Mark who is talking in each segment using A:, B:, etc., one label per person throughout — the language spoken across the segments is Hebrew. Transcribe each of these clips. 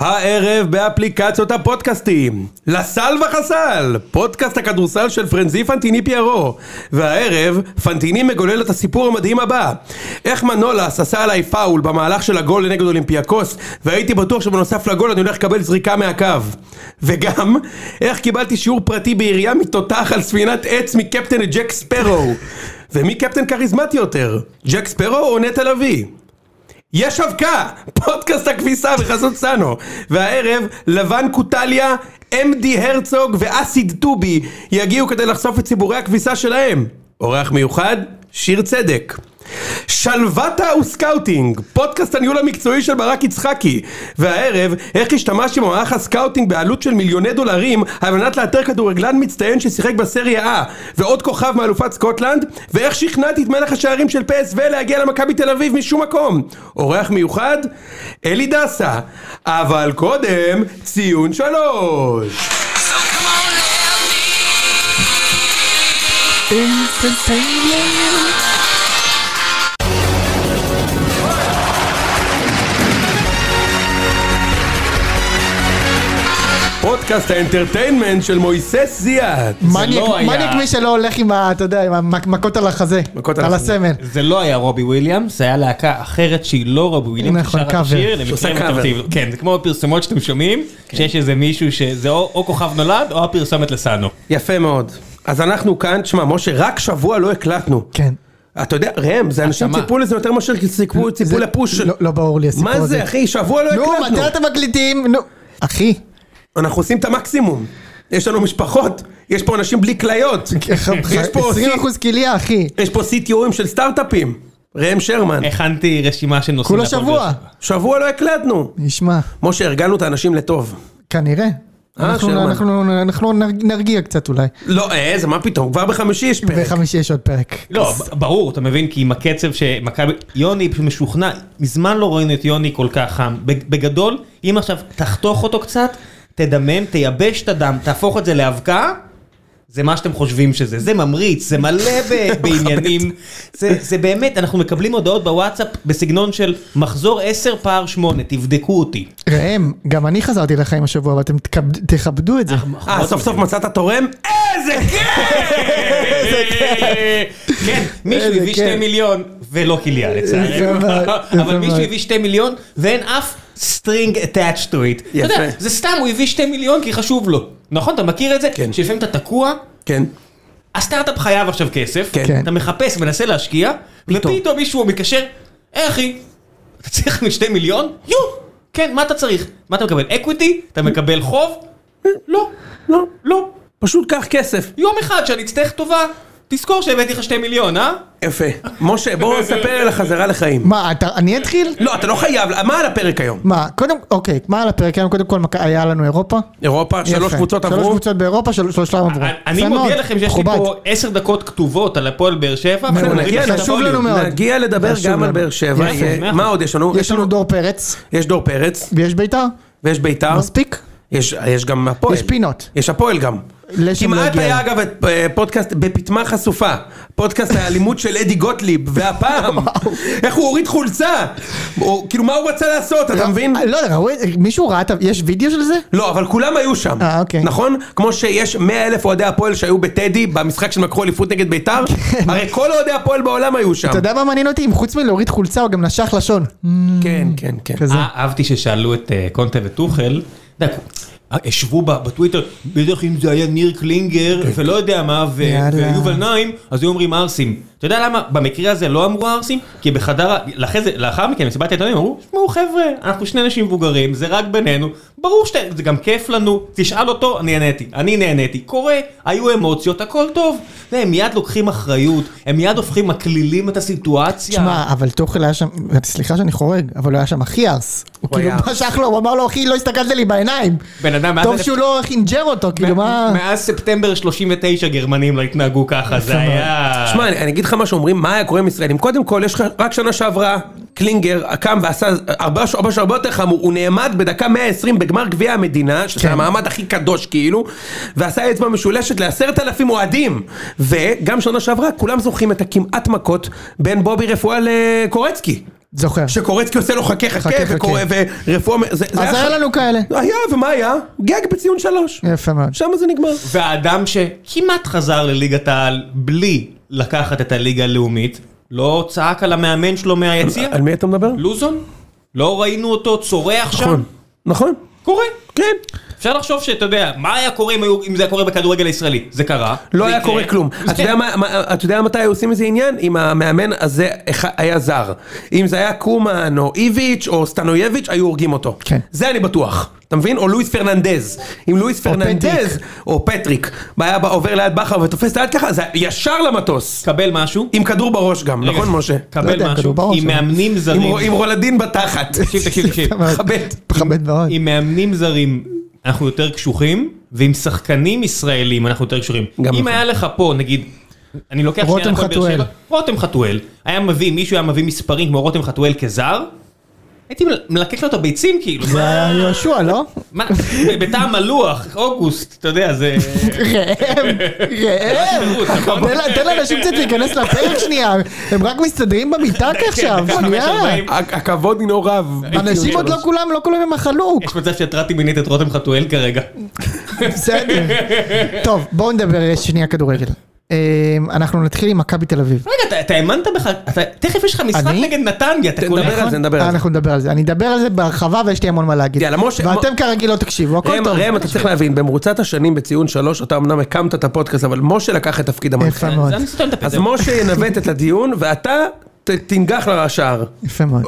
A: הערב באפליקציות הפודקאסטים, לסל וחסל, פודקאסט הכדורסל של פרנזי פנטיני פיירו. והערב, פנטיני מגולל את הסיפור המדהים הבא. איך מנולס עשה עליי פאול במהלך של הגול נגד אולימפיאקוס, והייתי בטוח שבנוסף לגול אני הולך לקבל זריקה מהקו. וגם, איך קיבלתי שיעור פרטי בירייה מתותח על ספינת עץ מקפטן ג'ק ספרו. ומי קפטן כריזמטי יותר, ג'ק ספרו או נטע לביא? יש אבקה! פודקאסט הכביסה בחסות סאנו. והערב, לבן קוטליה, אמדי הרצוג ואסיד טובי יגיעו כדי לחשוף את ציבורי הכביסה שלהם. אורח מיוחד, שיר צדק. שלוותה וסקאוטינג, פודקאסט הניהול המקצועי של ברק יצחקי. והערב, איך השתמשתי במערך הסקאוטינג בעלות של מיליוני דולרים על מנת לאתר כדורגלן מצטיין ששיחק בסריה A ועוד כוכב מאלופת סקוטלנד, ואיך שכנעתי את מלך השערים של PSV להגיע למכבי תל אביב משום מקום. אורח מיוחד, אלי דסה. אבל קודם, ציון
B: So
A: שלוש.
B: come on, help me.
A: פודקאסט האנטרטיינמנט של מויסס זיאת.
C: מניאק
D: לא היה.
C: מניאק מי שלא הולך עם ה... אתה יודע, עם המכות על החזה.
A: מכות על
C: על
A: החזה.
C: הסמל.
D: זה לא היה רובי וויליאמס, זה היה להקה אחרת שהיא לא רובי וויליאמס,
C: נכון,
D: ששרה את
C: קאבר.
D: השיר,
A: שעושה
D: למקרים
A: קאבר.
D: מטורפים. כן, זה כמו הפרסומות שאתם שומעים, שיש איזה מישהו שזה או או כוכב נולד או הפרסומת לסאנו.
A: יפה מאוד. אז אנחנו כאן, תשמע, משה, רק שבוע לא הקלטנו.
C: כן.
A: אתה יודע, ראם, זה אנשים
D: השמה.
A: ציפו לזה יותר מאשר ציפו ציפו
C: זה-
A: לפוש. של-
C: לא- לא ברור לי הסיפור
A: מה
C: הזה.
A: זה, אחי? שבוע לא
C: נו, מתי
A: הקלטנו.
C: אתם מקליטים? נו. אחי,
A: אנחנו עושים את המקסימום. יש לנו משפחות, יש פה אנשים בלי כליות.
C: כן.
A: יש פה
C: 20% כליה, אחי.
A: יש פה CTOים של סטארט-אפים. ראם שרמן.
D: הכנתי רשימה של נושאים.
C: כולה
D: להפועל
C: שבוע.
D: באר שבע.
A: שבוע לא הקלטנו.
C: נשמע,
A: משה, הרגלנו את האנשים לטוב.
C: כנראה.
A: אה,
C: אנחנו-
A: שרמן.
C: אנחנו אנחנו נרג- נרגיע קצת אולי.
A: לא, איזה, מה פתאום? כבר בחמישי יש פרק.
C: בחמישי יש עוד פרק.
D: לא, ב- ברור, אתה מבין, כי עם הקצב שמכבי... יוני פשוט משוכנע, מזמן לא ראינו את יוני כל כך חם. בג- בגדול, אם עכשיו תחתוך אותו קצת, תדמם, תייבש את הדם, תהפוך את זה לאבקה, זה מה שאתם חושבים שזה. זה ממריץ, זה מלא ב- בעניינים. זה, זה באמת, אנחנו מקבלים הודעות בוואטסאפ בסגנון של מחזור 10 פער 8, תבדקו אותי.
C: ראם, גם אני חזרתי לחיים השבוע, אבל אתם תכבד- תכבדו את זה.
A: אה, סוף סוף מצאת תורם? איזה
D: כן, מישהו
C: איזה
D: הביא
C: כן.
D: שתי מיליון ולא כליה לצערי.
C: יפה מאוד,
D: אבל
C: יפה
D: מישהו
C: מאוד.
D: הביא שתי מיליון ואין אף string attached to it. אתה יודע,
A: יפה.
D: זה סתם, הוא הביא שתי מיליון כי חשוב לו. נכון, אתה מכיר את זה?
A: כן.
D: שלפעמים אתה תקוע,
A: כן.
D: הסטארט-אפ חייב עכשיו כסף,
A: כן.
D: אתה מחפש, מנסה להשקיע, ופתאום מישהו מתקשר, היי אחי, אתה צריך משתי מיליון? יו! כן, מה אתה צריך? מה אתה מקבל? אקוויטי? אתה מקבל חוב? לא,
A: לא.
D: לא.
A: פשוט קח כסף.
D: יום אחד שאני אצטרך טובה, תזכור שהבאתי לך שתי מיליון, אה?
A: יפה. משה, בואו נספר על החזרה לחיים.
C: מה, אתה- אני אתחיל?
A: לא, אתה לא חייב, מה על הפרק היום?
C: מה, קודם, אוקיי, מה על הפרק היום? קודם כל, מכ- היה לנו אירופה.
A: אירופה, שלוש
C: יפה.
A: קבוצות
C: שלוש
A: עברו.
C: קבוצות באירופה, של- שלושתם עברו.
D: אני
C: יפה
D: מודיע
C: מאוד,
D: לכם שיש לי
C: מכובד.
D: פה עשר דקות כתובות על הפועל באר שבע. ואנחנו
A: אנחנו
C: מעולה. כן,
D: נוריד
A: נגיע
D: את
C: חשוב
A: לדבר-
C: לנו מאוד.
A: נגיע לדבר
C: חשוב
A: גם על
C: לנו.
A: באר שבע.
D: יפה,
A: אה,
D: מאה
A: מה
D: אחוז.
A: עוד יש לנו?
C: יש לנו דור פרץ,
A: יש דור פרץ,
C: ויש ביתר.
A: ויש ביתר,
C: מספיק.
A: יש- יש גם הפועל.
C: יש פינות.
A: יש הפועל גם.
C: לשם לא
A: כמעט
C: הגיע.
A: היה אגב את אה, פודקאסט בפטמה חשופה, פודקאסט האלימות של אדי גוטליב, והפעם, איך הוא הוריד חולצה, הוא- כאילו מה הוא רצה לעשות, אתה מבין?
C: לא, ראו, מישהו ראה, את ה- יש וידאו של זה?
A: לא, אבל כולם היו שם.
C: אה, אוקיי.
A: נכון? כמו שיש 100 אלף אוהדי הפועל שהיו בטדי, במשחק שהם לקחו אליפות נגד ביתר, הרי כל אוהדי הפועל בעולם היו שם.
C: כן. אתה יודע מה מעניין אותי? אם חוץ מלהוריד חולצה הוא גם נשך לשון.
A: כן, כן, כן.
C: כזה.
D: אה, אהבתי ששאלו את אה, קונטה וטוחל, אתה יודע, אה, ישבו ב- בטוויטר, בטח אם זה היה ניר קלינגר ולא יודע מה, ו-
C: כן, יאללה.
D: ויובל נעים, אז היו אומרים ערסים. אתה יודע למה במקרה הזה לא אמרו ערסים? כי בחדר, ה- לאחרי זה- לאחר מכן מסיבת העיתונאים אמרו, שמעו חבר'ה, אנחנו שני אנשים מבוגרים, זה רק בינינו, ברור שזה גם כיף לנו, תשאל אותו, אני נהניתי, אני נהניתי, קורה, היו אמוציות, הכל טוב. אתה יודע, הם מיד לוקחים אחריות, הם מיד הופכים, מקלילים את הסיטואציה.
C: תשמע, אבל תוכל היה שם, סליחה שאני חורג, אבל הוא היה שם הכי ארס. הוא
A: הוא
C: כאילו
A: היה.
C: משך לו, הוא אמר לו, אחי, לא הסתכלת לי בעיניים.
D: בן אדם, מאז
C: טוב
D: אלף-
C: שהוא לא חינג'ר אותו, כאילו מה...
D: מאז ספטמבר 39 גרמנים לא התנהגו ככה, זה היה...
A: שמע, אני, אני אגיד לך מה שאומרים, מה היה קורה עם ישראלים. קודם כל, יש לך, רק שנה שעברה, קלינגר קם ועשה הרבה, הרבה, הרבה יותר חמור, הוא נעמד בדקה 120 בגמר גביע המדינה, שזה
C: כן.
A: המעמד הכי קדוש כאילו, ועשה אצבע משולשת לעשרת אלפים אוהדים. וגם שנה שעברה, כולם זוכרים את הכמעט מכות בין בובי רפואה לקורצקי.
C: זוכר.
A: שקורץ כי עושה לו חכה חכה,
C: חכה, חכה.
A: וקורא ורפואה, זה, זה
C: אז היה
A: ח-
C: לנו כאלה.
A: היה, ומה היה? גג בציון שלוש.
C: יפה מאוד.
A: שם זה נגמר.
D: והאדם שכמעט חזר לליגת העל בלי לקחת את הליגה הלאומית, לא צעק על המאמן שלו מהיציע?
A: על מי אתה מדבר?
D: לוזון? לא ראינו אותו צורח שם?
A: נכון. נכון.
D: קורה.
A: כן.
D: אפשר לחשוב שאתה יודע, מה היה קורה אם היו- אם זה היה קורה בכדורגל הישראלי? זה קרה.
A: לא
D: זה
A: היה
D: יקרה.
A: קורה כלום.
D: זה
A: אתה יודע מה- מה- אתה יודע מתי היו עושים איזה עניין? אם המאמן הזה אח- היה זר. אם זה היה קומן או איביץ' או סטנויביץ', היו הורגים אותו.
C: כן.
A: זה אני בטוח. אתה מבין? או לואיס פרננדז. אם לואיס פרננדז, או פטריק, היה בא- עובר ליד בכר ותופס את היד ככה, זה ישר למטוס.
D: קבל משהו.
A: עם כדור בראש גם,
D: רגע,
A: נכון משה?
C: לא
D: קבל
C: יודע,
D: משהו.
C: כדור בראש,
D: עם
C: אבל-
D: מאמנים
A: עם
D: זרים.
A: רו- עם רולדין בתחת.
D: תקשיב, תקשיב, תקשיב.
C: יפה מאוד.
A: מכבד.
C: מכבד מאוד.
D: עם מאמנים זרים אנחנו יותר קשוחים, ועם שחקנים ישראלים אנחנו יותר קשוחים. אם
A: נכון.
D: היה לך פה, נגיד, אני לוקח
C: רותם
D: הפועל באר
C: חתואל.
D: שבע, רותם חתואל, היה מביא, מישהו היה מביא מספרים כמו רותם חתואל כזר, הייתי מל- מלקק לו את הביצים כאילו,
C: זה
D: מה-
C: היה יהושע, לא?
D: מה, בטעם הלוח, אוגוסט, אתה יודע, זה...
C: ראם, ראם, תן לה- תן לאנשים קצת להיכנס לפרק שנייה, הם רק מסתדרים במיטה עכשיו,
D: דקה,
C: שנייה.
D: חמש כן, ארבעים.
A: הכ- הכבוד הינו רב.
C: אנשים עוד לא כולם, לא כולם עם החלוק.
D: יש מצב שהתרעתי מינית את רותם חתואל כרגע.
C: בסדר. טוב, בואו נדבר שנייה כדורגל. אה, אנחנו נתחיל עם מכבי תל אביב.
D: רגע, אתה- אתה האמנת בכלל, אתה- תכף יש לך משחק
C: אני?
D: נגד נתניה, אתה
A: תדבר
D: קולט?
A: על זה, נדבר
C: אה,
A: על זה.
C: אנחנו נדבר על זה. אני אדבר על זה בהרחבה ויש לי המון מה להגיד.
A: יאללה, משה,
C: ואתם כרגיל לא תקשיבו, הכל
A: ראם,
C: טוב.
A: ראם, אתה צריך להבין, במרוצת השנים בציון שלוש, אתה אמנם הקמת את הפודקאסט, אבל משה לקח את תפקיד המנחה.
C: יפה מאוד.
D: זה אני סותם את הפה.
A: אז
D: זה-
A: משה ינווט את הדיון, ואתה ת- תנגח לשער.
C: יפה מאוד.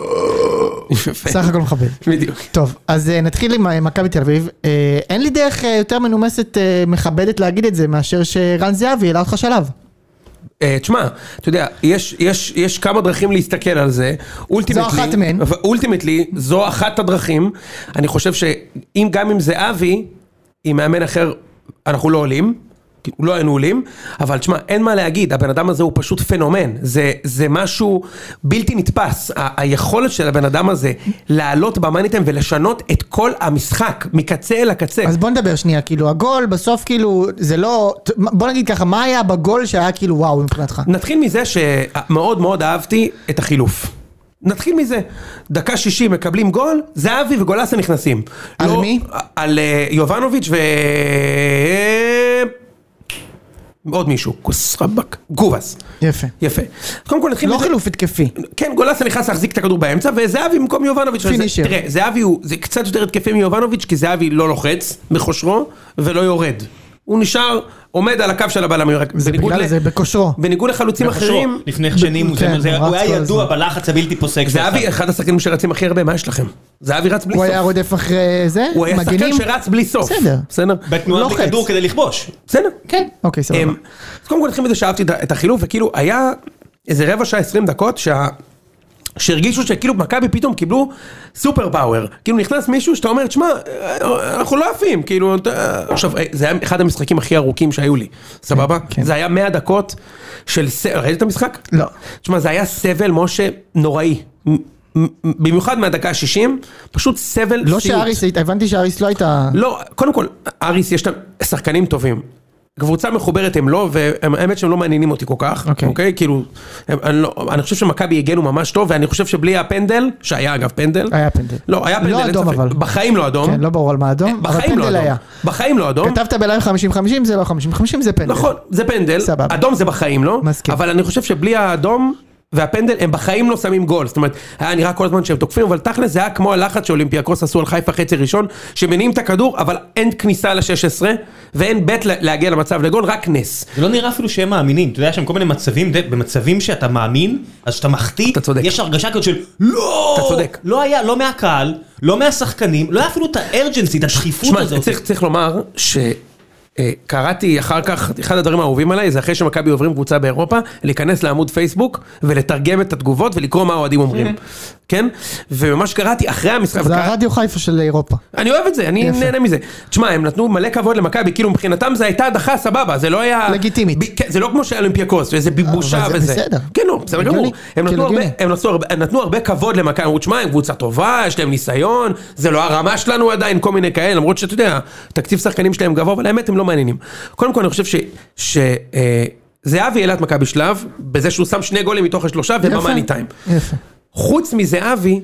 A: יפה.
C: סך הכל מכבד.
A: בדיוק.
C: טוב, אז אה, נתחיל עם אה, מכבי תל אביב. אה, אין לי דרך אה, יותר מנומסת אה, מכבדת להגיד את זה מאשר שרן זהבי העלה אותך שלב.
A: אה, תשמע, אתה יודע, יש- יש יש כמה דרכים להסתכל על זה.
C: זו אחת מהן.
A: אולטימטלי, זו אחת הדרכים. אני חושב שאם גם אם זה אבי, עם מאמן אחר, אנחנו לא עולים. כי לא היינו עולים, אבל תשמע, אין מה להגיד, הבן אדם הזה הוא פשוט פנומן, זה, זה משהו בלתי נתפס, ה- היכולת של הבן אדם הזה לעלות במאניטם ולשנות את כל המשחק, מקצה אל הקצה.
C: אז בוא נדבר שנייה, כאילו הגול בסוף כאילו זה לא, ת- בוא נגיד ככה, מה היה בגול שהיה כאילו וואו מבחינתך?
A: נתחיל מזה שמאוד מאוד אהבתי את החילוף. נתחיל מזה. דקה 60 מקבלים גול, זהבי וגולסה נכנסים. לא-
C: על מי?
A: על אה, יובנוביץ' ו... אה, עוד מישהו, כוס רבאק, גובס.
C: יפה.
A: יפה. קודם כל נתחיל
C: לא
A: מזה-
C: חילוף התקפי.
A: כן, גולסה נכנס להחזיק את הכדור באמצע, וזהבי במקום יובנוביץ'. וזה-
C: פינישר.
A: תראה, זהבי הוא, זה קצת יותר התקפי מיובנוביץ', כי זהבי לא לוחץ בכושרו, ולא יורד. הוא נשאר, עומד על הקו של הבלם.
C: זה
A: בניגוד
C: בגלל
A: ל-
C: זה, בכושרו.
A: בניגוד לחלוצים אחרים,
D: לפני שנים, הוא
C: כן,
D: זה- זה-
C: הוא
D: הוא
C: רץ
D: היה
C: כל
D: ידוע
C: הזמן.
D: בלחץ הבלתי פוסק. שהוא
A: זהבי
D: עשה.
A: אחד השחקנים שרצים הכי הרבה, מה יש לכם? זהבי רץ בלי סוף.
C: הוא היה רודף אחרי זה?
A: הוא היה שחקן
C: מגנים?
A: שרץ בלי סוף.
C: בסדר.
A: בסדר?
D: בתנועה
C: לוחץ.
D: בכדור כדי לכבוש.
A: בסדר.
D: כן.
C: אוקיי, סבבה.
A: אמ, אז קודם כל נתחיל מזה שאהבתי את ה- את החילוף, וכאילו היה איזה רבע שעה עשרים דקות שה... שהרגישו שכאילו מכבי פתאום קיבלו סופר פאוור. כאילו נכנס מישהו שאתה אומר, תשמע, אה, אנחנו לא עפים, כאילו, אתה- עכשיו, אה, זה היה אחד המשחקים הכי ארוכים שהיו לי, סבבה?
C: כן.
A: זה היה 100 דקות של סבל, ראית את המשחק?
C: לא.
A: תשמע, זה היה סבל, משה, נוראי. מ- מ- במיוחד מהדקה ה-60, פשוט סבל
C: לא
A: סיוט.
C: שאריס, היית- הבנתי שאריס לא הייתה...
A: לא, קודם כל, אריס יש להם שחקנים טובים. קבוצה מחוברת הם לא, והאמת שהם לא מעניינים אותי כל כך,
C: אוקיי.
A: אוקיי? כאילו, הם, אני, לא, אני חושב שמכבי הגנו ממש טוב, ואני חושב שבלי הפנדל, שהיה אגב פנדל.
C: היה פנדל.
A: לא, היה
C: לא
A: פנדל, אין
C: אדום,
A: ספק.
C: אבל.
A: בחיים לא אדום.
C: כן, לא ברור על מה אדום, אבל
A: בחיים לא
C: פנדל
A: אדום.
C: היה.
A: בחיים לא אדום.
C: כתבת בליים 50-50 זה לא 50-50 זה פנדל.
A: נכון, זה פנדל,
C: סבבה.
A: אדום זה בחיים, לא?
C: מסכים.
A: אבל אני חושב שבלי האדום והפנדל, הם בחיים לא שמים גול. זאת אומרת, היה נראה כל הזמן שהם תוקפים, אבל תכל'ס זה היה כמו הלחץ שאולימפיאקוס עשו על חיפה חצי ראשון, שמניעים את הכדור, אבל אין כניסה ל-16, ואין בית לה- להגיע למצב לגול, רק נס.
D: זה לא נראה אפילו שהם מאמינים, אתה יודע, יש שם כל מיני מצבים, אתה יודע, במצבים שאתה מאמין, אז שאתה מחטיא,
A: אתה צודק.
D: יש הרגשה כזאת של לא!
A: אתה צודק.
D: לא היה, לא מהקהל, לא מהשחקנים, לא היה אפילו את הארג'נסי, את הדחיפות
A: תשמע,
D: הזאת.
A: צריך, צריך לומר שקראתי אחר כך, אחד הדברים האהובים עליי זה אחרי שמכבי עוברים קבוצה באירופה, להיכנס לעמוד פייסבוק ולתרגם את התגובות ולקרוא מה האוהדים אומרים. כן? וממש קראתי אחרי המשחק,
C: זה
A: וקרא-
C: הרדיו חיפה של אירופה.
A: אני אוהב את זה, אני
C: יפה.
A: נהנה מזה. תשמע, הם נתנו מלא כבוד למכבי, כאילו מבחינתם זה הייתה הדחה סבבה, זה לא היה...
C: לגיטימית.
A: ב- כן, זה לא כמו שהיה אולימפיאקוס, איזה ביבושה
C: אבל
A: וזה.
C: זה בסדר.
A: כן, לא, בסדר
C: הגיוני.
A: גמור. הם
C: כאילו
A: נתנו הרבה-
C: הגיוני.
A: הם נתנו הרבה- הם נתנו הרבה כבוד למכבי, אמרו, תשמע, הם קבוצה טובה, יש להם ניסיון, זה לא הרמה שלנו עדיין, כל מיני כאלה, למרות שאתה יודע, תקציב שחקנים שלהם גבוה, אבל האמת הם לא מעניינים. קודם כל, אני חושב ש... ש- אה, זהבי העלה את מכבי שלב, בזה שהוא שם שני גולים מתוך השלושה
C: יפה.
A: ובמאני טיים.
C: יפה.
A: חוץ מזהבי,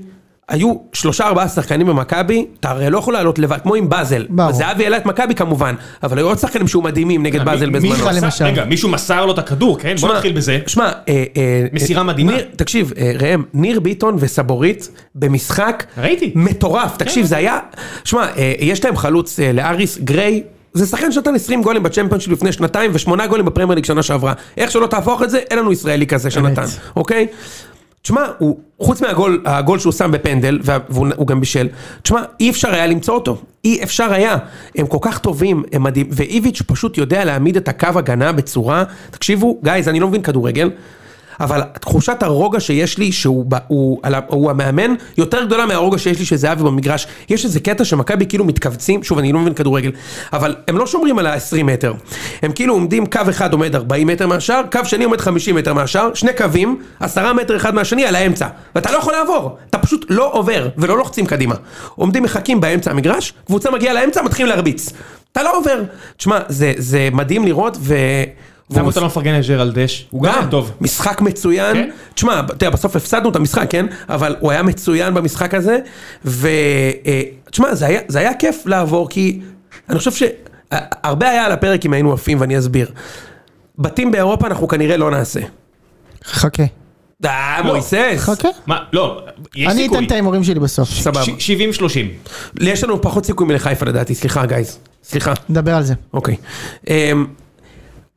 A: היו שלושה ארבעה שחקנים במכבי, אתה הרי לא יכול לעלות לבד, כמו עם באזל.
C: ברור.
A: זהבי העלה את מכבי כמובן, אבל היו עוד שחקנים שהיו מדהימים נגד באזל
D: אה, מי- מיכה
A: בזמנו.
C: למשל.
D: עשה- רגע, מישהו מסר לו את הכדור, כן? בוא
A: שמע,
D: נתחיל בזה.
A: שמע, אה, אה,
D: מסירה
A: אה,
D: מדהימה.
A: ניר- תקשיב, אה, ראם, ניר ביטון וסבורית במשחק
D: ראיתי. כן.
A: מטורף. תקשיב, זה היה... שמע, אה, יש להם חלוץ אה, לאריס גריי. זה שחקן שנתן 20 גולים בצ'מפיונס לפני שנתיים ושמונה גולים בפרמייר ליג שנה שעברה. איך שלא תהפוך את זה, אין לנו ישראלי כזה שנתן, אוקיי? תשמע, הוא, חוץ מהגול הגול שהוא שם בפנדל, וה- והוא הוא גם בישל, תשמע, אי אפשר היה למצוא אותו. אי אפשר היה. הם כל כך טובים, הם מדהים, ואיביץ' פשוט יודע להעמיד את הקו הגנה בצורה... תקשיבו, גייז, אני לא מבין כדורגל, אבל תחושת הרוגע שיש לי, שהוא ב- הוא, על ה- הוא המאמן, יותר גדולה מהרוגע שיש לי שזהבי במגרש. יש איזה קטע שמכבי כאילו מתכווצים, שוב, אני לא מבין כדורגל, אבל הם לא שומרים על ה-20 מטר. הם כאילו עומדים, קו אחד עומד 40 מטר מהשאר, קו שני עומד 50 מטר מהשאר, שני קווים, 10 מטר אחד מהשני על האמצע. ואתה לא יכול לעבור, אתה פשוט לא עובר, ולא לוחצים קדימה. עומדים מחכים באמצע המגרש, קבוצה מגיעה לאמצע, מתחילים להרביץ. אתה לא עובר. תשמע, זה, זה מדהים לראות, ו...
D: למה
A: והוא
D: אתה לא מפרגן לג'רלדש? הוא גם כן, טוב.
A: משחק מצוין.
D: כן.
A: תשמע, אתה יודע, בסוף הפסדנו את המשחק, כן? אבל הוא היה מצוין במשחק הזה, ו... אה, תשמע, זה היה, זה היה כיף לעבור, כי אני חושב שהרבה היה על הפרק אם היינו עפים, ואני אסביר. בתים באירופה אנחנו כנראה לא נעשה.
C: חכה.
A: אה,
D: לא.
A: מויסס.
C: חכה.
D: מה, לא, יש
C: אוקיי. אני
D: סיכוי.
C: אתן את ההימורים שלי בסוף.
A: סבבה.
D: ש- 70-30.
A: יש לנו פחות סיכוי מלחיפה לדעתי, סליחה גייז. סליחה.
C: נדבר על זה.
A: אוקיי. אמ,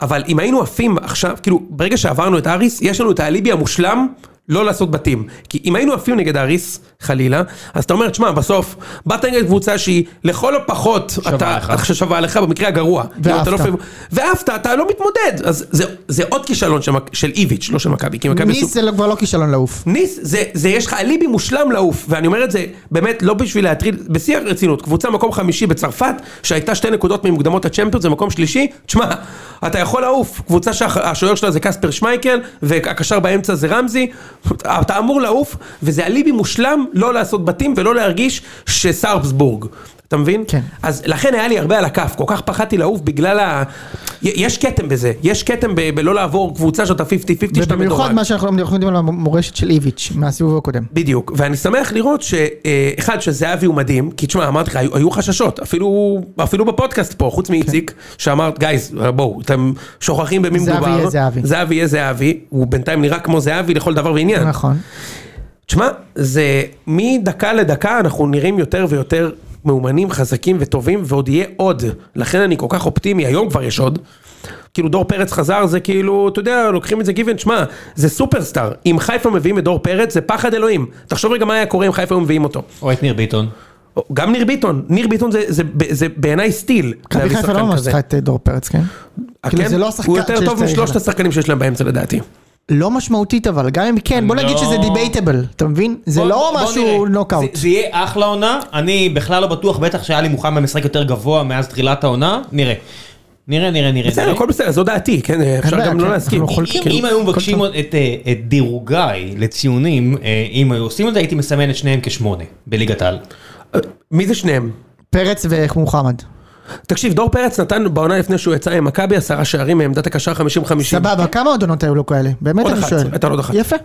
A: אבל אם היינו עפים עכשיו, כאילו, ברגע שעברנו את אריס, יש לנו את האליבי המושלם לא לעשות בתים. כי אם היינו עפים נגד אריס, חלילה, אז אתה אומר, תשמע, בסוף, באת נגד קבוצה שהיא לכל הפחות, שווה אתה,
D: לך.
A: לך. שווה לך במקרה הגרוע. כאילו, אתה לא
C: ואהבת.
A: פייב- ואהבת, אתה לא מתמודד. אז זה, זה עוד כישלון של, מק- של איביץ', לא של מכבי. כי מכבי
C: ניס זה לא- כבר לא כישלון לעוף.
A: ניס, זה, זה יש לך אליבי מושלם לעוף, ואני אומר את זה באמת לא בשביל להטריד, בשיא הרצינות, קבוצה מקום חמישי בצרפת, שהייתה שתי נקודות ממוקדמות הצ'מפיונס, זה מקום שלישי, תשמע, אתה יכול לעוף, קבוצה שהשוער שלה זה קספר שמייקל, והקשר באמצע זה רמזי, אתה אמור לעוף, וזה אליבי מושלם לא לעשות בתים ולא להרגיש שסרפסבורג. אתה מבין?
C: כן.
A: אז לכן היה לי הרבה על הכף, כל כך פחדתי לעוף בגלל ה... י- יש כתם בזה, יש כתם ב- בלא לעבור קבוצה שאתה 50-50 שאתה מדורג.
C: ובמיוחד מה שאנחנו אנחנו יודעים על המורשת של איביץ' מהסיבוב הקודם.
A: בדיוק, ואני שמח לראות שאחד, שזהבי הוא מדהים, כי תשמע, אמרתי לך, היו, היו חששות, אפילו, אפילו בפודקאסט פה,
C: כן.
A: חוץ מאיציק, שאמרת, גייז, בואו, אתם שוכחים במי
C: זהבי
A: מדובר.
C: יהיה זהבי."
A: זהבי יהיה זהבי, הוא בינתיים נראה כמו זהבי לכל דבר ועניין.
C: נכון.
A: תשמע, זה מדקה לדקה אנחנו נראים יותר ויותר מאומנים, חזקים וטובים, ועוד יהיה עוד. לכן אני כל כך אופטימי, היום כבר יש עוד. כאילו דור פרץ חזר, זה כאילו, אתה יודע, לוקחים את זה גיוון, שמע, זה סופרסטאר. אם חיפה מביאים את דור פרץ, זה פחד אלוהים. תחשוב רגע מה היה קורה אם חיפה היו מביאים אותו.
D: או את ניר ביטון.
A: גם ניר ביטון, ניר ביטון זה, זה, זה, זה בעיניי סטיל.
C: מכבי
A: להביא
C: חיפה
A: שחקן
C: לא ממש
A: כזה.
C: צריכה את אה, דור פרץ, כן?
A: אה,
C: כאילו,
A: כן?
C: זה לא השחקן
A: הוא יותר
C: שיש
A: טוב
C: צריך
A: משלושת
C: לה.
A: השחקנים שיש להם באמצע לדעתי.
C: לא משמעותית אבל, גם אם כן, בוא נגיד
D: לא.
C: שזה דיבייטבל, אתה מבין? זה
D: בוא-
C: לא
D: בוא
C: משהו
D: נראה.
C: נוקאוט.
D: זה- זה יהיה אחלה עונה, אני בכלל לא בטוח, בטח שאלי מוחמד משחק יותר גבוה מאז תחילת העונה, נראה. נראה, נראה, נראה.
A: בסדר,
D: נראה.
A: הכל בסדר, זו דעתי, כן? אפשר
C: בעיה,
A: גם
C: כן,
A: לא להסכים.
C: אנחנו
D: אם-
C: כאילו,
D: אם היו
C: כל
D: מבקשים
C: טוב.
D: את אה, את דירוגיי לציונים, אה, אם היו עושים את זה, הייתי מסמן את שניהם כשמונה בליגת העל.
A: מי זה שניהם?
C: פרץ ומוחמד.
A: כן. תקשיב, דור פרץ נתן בעונה לפני שהוא יצא עם מכבי עשרה שערים מעמדת הקשר 50-50.
C: סבבה, כמה עוד עונות היו לו כאלה? באמת
A: עוד
C: אני
A: אחת,
C: שואל.
A: הייתה לו עוד אחת.
C: יפה.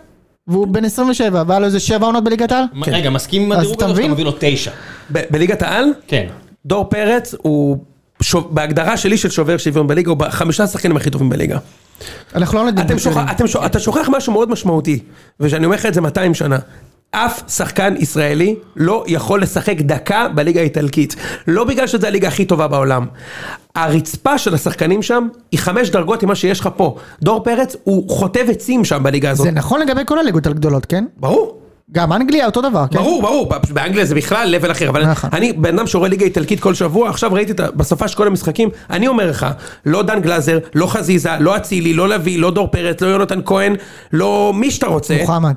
C: והוא בן 27, והיה לו איזה 7 עונות בליגת העל?
A: כן.
D: מה- רגע, מסכים עם
C: אז
D: הדירוג
C: אתה
D: הזה או שאתה
C: מבין?
D: מביא לו תשע?
A: ב- בליגת העל,
D: כן.
A: דור פרץ הוא, שוב, בהגדרה שלי של שובר שוויון בליגה, הוא בחמישה השחקנים הכי טובים בליגה.
C: אנחנו לא נדבר.
A: אתם שוכח, אתם שוכח, אתה שוכח משהו מאוד משמעותי, ושאני אומר לך את זה 200 שנה. אף שחקן ישראלי לא יכול לשחק דקה בליגה האיטלקית. לא בגלל שזו הליגה הכי טובה בעולם. הרצפה של השחקנים שם היא חמש דרגות ממה שיש לך פה. דור פרץ הוא חוטב עצים שם בליגה הזאת.
C: זה נכון לגבי כל הליגות הגדולות, כן?
A: ברור.
C: גם אנגליה אותו דבר, כן?
A: ברור, ברור, באנגליה זה בכלל לבל אחר, אבל
C: נכון.
A: אני בן אדם שרואה ליגה איטלקית כל שבוע, עכשיו ראיתי את ה- בסופה של כל המשחקים, אני אומר לך, לא דן גלאזר, לא חזיזה, לא אצילי, לא לביא, לא דור פרץ, לא יונתן כהן, לא מי שאתה רוצה.
C: מוחמד.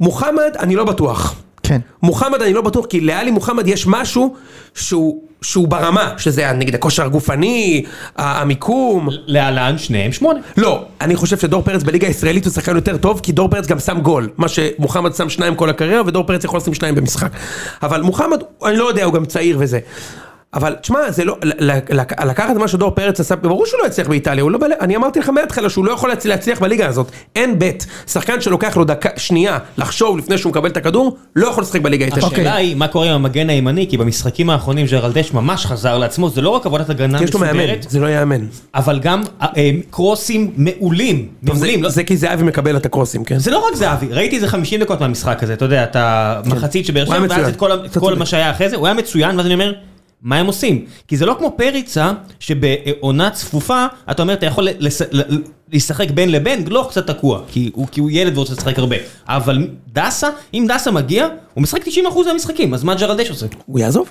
A: מוחמד, אני לא בטוח.
C: כן.
A: מוחמד אני לא בטוח, כי לאלי מוחמד יש משהו שהוא, שהוא ברמה, שזה נגיד הכושר הגופני, ה- המיקום.
D: להלן שניהם שמונה.
A: לא, אני חושב שדור פרץ בליגה הישראלית הוא שחקן יותר טוב, כי דור פרץ גם שם גול. מה שמוחמד שם שניים כל הקריירה, ודור פרץ יכול לשים שניים במשחק. אבל מוחמד, אני לא יודע, הוא גם צעיר וזה. אבל תשמע, זה לא, ל- ל- ל- לקחת מה שדור פרץ עשה, ברור שהוא לא יצליח באיטליה, הוא לא, בלי- אני אמרתי לך מההתחלה שהוא לא יכול להצ- להצליח בליגה הזאת, אין בית, שחקן שלוקח לו דקה, שנייה, לחשוב לפני שהוא מקבל את הכדור, לא יכול לשחק בליגה איתה.
C: אוקיי.
D: השאלה היא, מה קורה עם המגן הימני? כי במשחקים האחרונים ג'רלדש ממש חזר לעצמו, זה לא רק עבודת הגנה
A: יש לו מאמן,
D: מסודרת,
A: זה לא ייאמן.
D: אבל גם אה, אה, קרוסים מעולים.
A: טוב, זה-
D: מעולים. לא-
A: זה כי זהבי מקבל את הקרוסים, כן?
D: זה לא רק זהבי, ראיתי איזה 50 דקות מהמשחק הזה, אתה יודע, את המחצית שבאר
A: כן. הוא היה
D: שבע, ואז
A: מצוין.
D: את כל, ה- את
A: אתה
D: כל
A: צודק.
D: מה שהיה אחרי זה, הוא היה מצוין, ואז אני אומר, מה הם עושים? כי זה לא כמו פריצה, שבעונה צפופה, אתה אומר, אתה יכול לס- ל- ל- לשחק בין לבין, גלוך קצת תקוע, כי הוא, כי הוא ילד ורוצה לשחק הרבה. אבל דסה, אם דסה מגיע, הוא משחק 90% מהמשחקים, אז מה ג'רלדש עושה? אה,
A: הוא יעזוב?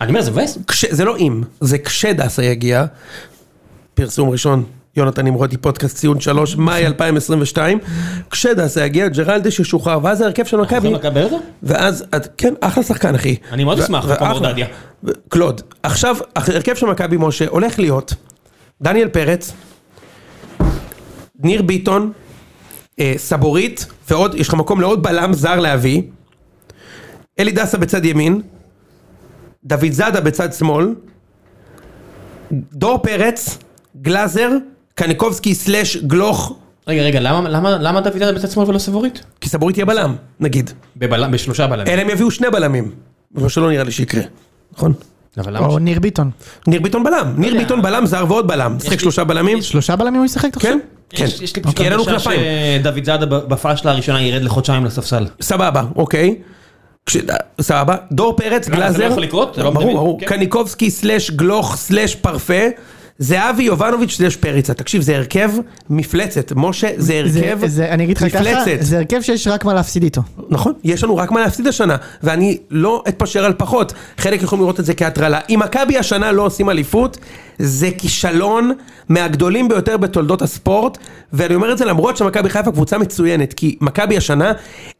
D: אני אומר, זה מבאס.
A: כש- זה לא אם, זה כשדסה יגיע. פרסום ראשון, יונתן נמרודי, פודקאסט ציון 3, מאי 2022. כשדסה יגיע, ג'רלדש ישוחרר, ואז ההרכב של מכבי...
D: זוכרים לקבל את זה?
A: ואז, את- כן, אחלה שחקן, אחי.
D: אני מאוד
A: ו-
D: אשמח,
A: ואחלה.
D: כמו דדיה.
A: ו- קלוד, עכשיו, ההרכב של מכבי משה הולך להיות דניאל פרץ, ניר ביטון, אה, סבורית, ועוד, יש לך מקום לעוד בלם זר להביא, אלי דסה בצד ימין, דוד זאדה בצד שמאל, דור פרץ, גלאזר, קניקובסקי סלאש גלוך,
D: רגע, רגע, למה, למה, למה דוד ידע בצד שמאל ולא סבורית?
A: כי סבורית יהיה בלם, נגיד.
D: בבלם, בשלושה בלמים.
A: אלא הם יביאו שני בלמים, מה שלא נראה לי שיקרה, נכון?
D: אבל למה?
C: או ניר ביטון.
A: ניר ביטון בלם,
D: לא
A: ניר ביטון בלם זר ועוד בלם, משחק שלושה בלמים,
C: שלושה בלמים הוא ישחק, אתה חושב?
A: כן? כן,
D: יש, יש לי פשוט
A: כי אין לנו
D: הרגשה
A: כנפיים,
D: שדוד זאדה בפאשלה הראשונה ירד לחודשיים לספסל.
A: סבבה, אוקיי, כש- סבבה, דור פרץ,
D: למה, זה
A: גלאזר,
D: לא יכול לקרות? זה לא
A: ברור,
D: מדמיין.
A: ברור,
D: כן.
A: קניקובסקי סלאש גלוך סלאש פרפה, זהבי יובנוביץ' סלאש פריצה, תקשיב זה הרכב מפלצת, משה זה
C: זה,
A: הרכב
C: זה, אני אגיד לך ככה,
A: מפלצת,
C: זה הרכב שיש רק מה להפסיד איתו.
A: נכון, יש לנו רק מה להפסיד השנה, ואני לא אתפשר על פחות. חלק יכולים לראות את זה כהטרלה. אם מכבי השנה לא עושים אליפות, זה כישלון מהגדולים ביותר בתולדות הספורט, ואני אומר את זה למרות שמכבי חיפה קבוצה מצוינת, כי מכבי השנה,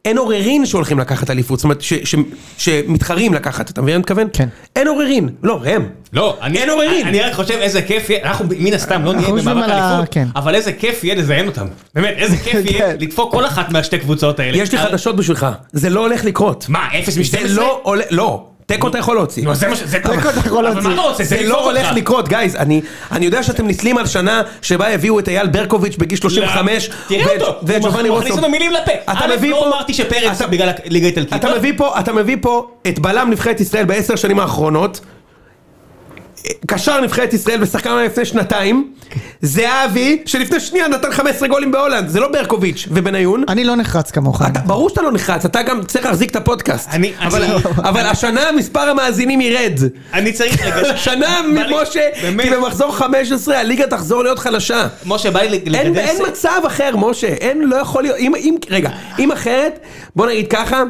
A: אין עוררין שהולכים לקחת אליפות, זאת אומרת, ש, ש, שמתחרים לקחת, אתה מבין מה אני מתכוון?
C: כן.
A: אין עוררין, לא, ראם.
D: לא, אני,
A: אין עוררין.
D: אני רק חושב איזה כיף יהיה, אנחנו מן הסתם לא נהיה
C: אנחנו יושבים
D: במאבק
C: על ה-
D: אליפות,
C: כן.
D: אבל איזה כיף יהיה לזיין אותם. באמת, איזה כיף יהיה
C: כן.
D: לדפוק כל אחת מהשתי קבוצות האלה.
A: יש לי
D: אבל-
A: חדשות בשבילך, זה לא הולך לקרות.
D: אה, מה, 0
A: זה
D: מ-12?
A: לא הולך, לא, תיקו אתה יכול להוציא.
D: נו, זה מה ש... זה
C: אתה יכול
D: אבל
C: להוציא.
D: מה אתה רוצה?
A: זה
D: לדפוק
A: לא הולך
D: אותך.
A: לקרות, גייז, אני אני יודע שאתם נסלים על שנה שבה הביאו את אייל ברקוביץ' בגיל 35,
D: לא, תראה
A: ואת-
D: אותו, הוא
A: ואת ג'ובאני
D: מכניס- הוא מכניס
A: רוסו.
D: לנו מילים לפה.
A: אתה
D: א',
A: מביא
D: לא
A: פה-
D: אמרתי שפרץ
A: אתה-
D: בגלל הליגה האיטלקית.
A: אתה מביא פה, אתה מביא פה את בלם נבחרת ישראל בעשר שנים האחרונות, קשר נבחרת ישראל ושחקן היה לפני שנתיים, זהבי שלפני שנייה נתן 15 גולים בהולנד, זה לא ברקוביץ' ובניון.
C: אני לא נחרץ כמוך.
A: אתה- ברור שאתה לא נחרץ, אתה גם צריך להחזיק את הפודקאסט.
D: אני-
A: אבל-
D: אני-
A: אבל השנה מספר המאזינים ירד.
D: אני צריך לגדל...
A: השנה,
D: בא לי-
A: משה,
D: באמת.
A: כי במחזור 15 הליגה תחזור להיות חלשה.
D: משה, בא לי לגדל...
A: אין, אין
D: ס-
A: מצב אחר, משה, אין, לא יכול להיות, אם, אם, רגע, אם אחרת, בוא נגיד ככה,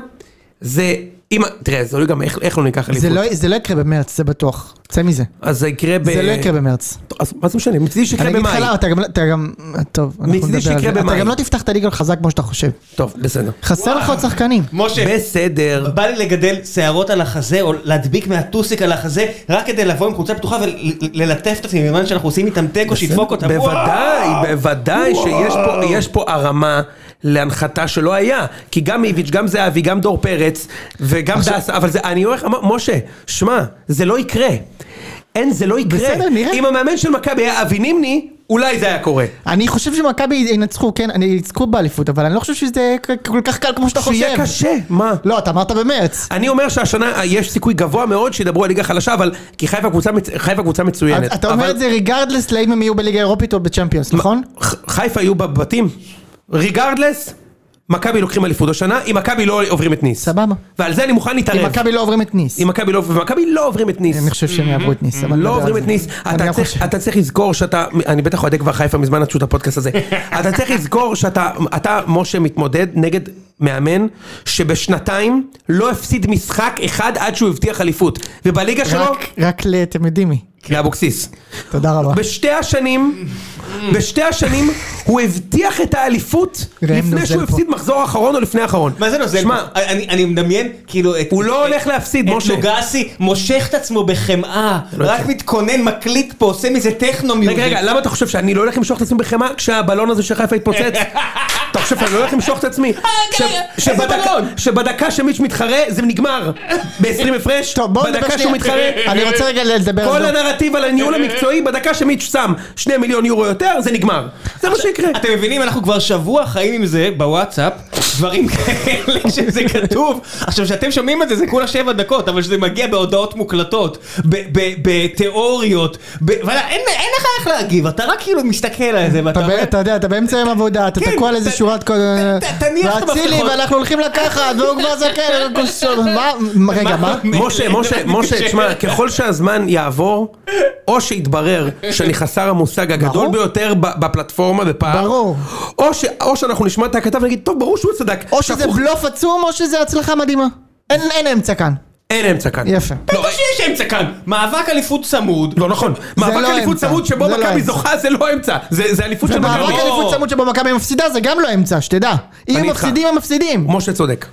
A: זה, אם, תראה, זה לא גם איך, איך לא ניקח אליפות.
C: זה לא- זה לא יקרה במרץ, זה בטוח. צא מזה.
A: אז זה יקרה ב...
C: זה לא יקרה במרץ.
A: אז מה זה משנה, מצידי
C: אני
A: שיקרה
C: אגיד לך
A: במאי.
C: למה, אתה גם לא, אתה גם, טוב, אנחנו
A: מצידי
C: נדבר על
A: שיקרה
C: זה.
A: במאי.
C: אתה גם לא תפתח את הליגה חזק כמו שאתה חושב.
A: טוב, בסדר.
C: חסר לך עוד שחקנים.
D: משה,
A: בסדר.
D: בא לי לגדל שערות על החזה, או להדביק מהטוסיק על החזה, רק כדי לבוא עם חולצה פתוחה וללטף את עצמי בזמן שאנחנו עושים איתם תיקו, שידפוק אותם.
A: בוודאי, בוודאי שיש פה, יש פה הרמה להנחתה שלא היה. כי גם איביץ', גם זהבי, גם דור פרץ, וגם דס, אבל זה, אני הולך, אמר- משה, שמע, זה לא יקרה. אין, זה לא יקרה.
C: בסדר, נראה.
A: אם המאמן של מכבי היה אבי נימני, אולי זה היה קורה.
C: אני חושב שמכבי ינצחו, כן, אני יצחו באליפות, אבל אני לא חושב שזה כ- כל כך קל כמו שאתה חושב.
A: שיהיה קשה, מה?
C: לא, אתה אמרת במרץ.
A: אני אומר שהשנה אה, יש סיכוי גבוה מאוד שידברו על ליגה חלשה, אבל כי חיפה קבוצה, מצ- חיפה קבוצה מצוינת.
C: אז אתה אומר
A: אבל
C: את זה ריגרדלס לאם הם יהיו בליגה האירופית או בצ'מפיונס, נכון?
A: ח- חיפה יהיו בבתים, ריגרדלס, מכבי לוקחים אליפות השנה, אם מכבי לא עוברים את ניס.
C: סבבה.
A: ועל זה אני מוכן
C: אם
A: להתערב.
C: מכבי לא עוברים את ניס.
A: אם מכבי לא, ומכבי לא עוברים את ניס.
C: אני חושב שהם יעברו את ניס. אבל
A: לא
C: נדבר על
A: עוברים
C: זה.
A: את ניס,
C: אני
A: אתה
C: גם
A: צריך-
C: חושב.
A: אתה צריך לזכור שאתה, אני בטח אוהדי כבר חיפה מזמן נטשו את הפודקאסט הזה, אתה צריך לזכור שאתה, אתה משה מתמודד נגד מאמן שבשנתיים לא הפסיד משחק אחד עד שהוא הבטיח אליפות, ובליגה שלו,
C: רק- רק ל... אתם יודעים מי.
A: לאבוקסיס.
C: תודה רבה.
A: בשתי השנים, בשתי השנים, הוא הבטיח את האליפות
C: ראם
A: לפני
C: נוזל
A: שהוא
C: פה.
A: הפסיד מחזור אחרון או לפני האחרון.
D: מה זה נוזל?
A: שמע,
D: פה? אני, אני מדמיין, כאילו... את,
A: הוא לא
D: את-
A: הולך להפסיד,
D: את
A: משה.
D: לוגסי מושך את עצמו בחמאה,
A: לא
D: רק
A: יוצא.
D: מתכונן, מקליט פה, עושה מזה טכנו מיוזיק.
A: רגע, רגע, למה אתה חושב שאני לא הולך למשוך את עצמי בחמאה כשהבלון הזה של חיפה יתפוצץ? אתה חושב שאני לא הולך למשוך את עצמי? ש-
D: אה, רגע,
A: שבדקה-
D: איזה בלון?
A: שבדקה שמיץ' מתחרה, זה נגמר. ב-20 הפרש,
C: טוב, בואו נדבר
A: בדקה שהוא מתחרה,
C: שנייה. אני רוצה רגע לדבר
A: כל
C: על זה.
A: הנרטיב על הניהול המקצועי, בדקה שמיץ' שם 2 מיליון יורו יותר, זה נגמר. זה מה שיקרה.
D: אתם מבינים, אנחנו כבר שבוע חיים עם זה בוואטסאפ, דברים כאלה שזה כתוב. עכשיו, כשאתם שומעים את זה, זה כולה שבע דקות, אבל כשזה מגיע בהודעות מוקלטות, ב- ב- בתיאוריות, ב- וואלה, אין אין לך איך להגיב, אתה רק כאילו מסתכל על זה, ואתה
C: אתה ב-
D: אומר...
C: אתה יודע, אתה באמצע יום עבודה, אתה
D: כן,
C: תקוע על איזה
D: ת-
C: שורת כל...
D: ת- ת- תניח את
C: ואצילי,
D: המפתחות.
C: ואנחנו הולכים לקחת, והוא כבר זקן, כל שום- מה- מה- רגע, מה?
A: משה, משה, משה, תשמע, ככל שהזמן יעבור, או שיתברר שאני חסר המושג הגדול
C: ברור.
A: ביותר ב- בפלטפורמה בפער,
C: ברור.
A: או ש- או שאנחנו נשמע את הכתב ונגיד, טוב, ברור שהוא צדק.
C: או שזה
A: שהפוך-
C: בלוף עצום, או שזה הצלחה מדהימה. אין אין אמצע כאן.
A: אין אמצע כאן.
C: יפה.
D: בטח שיש אמצע כאן, מאבק אליפות צמוד.
A: לא נכון. מאבק
C: לא
A: אליפות
C: אמצע.
A: צמוד שבו
C: זה לא
A: מכבי
C: אמצע.
A: זוכה זה לא אמצע. זה זה אליפות של
C: במאבק
A: מכבי.
D: ברור.
C: אליפות צמוד שבו מכבי מפסידה זה גם לא אמצע, שתדע. אם
A: אני
C: הם
A: איתך.
C: מפסידים, הם מפסידים.
A: משה צודק.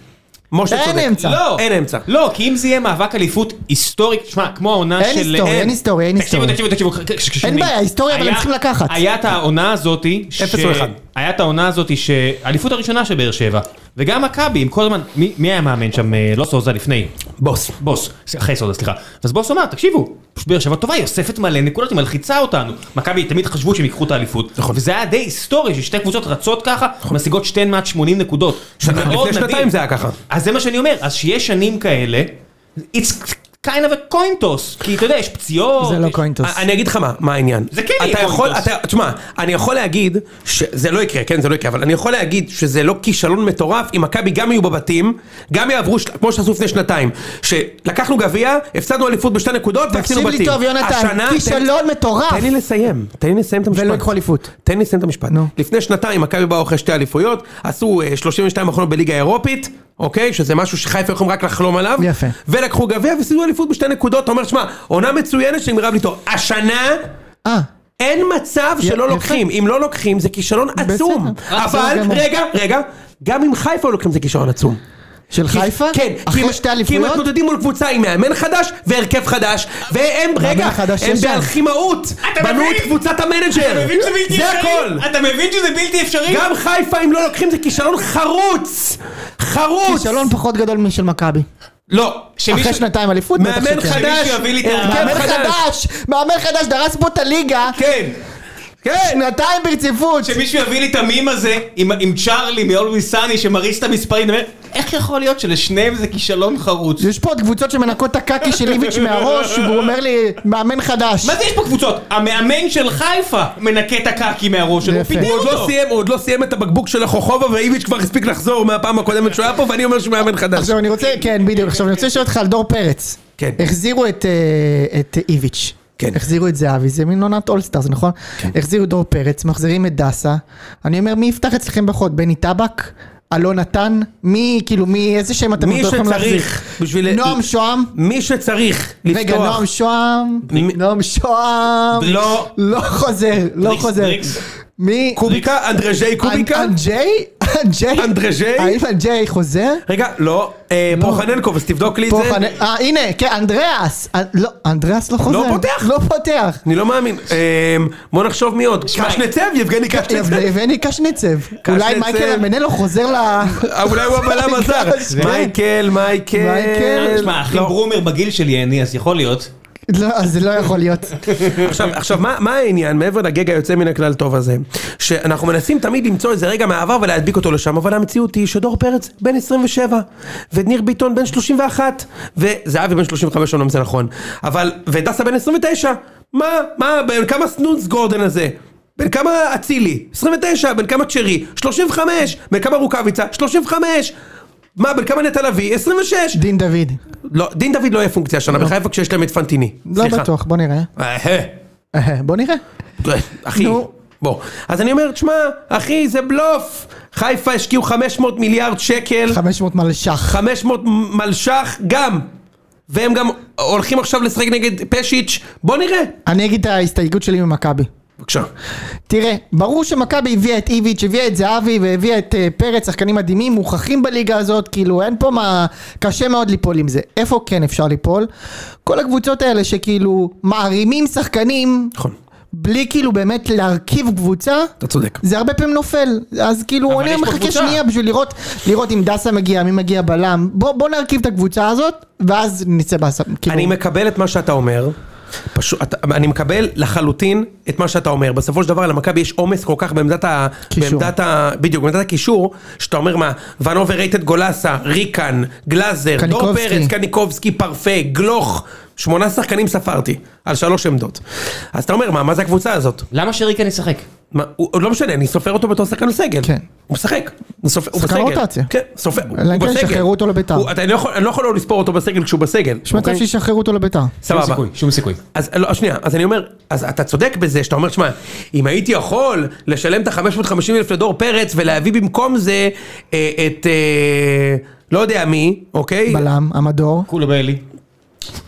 A: משה צודק.
C: אין אמצע.
D: לא.
A: אין אמצע.
D: לא, כי אם זה יהיה מאבק אליפות היסטורי, תשמע, כמו העונה
C: אין
D: של...
C: היסטורי, אין היסטורי, אין
D: תקשיבו,
C: היסטורי.
D: תקשיבו, תקשיבו, כ- כ- כ- שנים.
C: בעיה, היסטוריה, אבל הם
D: היה-
C: צריכים לקחת.
D: היה את העונה הזאתי, ש-
A: אפס או אחד.
D: היה את העונה הזאתי, ש- האליפות הראשונה של באר שבע, וגם מכבי, עם כל הזמן, מי מי היה מאמן שם, אה, לא סוזה לפני,
A: בוס.
D: בוס, אחרי סודה, סליחה. אז בוס אמר, תקשיבו, פשוט באר שבע טובה, היא אוספת מלא נקודות, היא מלחיצה אותנו. מכבי תמיד חשבו שהם ייקחו את האליפות.
A: נכון.
D: וזה היה די היסטורי, ששתי קבוצות רצות ככה, משיגות שתיהן מעט 80 נקודות.
A: שנה-
D: מאוד
A: לפני
D: נדיר.
A: שנתיים זה היה ככה.
D: אז זה מה שאני אומר, אז שיש שנים כאלה, it's kind of a coin toss, כי אתה יודע, יש פציעות.
C: זה לא
D: יש-
C: קוינטוס.
A: אני אגיד לך מה, מה העניין.
D: זה כן יהיה
A: אתה יכול,
D: קונטרס.
A: אתה, תשמע, אני יכול להגיד, שזה לא יקרה, כן, זה לא יקרה, אבל אני יכול להגיד שזה לא כישלון מטורף, אם מכבי גם יהיו בבתים, גם יעברו, של- כמו שעשו לפני שנתיים, שלקחנו גביע, הפסדנו אליפות בשתי נקודות, ועשינו
C: תקשיב
A: בתים.
C: לי טוב, יונתן,
A: השנה-
C: כישלון מטורף.
A: תן לי לסיים, תן לי לסיים את המשפט.
C: ולא יקחו אליפות.
A: תן לי לסיים את המשפט.
C: נו.
A: לפני שנתיים מכבי באו אחרי שתי אליפויות, עשו אה, 32 אחרונות בליגה האירופית, אוקיי? שזה משהו שחיפה יכולים רק לחלום עליו.
C: יפה.
A: ולקחו גביע וסידרו אליפות בשתי נקודות, אתה אומר, שמע, עונה מצוינת שנגמרה בלי תואר. השנה...
C: אה,
A: אין מצב שלא
C: יפה.
A: לוקחים, אם לא לוקחים זה כישלון עצום,
C: בסדר.
A: אבל
C: בסדר גמור.
A: רגע, רגע, גם אם חיפה לוקחים זה כישלון עצום.
C: של חיפה?
A: כן, כי הם-
C: אחרי שתי
A: כי הם
C: אליפויות?
A: מתמודדים מול קבוצה עם מאמן חדש והרכב חדש, והם, רגע,
C: חדש
A: הם
C: יש להם.
A: באלחימאות,
D: אתה
A: בנו
D: מבין?
A: את קבוצת המנג'ר,
D: אתה מבין שזה בלתי
A: זה
D: אפשרי?
A: הכל.
D: אתה מבין שזה בלתי אפשרי?
A: גם חיפה אם לא לוקחים זה כישלון חרוץ! חרוץ!
C: כישלון פחות גדול משל מכבי.
A: לא.
D: שמישהו-
C: אחרי שנתיים אליפות?
A: מאמן
C: בטח שכן.
A: חדש,
D: שמישהו יביא לי את
A: הרכב
C: מאמן חדש! מאמן חדש דרס פה את הליגה! אה,
A: כן. כן.
C: שנתיים ברציפות!
D: שמישהו יביא לי את המים הזה עם, עם צ'ארלי מ-Always Sunny שמריץ את המספרים, אני אומר, איך יכול להיות שלשניהם זה כישלון חרוץ?
C: יש פה עוד קבוצות שמנקות את הקקי של איביץ' מהראש, והוא אומר לי, מאמן חדש.
D: מה זה יש פה קבוצות? המאמן של חיפה מנקה את הקקי מהראש שלו,
C: זה יפה.
D: הוא פיטר
A: הוא עוד לא
D: אותו.
A: סיים, הוא עוד לא סיים את הבקבוק של החוכובה ואיביץ' כבר הספיק לחזור מהפעם הקודמת שהוא היה פה ואני אומר שהוא מאמן חדש.
C: עכשיו אני רוצה, כן בדיוק, עכשיו אני רוצה לשאול אותך על דור פרץ.
A: כן.
C: החזירו את, אה, את איביץ'.
A: כן.
C: החזירו את זהבי, זה מין עונת אולסטארס, נכון? כן. החזירו דור פרץ, מחזירים את דסה. אני אומר, מי יפתח אצלכם בחוד? בני טבק? אלון נתן? מי, כאילו, מי, איזה שם אתם
A: מי
C: עוד לא יכולים להחזיר?
A: שצריך בשביל...
C: נועם שוהם?
A: מי שצריך לפתוח...
C: רגע, נועם שוהם?
A: מי-
C: נועם שוהם?
D: דריקס.
A: לא.
C: לא חוזר, לא
D: דריקס,
C: חוזר.
D: דריקס.
C: מי?
A: קוביקה? אנדרז'י קוביקה?
C: אנג'יי? אנג'יי?
A: אנדרז'י?
C: האם אנג'יי חוזר?
A: רגע, לא. אה, פרוחננקוב, אז תבדוק לי את
C: פה
A: זה.
C: חנה- אה, הנה, כן, אנדריאס. אה, לא, אנדריאס לא חוזר.
A: פותח.
C: לא פותח.
A: אני לא מאמין. אה, בוא נחשוב מי עוד.
D: שמע,
A: קשנצב? יבגני
C: כן,
A: קשנצב?
C: הבאני קשניצב. אולי מייקל המנלו חוזר ל...
A: אה, אולי הוא הבלם הזר.
C: כן.
A: מייקל, מייקל. לא.
C: מייקל.
D: תשמע, אחי ברומר בגיל שלי אני, אז יכול להיות.
C: לא, אז זה לא יכול להיות.
A: עכשיו, עכשיו מה, מה העניין מעבר לגג היוצא מן הכלל טוב הזה? שאנחנו מנסים תמיד למצוא איזה רגע מהעבר ולהדביק אותו לשם, אבל המציאות היא שדור פרץ בן 27, וניר ביטון בן 31, וזהבי בן 35 אומנם זה נכון, אבל, ודסה בן 29, מה, מה, בן כמה סנונס גורדן הזה? בן כמה אצילי? 29, בן כמה צ'רי? 35, בן כמה רוקאביצה? 35! מה, בן כמה נטע לביא? 26!
C: דין דוד.
A: לא, דין דוד לא יהיה פונקציה השנה בחיפה כשיש להם את פנטיני.
C: לא
A: סליחה.
C: בטוח, בוא נראה.
A: אהה.
C: אה, בוא נראה.
A: אחי,
C: נו.
A: בוא. אז אני אומר, תשמע, אחי, זה בלוף. חיפה השקיעו 500 מיליארד שקל,
C: 500 מלש"ח.
A: 500 מלש"ח גם. והם גם הולכים עכשיו לשחק נגד פשיץ', בוא נראה.
C: אני אגיד את ההסתייגות שלי ממכבי.
A: בבקשה.
C: תראה, ברור שמכבי הביאה את איביץ', הביאה את זהבי והביאה את אה, פרץ, שחקנים מדהימים, מוכחים בליגה הזאת, כאילו אין פה מה... קשה מאוד ליפול עם זה. איפה כן אפשר ליפול? כל הקבוצות האלה שכאילו מערימים שחקנים,
A: נכון,
C: בלי כאילו באמת להרכיב קבוצה,
A: אתה צודק.
C: זה הרבה פעמים נופל. אז כאילו,
D: אבל
C: אני
D: יש פה
C: מחכה
D: קבוצה.
C: שנייה בשביל לראות, לראות אם דסה מגיע, מי מגיע בלם. בוא, בוא נרכיב את הקבוצה הזאת, ואז נצא בעשה... כאילו...
A: אני מקבל את מה שאתה אומר. פשוט, אתה- אני מקבל לחלוטין את מה שאתה אומר. בסופו של דבר למכבי יש עומס כל כך בעמדת ה...
C: קישור.
A: בעמדת ה... בדיוק, בעמדת הקישור, שאתה אומר מה, ון אוברייטד גולסה, ריקן, גלאזר, דור
C: קניקובסקי.
A: פרץ, קניקובסקי, פרפה, גלוך, שמונה שחקנים ספרתי, על שלוש עמדות. אז אתה אומר מה, מה זה הקבוצה הזאת?
D: למה שריקן ישחק?
A: מה, הוא הוא לא משנה, אני סופר אותו בתור שחקן בסגל.
C: כן.
A: הוא משחק. הוא סופר- הוא
C: שחקן
A: בסגל.
C: רוטציה.
A: כן, סופר. הוא
C: אלא אם כן
A: בסגל.
C: ישחררו אותו לביתר.
A: הוא- אתה- אני לא יכול- אני לא יכול לא לספור אותו בסגל כשהוא בסגל.
C: יש מצב
A: אוקיי?
C: שישחררו אותו לביתר.
D: שום
A: סבבה.
D: סיכוי, שום סיכוי.
A: אז לא, שנייה, אז אני אומר, אז אתה צודק בזה שאתה אומר, שמע, אם הייתי יכול לשלם את ה-550 אלף לדור פרץ ולהביא במקום זה אה, את, אה, לא יודע מי, אוקיי?
C: בלם, המדור.
D: כולה ביילי.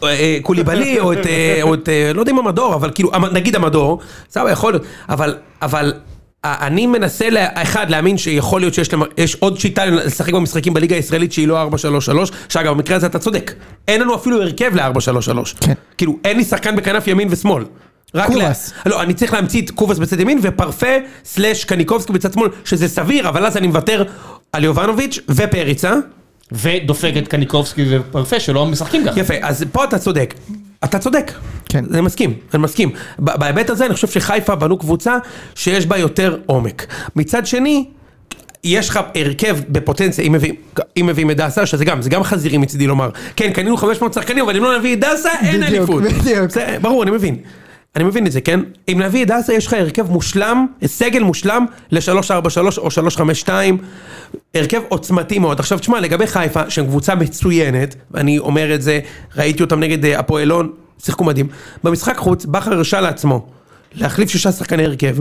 A: אה, אה, קוליבאלי או את, אה, או את, אה, לא יודע אם המדור, אבל כאילו, המ- נגיד המדור, סבבה, יכול להיות, אבל, אבל... אה, אני מנסה, לה, אחד, להאמין שיכול להיות שיש למ... יש עוד שיטה לשחק במשחקים בליגה הישראלית שהיא לא 4-3-3, שאגב, במקרה הזה אתה צודק. אין לנו אפילו הרכב ל-4-3-3.
C: כן.
A: כאילו, אין לי שחקן בכנף ימין ושמאל. רק
C: קובס.
A: לה... לא, אני צריך להמציא את קובס בצד ימין ופרפה סלאש קניקובסקי בצד שמאל, שזה סביר, אבל אז אני מוותר על יובנוביץ' ופריצה.
D: ודופק את קניקובסקי ופרפה שלא משחקים ככה.
A: יפה, אז פה אתה צודק. אתה צודק.
C: כן.
A: אני מסכים, אני מסכים. ב- בהיבט הזה אני חושב שחיפה בנו קבוצה שיש בה יותר עומק. מצד שני, יש לך הרכב בפוטנציה, אם מביאים- אם מביאים את דסה, שזה גם, זה גם חזירי מצידי לומר. כן, קנינו 500 שחקנים, אבל אם לא נביא את דסה, אין
C: בדיוק,
A: אליפות.
C: בדיוק.
A: זה, ברור, אני מבין. אני מבין את זה, כן? אם נביא את דסה, יש לך הרכב מושלם, סגל מושלם ל-343 או 352, הרכב עוצמתי מאוד. עכשיו תשמע, לגבי חיפה, שהם קבוצה מצוינת, ואני אומר את זה, ראיתי אותם נגד אה, הפועל הון, שיחקו מדהים. במשחק חוץ, בכר הרשה לעצמו להחליף שישה שחקני הרכב,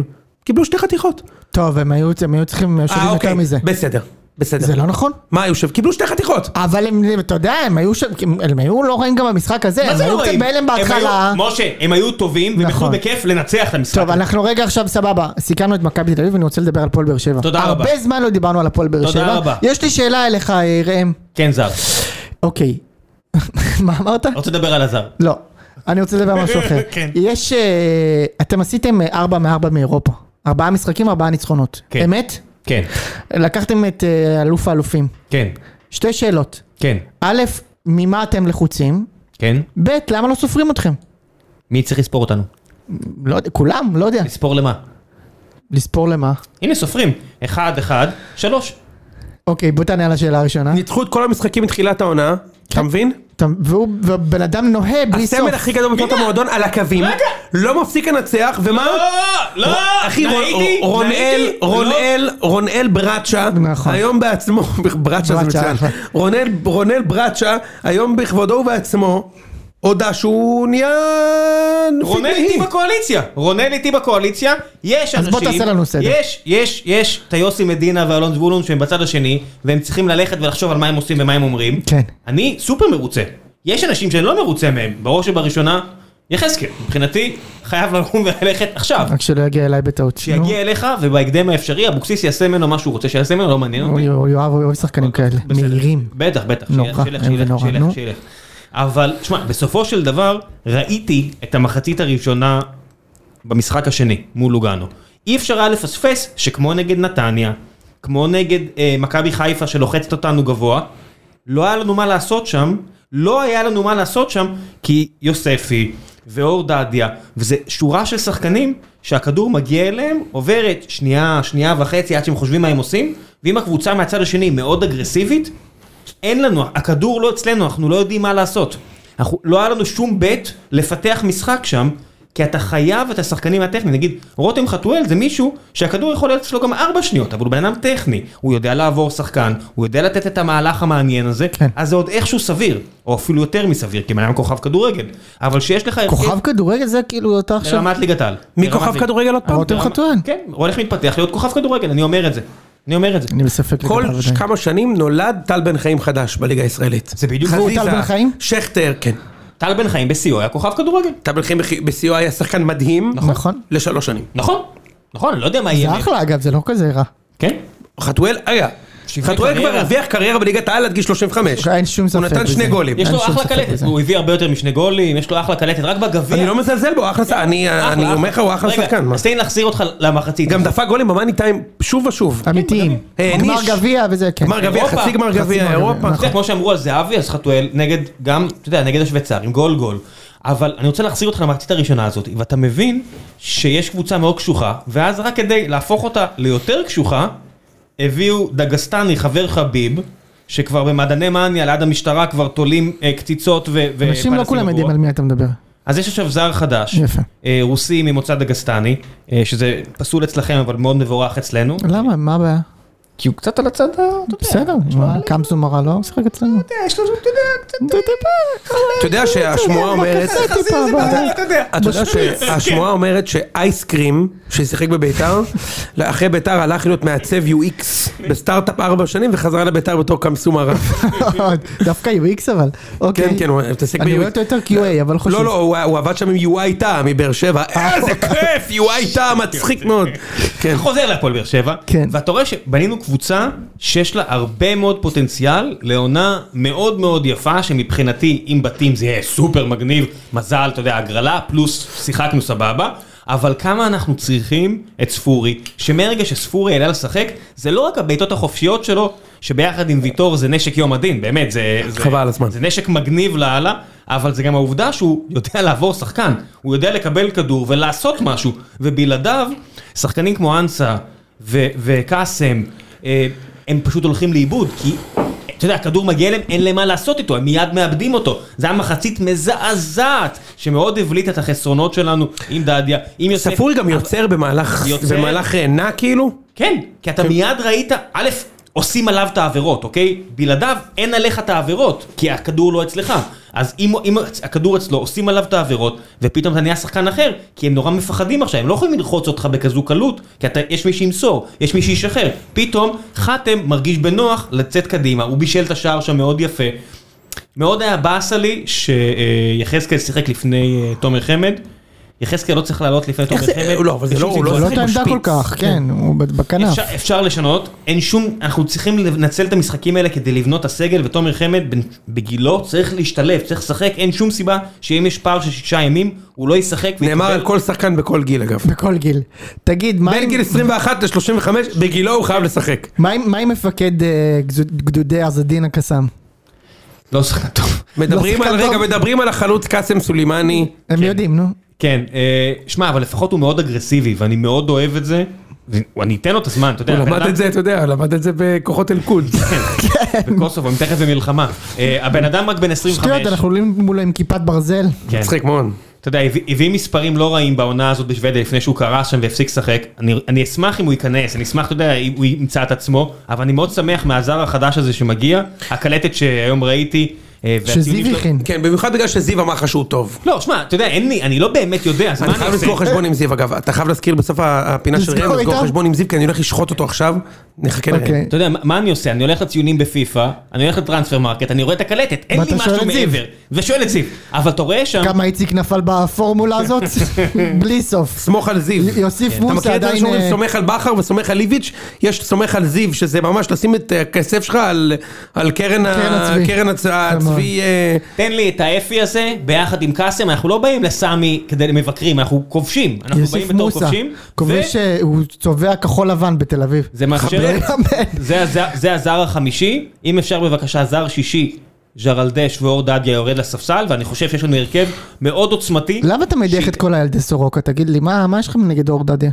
A: קיבלו שתי חתיכות.
C: טוב, הם היו הם היו
D: אה,
C: צריכים שווים
D: אוקיי.
C: יותר מזה.
A: אה, אוקיי. בסדר, בסדר.
C: זה לא נכון.
A: מה היו שווים? קיבלו שתי חתיכות.
C: אבל הם, אתה יודע, הם היו שם, הם היו לא רעים גם במשחק הזה,
D: מה
C: הם
D: זה
C: היו
D: לא
C: קצת
D: רואים?
C: בהלם
D: הם
C: בהתחלה.
D: היו- משה, הם היו טובים, והם יכלו
C: נכון.
D: בכיף לנצח את המשחק.
C: טוב, אנחנו רגע עכשיו סבבה, סיכמנו את מכבי תל אביב, אני רוצה לדבר על הפועל באר שבע.
D: תודה רבה.
C: הרבה זמן לא דיברנו על הפועל באר
D: תודה
C: שבע.
D: רבה.
C: יש לי שאלה אליך, אה, ראם.
D: כן, זר.
C: אוקיי. מה אמרת?
D: רוצה לדבר על הזר.
C: לא. אני רוצה לדבר על משהו אחר.
D: אוקיי. כן.
C: יש, אה, אתם עשיתם אה, ארבע מארבע מאירופה. ארבעה משחקים, ארבעה ניצחונות.
D: כן.
C: אמת?
D: כן,
C: לקחתם את אה, אלוף האלופים.
D: כן,
C: שתי שאלות.
D: כן,
C: א', ממה אתם לחוצים?
D: כן.
C: ב', למה לא סופרים אתכם?
D: מי צריך לספור אותנו?
C: לא יודע, כולם, לא יודע.
D: לספור למה?
C: לספור למה.
D: הנה סופרים. אחד, אחד, שלוש.
C: אוקיי, בוא תענה על השאלה הראשונה.
A: ניצחו את כל המשחקים מתחילת העונה, אתה מבין?
C: אתה- והוא, והבן אדם נוהה כן. בלי סוף.
A: הסמל הכי גדול בתולדות
D: הנה.
A: המועדון על הקווים,
D: רגע.
A: לא מפסיק לנצח, ומה?
D: לא!
A: אחי, רון- רונאל, רונאל, רונאל בראצ'ה,
C: נכון.
A: היום בעצמו, בראצ'ה זה
C: בראצ'ה.
A: מצוין, רונאל- רונאל בראצ'ה, היום בכבודו ובעצמו, הודה שהוא נהיה... נפיק
D: רונן
A: נהי.
D: איתי בקואליציה, רונן איתי בקואליציה, יש
C: אז
D: אנשים,
C: בוא תעשה לנו סדר.
D: יש, יש, יש את היוסי מדינה ואלון זבולון שהם בצד השני, והם צריכים ללכת ולחשוב על מה הם עושים ומה הם אומרים.
C: כן.
D: אני סופר מרוצה. יש אנשים שאני לא מרוצה מהם, בראש ובראשונה, יחזקאל, מבחינתי, חייב לקום וללכת עכשיו.
C: רק שלא יגיע אליי בטעות. נו.
D: שיגיע אליך, ובהקדם האפשרי, אבוקסיס יעשה ממנו מה שהוא רוצה שיעשה ממנו, לא מעניין אותי.
C: אוי, אוי, יואב אוהב שחקנים
A: אוקיי,
C: כאלה.
D: בסדר.
C: מהירים.
D: בטח, בטח.
C: נורא,
D: שילך, שילך,
C: איום
D: שילך,
C: ונורא,
D: שילך,
C: נו.
D: שילך. אבל, שמע, בסופו של דבר, ראיתי את המחצית הראשונה במשחק השני, מול לוגאנו. אי אפשר היה לפספס שכמו נגד נתניה, כמו נגד אה, מכבי חיפה שלוחצת אותנו גבוה, לא היה לנו מה לעשות שם, לא היה לנו מה לעשות שם, כי יוספי ואור דדיה, וזה שורה של שחקנים שהכדור מגיע אליהם, עוברת שנייה, שנייה וחצי עד שהם חושבים מה הם עושים, ואם הקבוצה מהצד השני היא מאוד אגרסיבית, אין לנו, הכדור לא אצלנו, אנחנו לא יודעים מה לעשות. אנחנו, לא היה לנו שום בית לפתח משחק שם, כי אתה חייב את השחקנים הטכניים. נגיד, רותם חתואל זה מישהו שהכדור יכול להיות אצלו גם ארבע שניות, אבל הוא בן אדם טכני. הוא יודע לעבור שחקן, הוא יודע לתת את המהלך המעניין הזה,
C: כן.
D: אז זה עוד איכשהו סביר, או אפילו יותר מסביר, כי בן אדם כוכב כדורגל. אבל שיש לך... הרכב-
C: כוכב
A: אה,
C: כדורגל זה כאילו אתה עכשיו...
D: ברמת ליגת העל.
A: מי
D: ברמת
A: כוכב
D: ליגה.
A: כדורגל עוד אה, פעם?
C: רותם
D: ברמת-
C: חתואל.
D: כן, הוא הולך להתפתח להיות כוכב כדורגל, אני אומר את זה. אני אומר את זה.
C: אני בספק
A: כל
C: לגביו
A: ש-
C: עדיין.
A: כמה שנים נולד טל בן חיים חדש בליגה הישראלית.
D: זה בדיוק
C: הוא, טל
A: חזיזה,
C: בן חיים?
A: שכטר, כן.
D: טל בן חיים בשיאו היה כוכב כדורגל.
A: טל בן חיים בח- בשיאו היה שחקן מדהים.
C: נכון.
A: לשלוש שנים.
D: נכון, נכון, לא יודע מה יהיה.
C: זה אחלה אגב, זה לא כזה רע.
D: כן?
A: חתואל, רגע.
D: שיווק
A: חתואל כבר
D: קריירה. אוקיי,
A: הרוויח קריירה בליגת העל עד גיל 35.
C: אין שום ספק
A: הוא נתן
C: בזה.
A: שני גולים.
D: יש
C: אין
D: לו
C: שום
D: אחלה
C: ספק
D: קלטת,
C: בזה.
D: הוא הביא הרבה יותר משני גולים, יש לו אחלה קלטת, רק בגביע.
A: אני לא מזלזל בו, אחלה שחקן. אני
D: כן. אחלה,
A: אני
D: אחלה.
A: אומר לך, הוא אחלה שחקן. מה?
D: רגע, כן. אז תן לי להחזיר אותך למחצית.
A: גם דפק גולים במאני טיים שוב ושוב.
C: אמיתיים.
A: העניש.
C: גמר גביע וזה, כן.
A: כן, גמר גביע,
D: כן. אירופה.
A: חצי גמר
C: חצי
A: גביע,
C: גמר גביע,
A: אירופה.
D: אתה יודע, כמו שאמרו על זהבי, אז חתואל נגד גם, אתה יודע, נגד השוויצרים, גול גול. אבל אני רוצה להחזיר אותך למחצית הראשונה הזאת, ואתה מבין שיש קבוצה מאוד קשוחה, ואז רק כדי להפוך אותה ליותר קשוחה, הביאו דגסטני, אה? חבר חביב, שכבר במעדני מאניה, ליד המשטרה, כבר תולים אה, קציצות ו... ו-
C: אנשים
A: אה,
C: לא
D: פנסים
C: כולם יודעים
D: בבורות.
C: על מי אתה מדבר.
D: אז יש עכשיו זר חדש,
C: יפה.
D: אה, רוסי ממוצא דגסטני, אה, שזה פסול אצלכם, אבל מאוד מבורך אצלנו.
C: למה? מה הבעיה?
D: כי הוא קצת על הצד ה... אתה יודע,
C: בסדר, קמסו מרה לא משחק אצלנו.
D: יש לו, אתה יודע, קצת... אה,
C: זה טיפה,
A: אתה יודע שהשמועה אומרת...
C: זה טיפה הבעיה.
D: אתה יודע.
A: אתה יודע שהשמועה אומרת שאייסקרים, ששיחק בביתר, אחרי ביתר הלך להיות מעצב UX בסטארט-אפ ארבע שנים וחזרה לביתר בתור קמסום הרב.
C: דווקא UX אבל. אוקיי.
A: כן, כן, הוא התעסק
C: אני
A: ב-UX.
C: רואה אותו יותר QA, אבל לא חשוב.
A: לא, לא, הוא- הוא עבד שם עם UI טאה מבאר שבע. איזה כיף, UI טאה, מצחיק מאוד. כן.
D: חוזר להפועל באר שבע,
C: כן.
D: ואתה רואה שבנינו קבוצה שיש לה הרבה מאוד פוטנציאל לעונה מאוד מאוד יפה, שמבחינתי אם בתים זה יהיה סופר מגניב, מזל, אתה יודע, הגרלה, פלוס שיחקנו סבבה. אבל כמה אנחנו צריכים את ספורי, שמהרגע שספורי עלה לשחק, זה לא רק הבעיטות החופשיות שלו, שביחד עם ויטור זה נשק יום הדין, באמת, זה... זה-
A: חבל על הזמן.
D: זה נשק מגניב לאללה, אבל זה גם העובדה שהוא יודע לעבור שחקן. הוא יודע לקבל כדור ולעשות משהו, ובלעדיו, שחקנים כמו אנסה ו- וקאסם, אה, הם פשוט הולכים לאיבוד, כי... אתה יודע, הכדור מגיע אליהם, אין להם מה לעשות איתו, הם מיד מאבדים אותו. זו הייתה מחצית מזעזעת, שמאוד הבליטה את החסרונות שלנו עם דדיה, עם יוסף.
A: ספורי גם יוצר במהלך
D: יוצר.
A: במהלך אה, נע כאילו?
D: כן, כי אתה מיד ראית, א', עושים עליו את העבירות, אוקיי? בלעדיו אין עליך את העבירות, כי הכדור לא אצלך. אז אם, אם הכדור אצלו, עושים עליו את העבירות, ופתאום אתה נהיה שחקן אחר, כי הם נורא מפחדים עכשיו, הם לא יכולים ללחוץ אותך בכזו קלות, כי אתה, יש מי שימסור, יש מי שישחרר. פתאום חתם מרגיש בנוח לצאת קדימה, הוא בישל את השער שם מאוד יפה. מאוד היה באסה לי שיחזקאל שיחק לפני אה, תומר חמד. יחזקאל לא צריך לעלות לפני תומר
A: זה-
D: חמד.
A: לא, אבל זה
D: בשום
A: לא- הוא
D: סיטואציה.
C: זה לא את
A: משחק
C: העמדה כל
A: משפיץ.
C: כך, כן, הוא ב- בכנף.
D: אפשר, אפשר לשנות, אין שום, אנחנו צריכים לנצל את המשחקים האלה כדי לבנות את הסגל, ותומר חמד בן- בגילו צריך להשתלב, צריך לשחק, אין שום סיבה שאם יש פער של שישה ימים, הוא לא ישחק.
A: נאמר
D: ויקבל-
A: על כל שחקן בכל גיל אגב.
C: בכל גיל. תגיד, מה
A: בין
C: עם-
A: גיל 21 ל-35, בגילו הוא חייב לשחק.
C: מה עם- מה עם מפקד אה, גזוד- גדודי עזדין הקסאם?
D: לא שחקן טוב.
A: מדברים
C: לא
A: על,
C: שחקן
A: רגע,
C: טוב.
A: מדברים על החלוץ קאסם סולימני.
C: הם יודעים, נו.
D: כן, אה, שמע, אבל לפחות הוא מאוד אגרסיבי, ואני מאוד אוהב את זה. ואני אתן לו את הזמן, אתה יודע.
A: הוא
D: הבן
A: למד
D: אדם- כן.
A: את זה, אתה יודע, למד את זה בכוחות אל-קוד.
D: בקוסובו, הם תכף במלחמה. אה, הבן אדם רק בן 25.
C: שטויות, אנחנו עולים מולו עם כיפת ברזל.
D: כן.
A: מצחיק מאוד.
D: אתה יודע, הביא- הביא מספרים לא רעים בעונה הזאת בשוודיה לפני שהוא קרס שם והפסיק לשחק. אני, אני אשמח אם הוא ייכנס, אני אשמח, אתה יודע, אם הוא ימצא את עצמו, אבל אני מאוד שמח מהזר החדש הזה שמגיע, הקלטת שהיום ראיתי. אה, והציונים
C: שזיו
D: שלו-
C: הכין.
A: כן, במיוחד בגלל שזיו אמר לך שהוא טוב.
D: לא, שמע, אתה יודע, אין לי, אני לא באמת יודע, אז מה
A: אני
D: אני
A: חייב
D: עושה?
A: לסגור חשבון עם זיו אגב, אתה חייב להזכיר בסוף ה- הפינה של
C: לסגור
A: ראם, לסגור
C: איתם?
A: חשבון עם זיו, כי אני הולך לשחוט אותו עכשיו, נחכה לראם.
C: אוקיי.
D: אתה יודע, מה- מה אני עושה? אני הולך לציונים בפיפא, אני הולך לטרנספר מרקט, אני רואה את הקלטת, אין
C: ואתה
D: לי
C: שואל
D: משהו
C: את זיו.
D: מעבר. ושואל את זיו, אבל אתה רואה שם...
C: כמה איציק נפל בפורמולה הזאת? בלי סוף.
A: סמוך על זיו.
C: י-
D: כן,
C: יוסיף
A: אתה
C: מוסה
A: מכיר את זה
C: עדיין,
A: שאומרים
C: אה,
A: סומך על בכר וסומך על איביץ', יש סומך על זיו, שזה ממש לשים את אה, הכסף שלך על- על קרן ה-
C: קרן הצבי. כן,
A: קרן הצ- הצבי, אה,
D: תן לי את האפי הזה, ביחד עם קאסם, אנחנו לא באים לסמי כדי מבקרים, אנחנו כובשים. אנחנו באים
C: יוסיף
D: בתור
C: מוסה,
D: כובשים. ו-
C: כובש שהוא צובע כחול לבן בתל אביב.
D: זה מאפשר...
C: חבר אמן.
D: זה הז- זה הזר החמישי, אם אפשר בבקשה זר שישי, ז'רלדש ואור דדיה יורד לספסל, ואני חושב שיש לנו הרכב מאוד עוצמתי.
C: למה אתה מדיח את כל הילדי סורוקה? תגיד לי, מה מה יש לך נגד אור דדיה?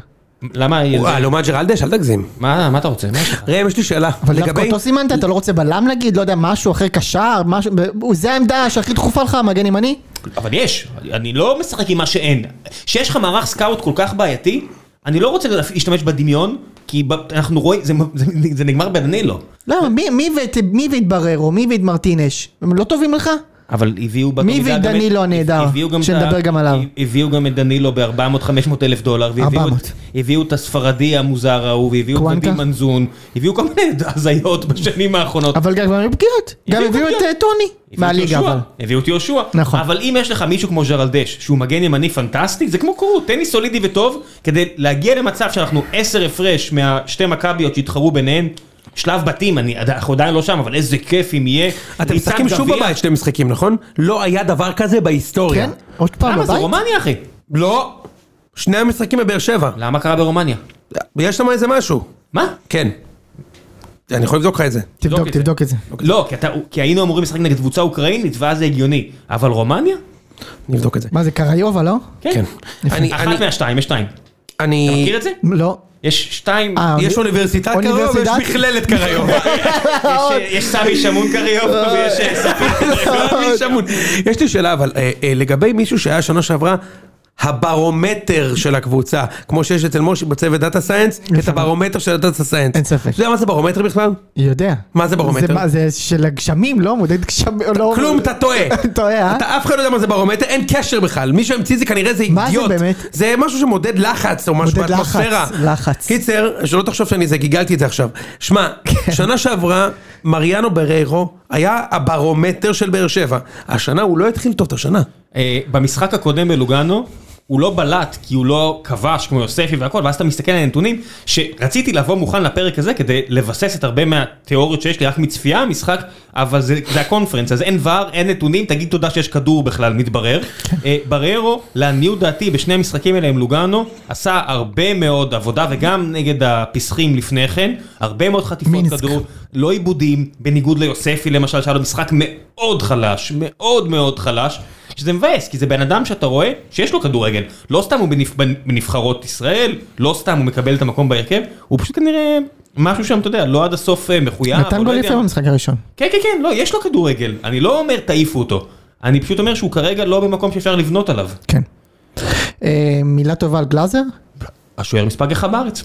D: למה...
A: אה, לעומת ג'רלדש, אל תגזים.
D: מה מה אתה רוצה? מה יש לך?
A: ראם, יש לי שאלה.
C: אבל דווקא
A: לגבי...
C: אותו סימנת, אתה לא רוצה בלם נגיד? לא יודע, משהו אחר קשר? משהו... ב- זה העמדה שהכי דחופה לך, מגן ימני?
D: אבל יש, אני לא משחק עם מה שאין. כשיש לך מערך סקאוט כל כך בעייתי, אני לא רוצה להשתמש בדמיון, כי ב- אנחנו רואים, זה- זה- זה נגמר בדנילו.
C: למה? מי- מי ואת- מי ואת בררו? מי ואת מרטינש? הם לא טובים לך?
D: אבל הביאו... באותה
C: מי הביא
D: מידה גם את-
C: דנילו הנהדר?
D: הביאו גם את ה-
C: שנדבר גם עליו.
D: הביאו גם את דנילו ב-400-500 אלף דולר, והביאו
C: 400.
D: את- הביאו את הספרדי המוזר ההוא, והביאו את
C: קוואנקה?
D: ודי מנזון, הביאו כל מיני הזיות בשנים האחרונות.
C: אבל גם הביאו בגירות. גם
D: הביאו
C: הביאו את
D: בגירות.
C: אה, טוני
D: הביאו את
C: מהליגה
D: יהושע,
C: אבל.
D: הביאו את יהושע.
C: נכון.
D: אבל אם יש לך מישהו כמו ז'רלדש, שהוא מגן ימני פנטסטי, זה כמו קורו, טניס סולידי וטוב, כדי להגיע למצב שאנחנו עשר הפרש מהשתי מכביות שהתחרו ביניהן, שלב בתים, אני, עד- אנחנו עדיין לא שם, אבל איזה כיף אם יהיה.
A: אתם
D: ריצת
A: משחקים שוב
D: גביע.
A: בבית שני משחקים, נכון? לא היה דבר כזה בהיסטוריה.
C: כן? עוד פעם
D: למה זה
C: בבית?
D: רומניה אחי?
A: לא. שני המשחקים בבאר שבע.
D: למה קרה ברומניה?
A: יש שם איזה משהו.
D: מה?
A: כן. אני יכול לבדוק לך את זה.
C: תבדוק,
D: תבדוק את זה.
C: תבדוק את זה.
A: אוקיי.
D: לא, כי, אתה, כי היינו אמורים לשחק נגד קבוצה אוקראינית, ואז זה הגיוני. אבל רומניה?
A: נבדוק את זה.
C: מה זה קריובה לא?
A: כן. אני-
D: אחת
A: אני-
D: מהשתיים, יש שתיים.
A: אני...
D: מכיר את זה?
C: לא.
D: יש שתיים,
C: אה,
A: יש אוניברסיטת קריוב ויש
C: אוניברסיטת?
A: מכללת לא, קריוב.
D: יש- יש סמי שמון קריובה ויש ספיר.
A: מי שמון. לא, יש לי שאלה אבל, אה, אה, לגבי מישהו שהיה שנה שעברה, הברומטר של הקבוצה, כמו שיש אצל משה בצוות דאטה סיינס, את הברומטר של הדאטה סיינס.
C: אין ספק.
A: אתה יודע מה זה ברומטר בכלל?
C: יודע.
A: מה זה ברומטר?
C: זה מה, זה של הגשמים, לא? מודד גשמים, לא...
A: כלום, אתה טועה.
C: טועה, אה?
A: אתה אף אחד לא יודע מה זה ברומטר, אין קשר בכלל. מי שהמציא זה כנראה זה אידיוט.
C: מה זה באמת?
A: זה משהו שמודד לחץ או משהו
C: מודד לחץ,
A: באטמוספירה.
C: לחץ.
A: קיצר, שלא תחשוב שאני זה, גיגלתי את זה עכשיו. שמע,
C: כן.
A: שנה שעברה, מריאנו בריירו היה הברומטר של באר שבע. השנה הוא לא התחיל טוב את השנה.
D: אה, במשחק הקודם בלוגאנו, הוא לא בלט כי הוא לא כבש כמו יוספי והכל, ואז אתה מסתכל על הנתונים, שרציתי לבוא מוכן לפרק הזה כדי לבסס את הרבה מהתיאוריות שיש לי רק מצפייה המשחק, אבל זה, זה הקונפרנס, אז אין ור, אין נתונים, תגיד תודה שיש כדור בכלל, מתברר. אה, בררו, לעניות דעתי, בשני המשחקים האלה עם לוגאנו, עשה הרבה מאוד עבודה, וגם נגד הפסחים לפני כן, הרבה מאוד חטיפות
C: מינסק.
D: כדור, לא עיבודים, בניגוד ליוספי למשל, שהיה לו משחק מאוד חלש, מאוד מאוד חלש, שזה מבאס, כי זה בן אדם שאתה רואה שיש לו כדורגל. לא סתם הוא בנבח... בנבחרות ישראל, לא סתם הוא מקבל את המקום בהרכב, הוא פשוט כנראה משהו שם, אתה יודע, לא עד הסוף אה, מחויב. או
C: נתן
D: לא
C: גול
D: יודע.
C: יפה במשחק הראשון.
D: כן, כן, כן, לא, יש לו כדורגל. אני לא אומר תעיפו אותו. אני פשוט אומר שהוא כרגע לא במקום שאפשר לבנות עליו.
C: כן. אה, מילה טובה על גלאזר?
D: השוער מספר אחד בארץ.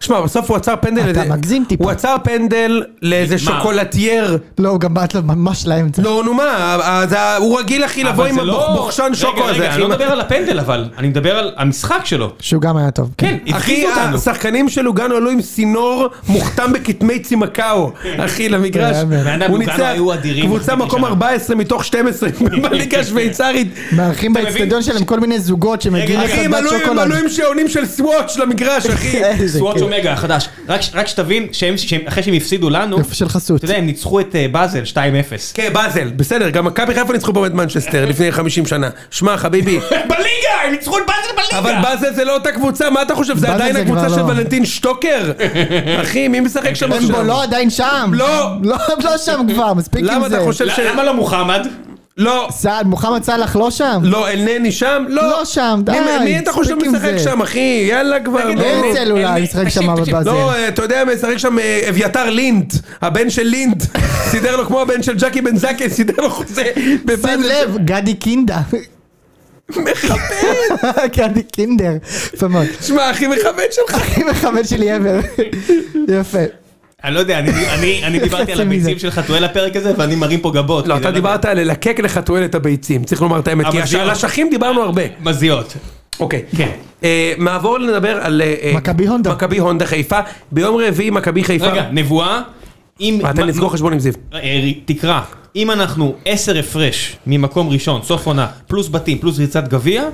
A: שמע, בסוף הוא עצר פנדל...
C: אתה
A: לאיזה-
C: מגזים טיפה.
A: הוא עצר פנדל לאיזה
D: מה?
A: שוקולטייר.
C: לא, הוא גם בעט לו ממש לאמצע.
A: לא, נו מה, ה- ה- הוא רגיל אחי לבוא
D: אבל
A: עם
D: זה לא-
A: הבוכשן שוקו
D: רגע,
A: הזה.
D: רגע, אני לא מדבר על הפנדל אבל, אני מדבר על המשחק שלו.
C: שהוא גם היה טוב.
D: כן,
A: אחי,
D: הפחידו אותנו.
A: השחקנים של לוגאנו עלו עם סינור מוכתם בכתמי צימקאו, אחי, למגרש.
C: כן, באמת.
D: בני אדם
A: הוא
D: לוגאנו
A: ניצח
D: היו אדירים
A: קבוצה
D: בחצי
A: מקום
D: שנה.
A: 14 מתוך 12
D: כן,
A: בליגה השוויצרית.
C: מארחים
D: מבין?
C: באצטדיון שלהם כל מיני זוגות שמגיעים
D: רגע,
A: אחי,
C: לחדד
A: הם עלו עם- הם
C: שוקולד. כן.
A: עלו עם שעונים של סוואץ' למגרש, אחי.
C: איזה
D: סוואץ'
C: כיף.
D: אומגה החדש. רק ש- רק שתבין, שהם- שהם- אחרי שהם הפסידו לנו,
C: יופי של חסות.
D: אתה יודע, הם ניצחו את אה, באזל 2-0.
A: כן, באזל, בסדר, גם מכבי חיפה ניצחו פה את מנצ'סטר לפני 50 שנה. שמע, חביבי,
D: כן, בליגה! הם ניצחו את באזל בליגה!
A: אבל באזל זה לא אותה קבוצה, מה אתה חושב? זה
C: באזל
A: עדיין
C: זה
A: הקבוצה
C: כבר
A: של
C: לא.
A: ולנטין שטוקר? אחי, מי משחק שם
C: הם בו
A: עכשיו?
C: לא עדיין שם.
A: לא.
C: לא, הם לא שם כבר, מספיק עם זה.
A: למה אתה חושב ש...
D: ל- למה לא מוחמד?
A: לא,
C: סעד, מוחמד סאלח לא שם?
A: לא, אלנני שם? לא.
C: לא שם,
A: מי-
C: די,
A: מי אתה חושב
C: מספיק עם
A: משחק
C: זה.
A: שם, אחי? יאללה כבר. בוא.
D: לא,
C: הרצל לא, אולי משחק שם בבאזל.
A: לא, אה, אתה יודע, משחק שם אה, אביתר לינט, הבן של לינט, סידר לו כמו הבן של ג'קי בן זקן, סידר לו חוזה
C: שים
D: לא,
A: בבאזל.
C: לב, גדי קינדה. מחבל! גדי קינדר. יפה מאוד.
A: שמע, אחי מכבד שלך.
C: הכי מחבל שלי ever. יפה.
D: אני לא יודע, אני- אני- אני דיברתי על
C: חצי מזה.
D: הביצים של חתואל הפרק הזה, ואני מרים פה גבות.
A: לא,
D: כי
A: אתה
D: זה
A: דיברת על ללקק לחתואל את הביצים, צריך לומר את האמת,
D: אבל
A: כי הש-
D: זה-
A: על השכים דיברנו הרבה.
D: לא- מזיות.
A: אוקיי.
D: כן.
A: אה, נעבור לדבר על... אה, אה,
C: מכבי הונדה.
A: מכבי הונדה חיפה. ביום רביעי מכבי חיפה.
D: רגע, נבואה. אם...
A: מה,
D: מה-
A: תן לסגור חשבון עם זיו.
D: אה, תקרא, אם אנחנו עשר הפרש ממקום ראשון, סוף עונה, פלוס בתים, פלוס ריצת גביע,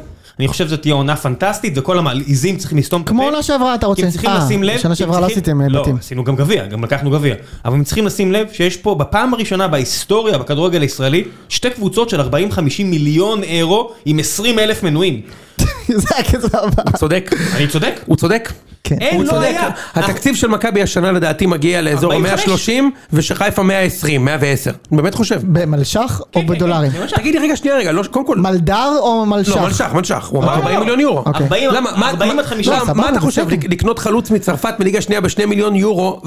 D: אני חושב שזו תהיה עונה פנטסטית, וכל המלעיזים צריכים לסתום את הפה.
C: כמו עונה שעברה, אתה רוצה.
D: כי הם צריכים
C: אה,
D: לשים לב...
C: שנה
D: כי הם
C: שעברה לא
D: צריכים-
C: עשיתם, אה, בתים.
D: לא, עשינו גם גביע, גם לקחנו גביע. אבל הם צריכים לשים לב שיש פה, בפעם הראשונה בהיסטוריה, בכדורגל הישראלי, שתי קבוצות של 40-50 מיליון אירו עם 20 אלף מנויים.
C: זה היה כזה עבר.
A: צודק.
D: אני צודק?
A: הוא צודק.
C: כן.
D: אין,
A: הוא
D: לא
A: צודק.
D: היה.
A: התקציב של מכבי השנה לדעתי מגיע לאזור
D: 45.
A: ה-130 ושחיפה 120, 110. אני באמת חושב.
C: במלש"ח או
D: כן,
C: בדולרים?
D: כן,
A: תגיד לי רגע שנייה רגע, לא, קודם כל...
C: מלדר או
A: לא,
C: מלש"ח?
A: מלש"ח, מלש"ח. הוא אמר
D: אוקיי.
A: 40 מיליון יורו.
C: אוקיי.
D: 40
A: למה, מה-
D: 40 עד
A: מה-
D: 50.
A: מה-
C: סבבה,
A: מה אתה חושב,
C: בסדר.
A: לק- לקנות חלוץ מצרפת מליגה שנייה בשני מיליון יורו,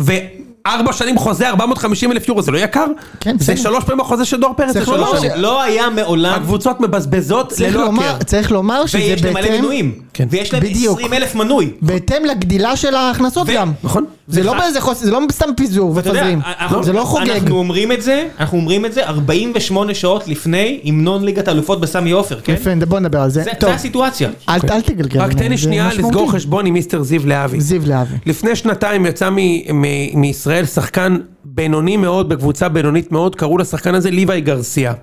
A: ארבע שנים חוזה 450 אלף יורו, זה לא יקר?
C: כן,
A: זה
C: בסדר.
A: שלוש פעמים החוזה של דור פרץ, זה
C: צריך
A: שלוש
C: לומר
A: שנים.
C: ש-
D: לא היה מעולם,
A: הקבוצות מבזבזות
C: צריך
A: ללא
C: לומר-
A: הכר.
C: צריך לומר שזה
D: לא ויש להם מלא
C: בהתאם-
D: מנויים,
A: כן.
D: ויש להם
C: בדיוק.
D: 20 אלף מנוי.
C: בהתאם לגדילה של ההכנסות
D: ו-
C: גם.
A: נכון.
C: זה לא
D: ח-
C: באיזה חוסר, זה לא סתם פיזור
D: אתה יודע, אה,
C: ופזרים.
D: אנחנו-
C: זה לא חוגג.
D: אנחנו אומרים את זה, אנחנו אומרים את זה 48 שעות לפני המנון ליגת האלופות בסמי עופר, כן?
C: יפה, בוא נדבר על זה.
D: זה-
C: טוב,
D: זה הסיטואציה.
C: אל אל תגלגל.
A: רק תן
C: ממנו,
A: לי
C: זה
A: שנייה לסגור
C: משמעותי.
A: חשבון עם מיסטר זיו להבי.
C: זיו להבי.
A: לפני שנתיים יצא מ- מ- מישראל שחקן בינוני מאוד, בקבוצה בינונית מאוד, קראו לשחקן הזה ליוואי גרסיה.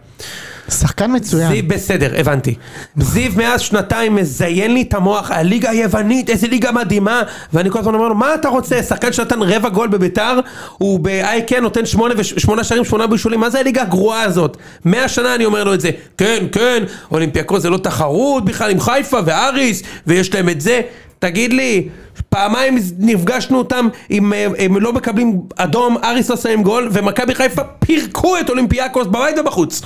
C: שחקן
A: זיו,
C: מצוין.
A: בסדר, הבנתי. זיו מאז שנתיים מזיין לי את המוח, הליגה היוונית, איזה ליגה מדהימה, ואני כל הזמן אומר לו, מה אתה רוצה? שחקן שנתן רבע גול בביתר, הוא ב-IK נותן שמונה, וש- שמונה שערים, שמונה בישולים, מה זה הליגה הגרועה הזאת? מאה שנה אני אומר לו את זה, כן, כן, אולימפיאקו זה לא תחרות בכלל עם חיפה ואריס, ויש להם את זה. תגיד לי, פעמיים נפגשנו אותם, אם אה, הם לא מקבלים אדום, אריס עושה עם גול, ומכבי חיפה פירקו את אולימפיאקוס בבית ובחוץ.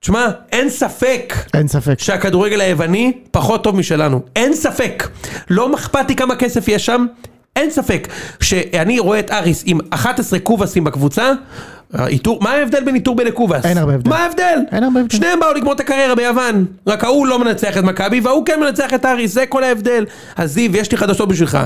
A: תשמע, אין ספק
C: אין ספק.
A: שהכדורגל היווני פחות טוב משלנו. אין ספק. לא אכפת לי כמה כסף יש שם, אין ספק. שאני רואה את אריס עם 11 קובסים בקבוצה, איתור, מה ההבדל בין איתור לקובס?
C: אין הרבה הבדל.
A: מה ההבדל?
C: אין הרבה הבדל.
A: שניהם באו לגמור את הקריירה ביוון. רק ההוא לא מנצח את מכבי, וההוא כן מנצח את אריס, זה כל ההבדל. אז זיו, יש לי חדשות בשבילך.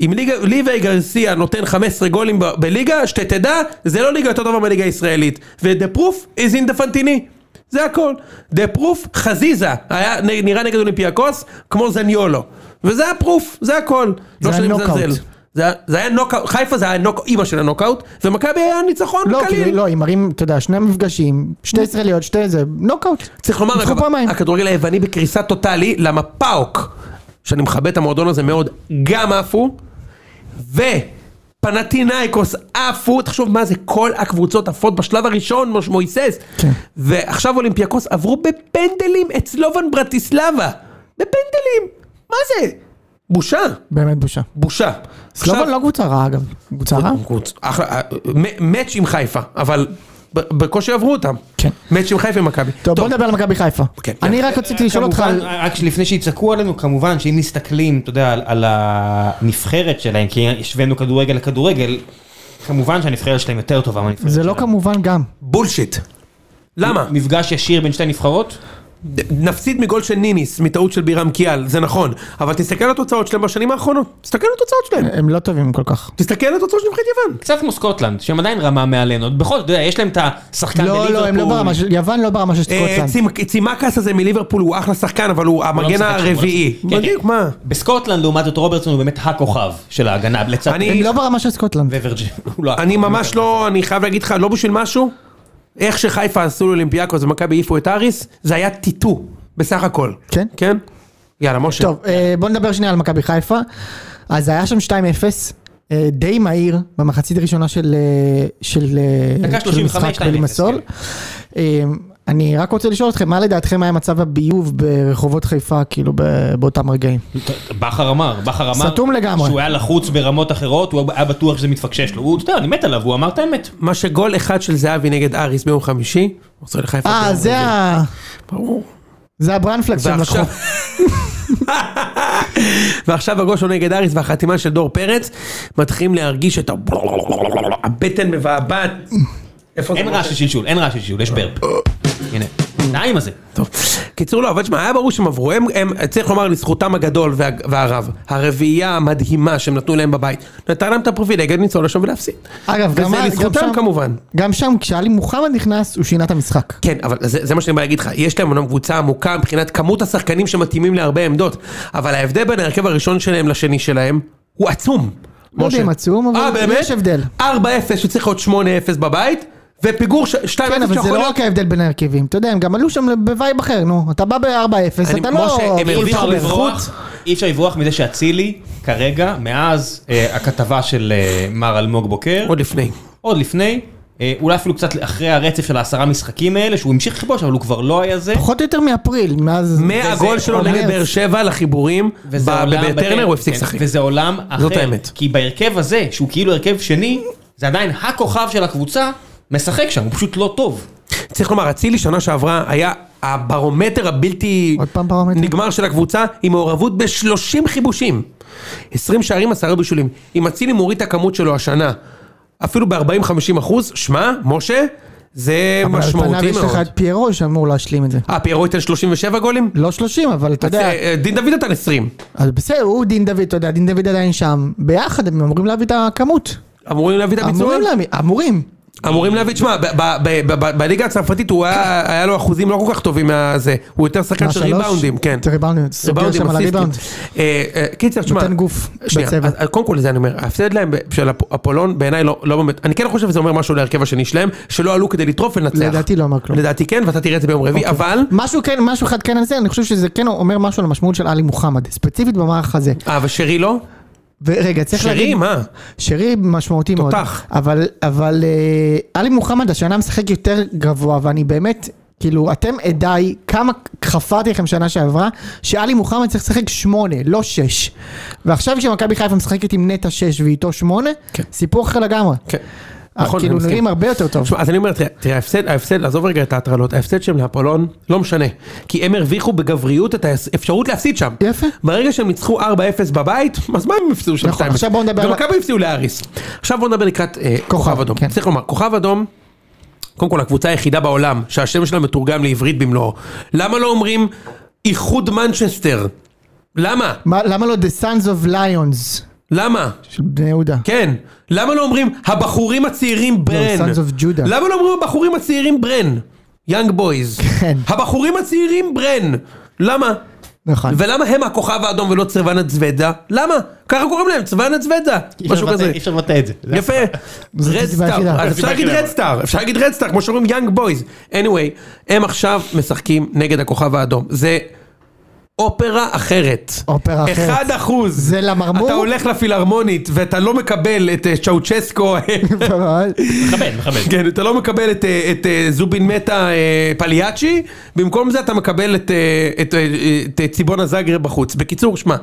A: אם ליגה- ליבי גרסיה נותן 15 גולים ב- בליגה, שתדע, זה לא ליגה יותר טובה מהליגה הישראלית. ודה פרוף is in the פנטיני. זה הכל. דה פרוף חזיזה, היה נ- נראה נגד אולימפיאקוס, כמו זניולו. וזה הפרוף, זה הכל.
C: זה
A: לא שאני
C: הנוקאוט.
A: מזלזל. זה היה- זה היה נוקאוט, חיפה זה היה נוקאוט, אימא של הנוקאוט, ומכבי היה ניצחון
C: לא,
A: קליל.
C: כאילו, לא, הם מראים, אתה יודע, שני מפגשים, שתי ישראליות, שתי זה, נוקאוט.
A: צריך לומר,
C: ניצחו
A: אגב,
C: פעמיים.
A: הכדורגל היווני בקריסה טוטאלי, למה פאוק, שאני מכבד את המועדון הזה מאוד, גם עפו, ופנטינאיקוס עפו, תחשוב מה זה, כל הקבוצות עפות בשלב הראשון, מוש- מויסס,
C: כן.
A: ועכשיו אולימפיאקוס עברו בפנדלים את סלובן ברטיסלבה, בפנדלים, מה זה? בושה,
C: באמת בושה.
A: בושה.
C: סלובן לא קבוצה רעה אגב. קבוצה רעה?
A: קבוצ- אחלה, אה, מ- מאץ' עם חיפה, אבל ב- בקושי עברו אותם.
C: כן.
A: מאץ' עם חיפה עם מכבי.
C: טוב, בוא נדבר על מכבי חיפה.
A: כן,
C: אני
A: כן.
C: רק רציתי לשאול אותך
D: כמובן,
C: על...
D: רק לפני שיצעקו עלינו, כמובן שאם מסתכלים, אתה יודע, על, על הנבחרת שלהם, כי השווינו כדורגל לכדורגל, כמובן שהנבחרת שלהם יותר טובה מהנבחרת
C: זה
D: שלהם.
C: לא כמובן גם.
A: בולשיט. למה?
D: מפגש ישיר בין שתי נבחרות?
A: נפסיד מגול של ניניס, מטעות של בירם קיאל, זה נכון, אבל תסתכל על התוצאות שלהם בשנים האחרונות, תסתכל על התוצאות שלהם,
C: הם לא טובים כל כך.
A: תסתכל על התוצאות של נבחרת יוון.
D: קצת כמו סקוטלנד, שהם עדיין רמה מעלינו, בכל זאת, אתה יודע, יש להם את השחקן
C: לא, לא, הם לא ברמה של... יוון לא ברמה של
A: אה,
C: סקוטלנד.
A: צים- צימקס הזה מליברפול הוא אחלה שחקן, אבל הוא
D: הוא לא
A: המגן
D: משחק שם, הוא לא
A: הרביעי.
D: משחק. כן,
A: בדיוק,
D: כן.
A: מה?
D: בסקוטלנד, לעומת זאת, רוברטסון הוא באמת הכוכב של ההגנה, לצד...
A: אני-
C: הם לא ברמה של סקוטלנד.
D: וורג'י, הוא לא...
A: אני ממש לא, אני חייב להגיד לך, לא בשביל משהו, איך שחיפה עשו לאולימפיאקוס ומכבי העיפו את אריס, זה היה טיטו, בסך הכל.
C: כן?
A: כן? יאללה, משה.
C: טוב, אה, בוא נדבר שנייה על מכבי חיפה. אז היה שם 2-0, אה, די מהיר, במחצית הראשונה של... אה, של אה,
D: דקה
C: של
D: 35,
C: משחק
D: 2-0,
C: בלימסול.
D: כן.
C: אה, אני רק רוצה לשאול אתכם, מה לדעתכם היה מצב הביוב ברחובות חיפה, כאילו, ב- באותם רגעים?
D: בכר אמר, בכר אמר,
C: סתום לגמרי.
D: שהוא היה לחוץ ברמות אחרות, הוא היה בטוח שזה מתפקשש לו, הוא, אתה יודע, אני מת עליו, הוא אמר את האמת.
A: מה שגול אחד של זהבי נגד אריס ביום חמישי, עושה לחיפה.
C: אה,
A: ביום
C: זה
A: רביעי.
C: ה...
A: ברור.
C: זה הברנפלקס שהם לקחו.
A: ועכשיו... ועכשיו הגול שלו נגד אריס והחתימה של דור פרץ, מתחילים להרגיש את ה... הבטן מבעבעת. איפה
D: אין רעש של שלשול, אין רעש של שלשול, יש ברפ. הנה, די עם הזה.
A: טוב. קיצור לא, אבל תשמע, היה ברור שהם עברו, הם, הם, צריך לומר לזכותם הגדול וה, והרב, הרביעייה המדהימה שהם נתנו להם בבית, נתן להם את הפריבילגיה לנסוע לשם ולהפסיד.
C: אגב, גם
A: וזה
C: גם
A: לזכותם
C: שם-
A: כמובן.
C: גם שם, כשאלי מוחמד נכנס, הוא שינה את המשחק.
A: כן, אבל זה, זה מה שאני בא להגיד לך, יש להם אומנם קבוצה עמוקה מבחינת כמות השחקנים שמתאימים להרבה עמדות, אבל ההבדל בין ההרכב הראשון שלהם לשני שלהם, הוא עצום.
C: לא יודע
A: משה.
C: אם עצום, אבל
A: אה, באמת?
C: יש הבדל.
A: 4-0 שצריך להיות 8-0 בבית, ופיגור ש- 2-0
C: כן, אבל זה
A: שיכול
C: לא
A: להיות...
C: רק ההבדל בין ההרכבים, אתה יודע, הם גם עלו שם בווייב אחר, נו, אתה בא ב-4-0,
A: אני-
C: אתה לא...
A: משה, הם
D: אי
A: הרוויחו
D: אפשר
A: בזכות.
D: לברוח, אי אפשר לברוח מזה שאצילי, כרגע, מאז אה, הכתבה של אה, מר אלמוג
C: לא
D: בוקר,
A: עוד לפני.
D: עוד לפני, אה, אולי אפילו קצת אחרי הרצף של העשרה משחקים האלה, שהוא המשיך לכבוש, אבל הוא כבר לא היה זה.
C: פחות או יותר מאפריל, מאז...
A: מהגול שלו
C: אומר-
A: נגד באר שבע לחיבורים,
D: וזה
A: ב-
D: עולם-
A: בטרנר הוא הפסיק
D: כן,
A: לשחק.
D: וזה עולם אחר.
A: זאת האמת.
D: כי בהרכב הזה, שהוא כאילו הרכב שני, זה עדיין הכוכב של הקבוצה, משחק שם, הוא פשוט לא טוב.
A: צריך לומר, אצילי שנה שעברה היה הברומטר הבלתי
C: עוד פעם ברומטר?
A: נגמר של הקבוצה, עם מעורבות ב-30 חיבושים. 20 שערים, 10 בישולים. אם אצילי מוריד את הכמות שלו השנה אפילו ב-40-50 אחוז, שמע, משה, זה
C: אבל על פניו
A: משמעותי
C: יש לך
A: מאוד.
C: את פיירו שאמור להשלים את זה.
A: אה, פיירו ייתן 37 גולים?
C: לא 30, אבל אתה יודע,
A: אה, דין דוד נתן 20.
C: אז בסדר, הוא דין דוד, אתה יודע, דין דוד עדיין שם. ביחד הם אמורים להביא את הכמות.
A: אמורים להביא את הביצוע?
C: אמורים להביא, אמורים.
A: אמורים להביא, תשמע, ב- ב- ב- ב- בליגה הצרפתית הוא היה, היה לו אחוזים לא כל כך טובים מהזה, הוא יותר שחקן של
C: מהשלוש?
A: ריבאונדים, כן.
C: את הריבאונדים, סוגר
A: ריבאונדים,
C: שם על
A: אסיסטים.
C: הריבאונד.
A: אה, אה, קיצר, תשמע,
C: נותן גוף
A: שנייה, אה,
C: בצבע.
A: אז- אז קודם כל זה אני אומר, ההפסד להם ב- של אפ- אפולון בעיניי לא לא באמת, אני כן חושב שזה אומר משהו להרכב השני שלהם, שלא עלו כדי לטרוף ולנצח.
C: לדעתי לא אמר כלום.
A: לדעתי כן, ואתה תראה את זה ביום רביעי, אבל,
C: משהו כן, משהו אחד כן על זה, אני חושב שזה כן אומר משהו על המשמעות של עלי מוחמד, ספציפית במערך הזה.
A: אה, ושרי לא?
C: ורגע, צריך להגיד...
A: שרי, מה?
C: שרי משמעותי מאוד.
A: תותח.
C: אבל, אבל אה, עלי מוחמד השנה משחק יותר גבוה, ואני באמת, כאילו, אתם עדיי, כמה חפרתי לכם שנה שעברה, שעלי מוחמד צריך לשחק שמונה, לא שש. ועכשיו כשמכבי חיפה משחקת עם נטע שש ואיתו שמונה,
A: כן.
C: סיפור אחר לגמרי.
A: כן.
C: אה,
A: נכון, אני
C: כאילו,
A: מסכים.
C: נראים הרבה יותר טוב.
A: תשמע, אז אני אומר, תראה, תראה, ההפסד, ההפסד, עזוב רגע את ההטרלות, ההפסד שלהם לאפולון לא משנה, כי הם הרוויחו בגבריות את האפשרות להפסיד שם.
C: יפה.
A: ברגע שהם ניצחו 4-0 בבית, אז מה הם הפסידו שם
C: נכון,
A: 2-0?
C: עכשיו בואו נדבר
A: גם
C: על-
A: מכבי הפסידו לאריס. עכשיו בואו נדבר לקראת אה, כוכב
C: כוכב,
A: אדום.
C: כן.
A: צריך לומר, כוכב אדום, קודם כל הקבוצה היחידה בעולם שהשם שלה מתורגם לעברית במלואו. למה לא אומרים איחוד מנצ'סטר? למה?
C: מה, למה לא The Sons of Lions
A: למה?
C: של בני יהודה?
A: כן. למה לא אומרים הבחורים הצעירים ברן?
C: Sons of Judah.
A: למה לא אומרים הבחורים הצעירים ברן? יאנג בויז.
C: כן.
A: הבחורים הצעירים ברן. למה? כן.
C: נכון.
A: ולמה הם הכוכב האדום ולא צרוונה צוודה? למה? ככה קוראים להם, צרוונה צוודה. משהו כזה.
D: אי אפשר לבטא את זה. זה
A: יפה.
C: זאת
A: רד
C: הסיבה
A: סטאר.
C: היחידה.
A: אז אפשר להגיד רד סטאר. אפשר להגיד רד סטאר, כמו שאומרים יאנג בויז. anyway, הם עכשיו משחקים נגד הכוכב האדום. זה... אופרה אחרת.
C: אופרה אחרת.
A: אחד אחוז.
C: זה למרמור?
A: אתה הולך לפילהרמונית ואתה לא מקבל את אה, צ'אוצ'סקו.
D: מכבד, מכבד.
A: כן, אתה לא מקבל את, אה, את אה, זובין מטה אה, פליאצ'י, במקום זה אתה מקבל את, אה, את, אה, את, את ציבון הזאגרה בחוץ. בקיצור, שמע,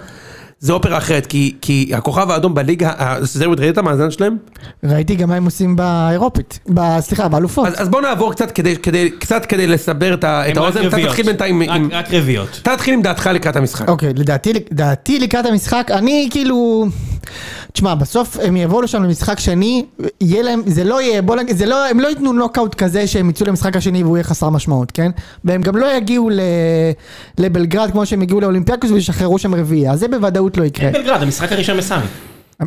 A: זה אופרה אחרת, כי, כי הכוכב האדום בליגה, אה, ה- זהו, ראית את המאזן שלהם?
C: ראיתי גם מה הם עושים באירופית, ב- סליחה, באלופות.
A: אז, אז בואו נעבור קצת כדי, כדי, קצת כדי לסבר את, ה, את
D: הם רק
A: האוזן, אתה
D: רביעיות.
A: תתחיל בינתיים,
D: רק-
A: עם,
D: רק רביעיות.
A: אתה תתחיל עם דעתך לקראת המשחק.
C: אוקיי, לדעתי, לדעתי לקראת המשחק, אני כאילו... תשמע, בסוף הם יבואו לשם למשחק שני, יהיה להם, זה לא יהיה, בוא נגיד, זה לא, הם לא ייתנו נוקאוט כזה שהם יצאו למשחק השני והוא יהיה חסר משמעות, כן? והם גם לא יגיעו ל, לבלגרד כמו שהם הגיעו לאולימפיאקוס וישחררו שם רביעייה, אז זה בוודאות לא יקרה.
D: בלגרד, המשחק הראשון בסמי.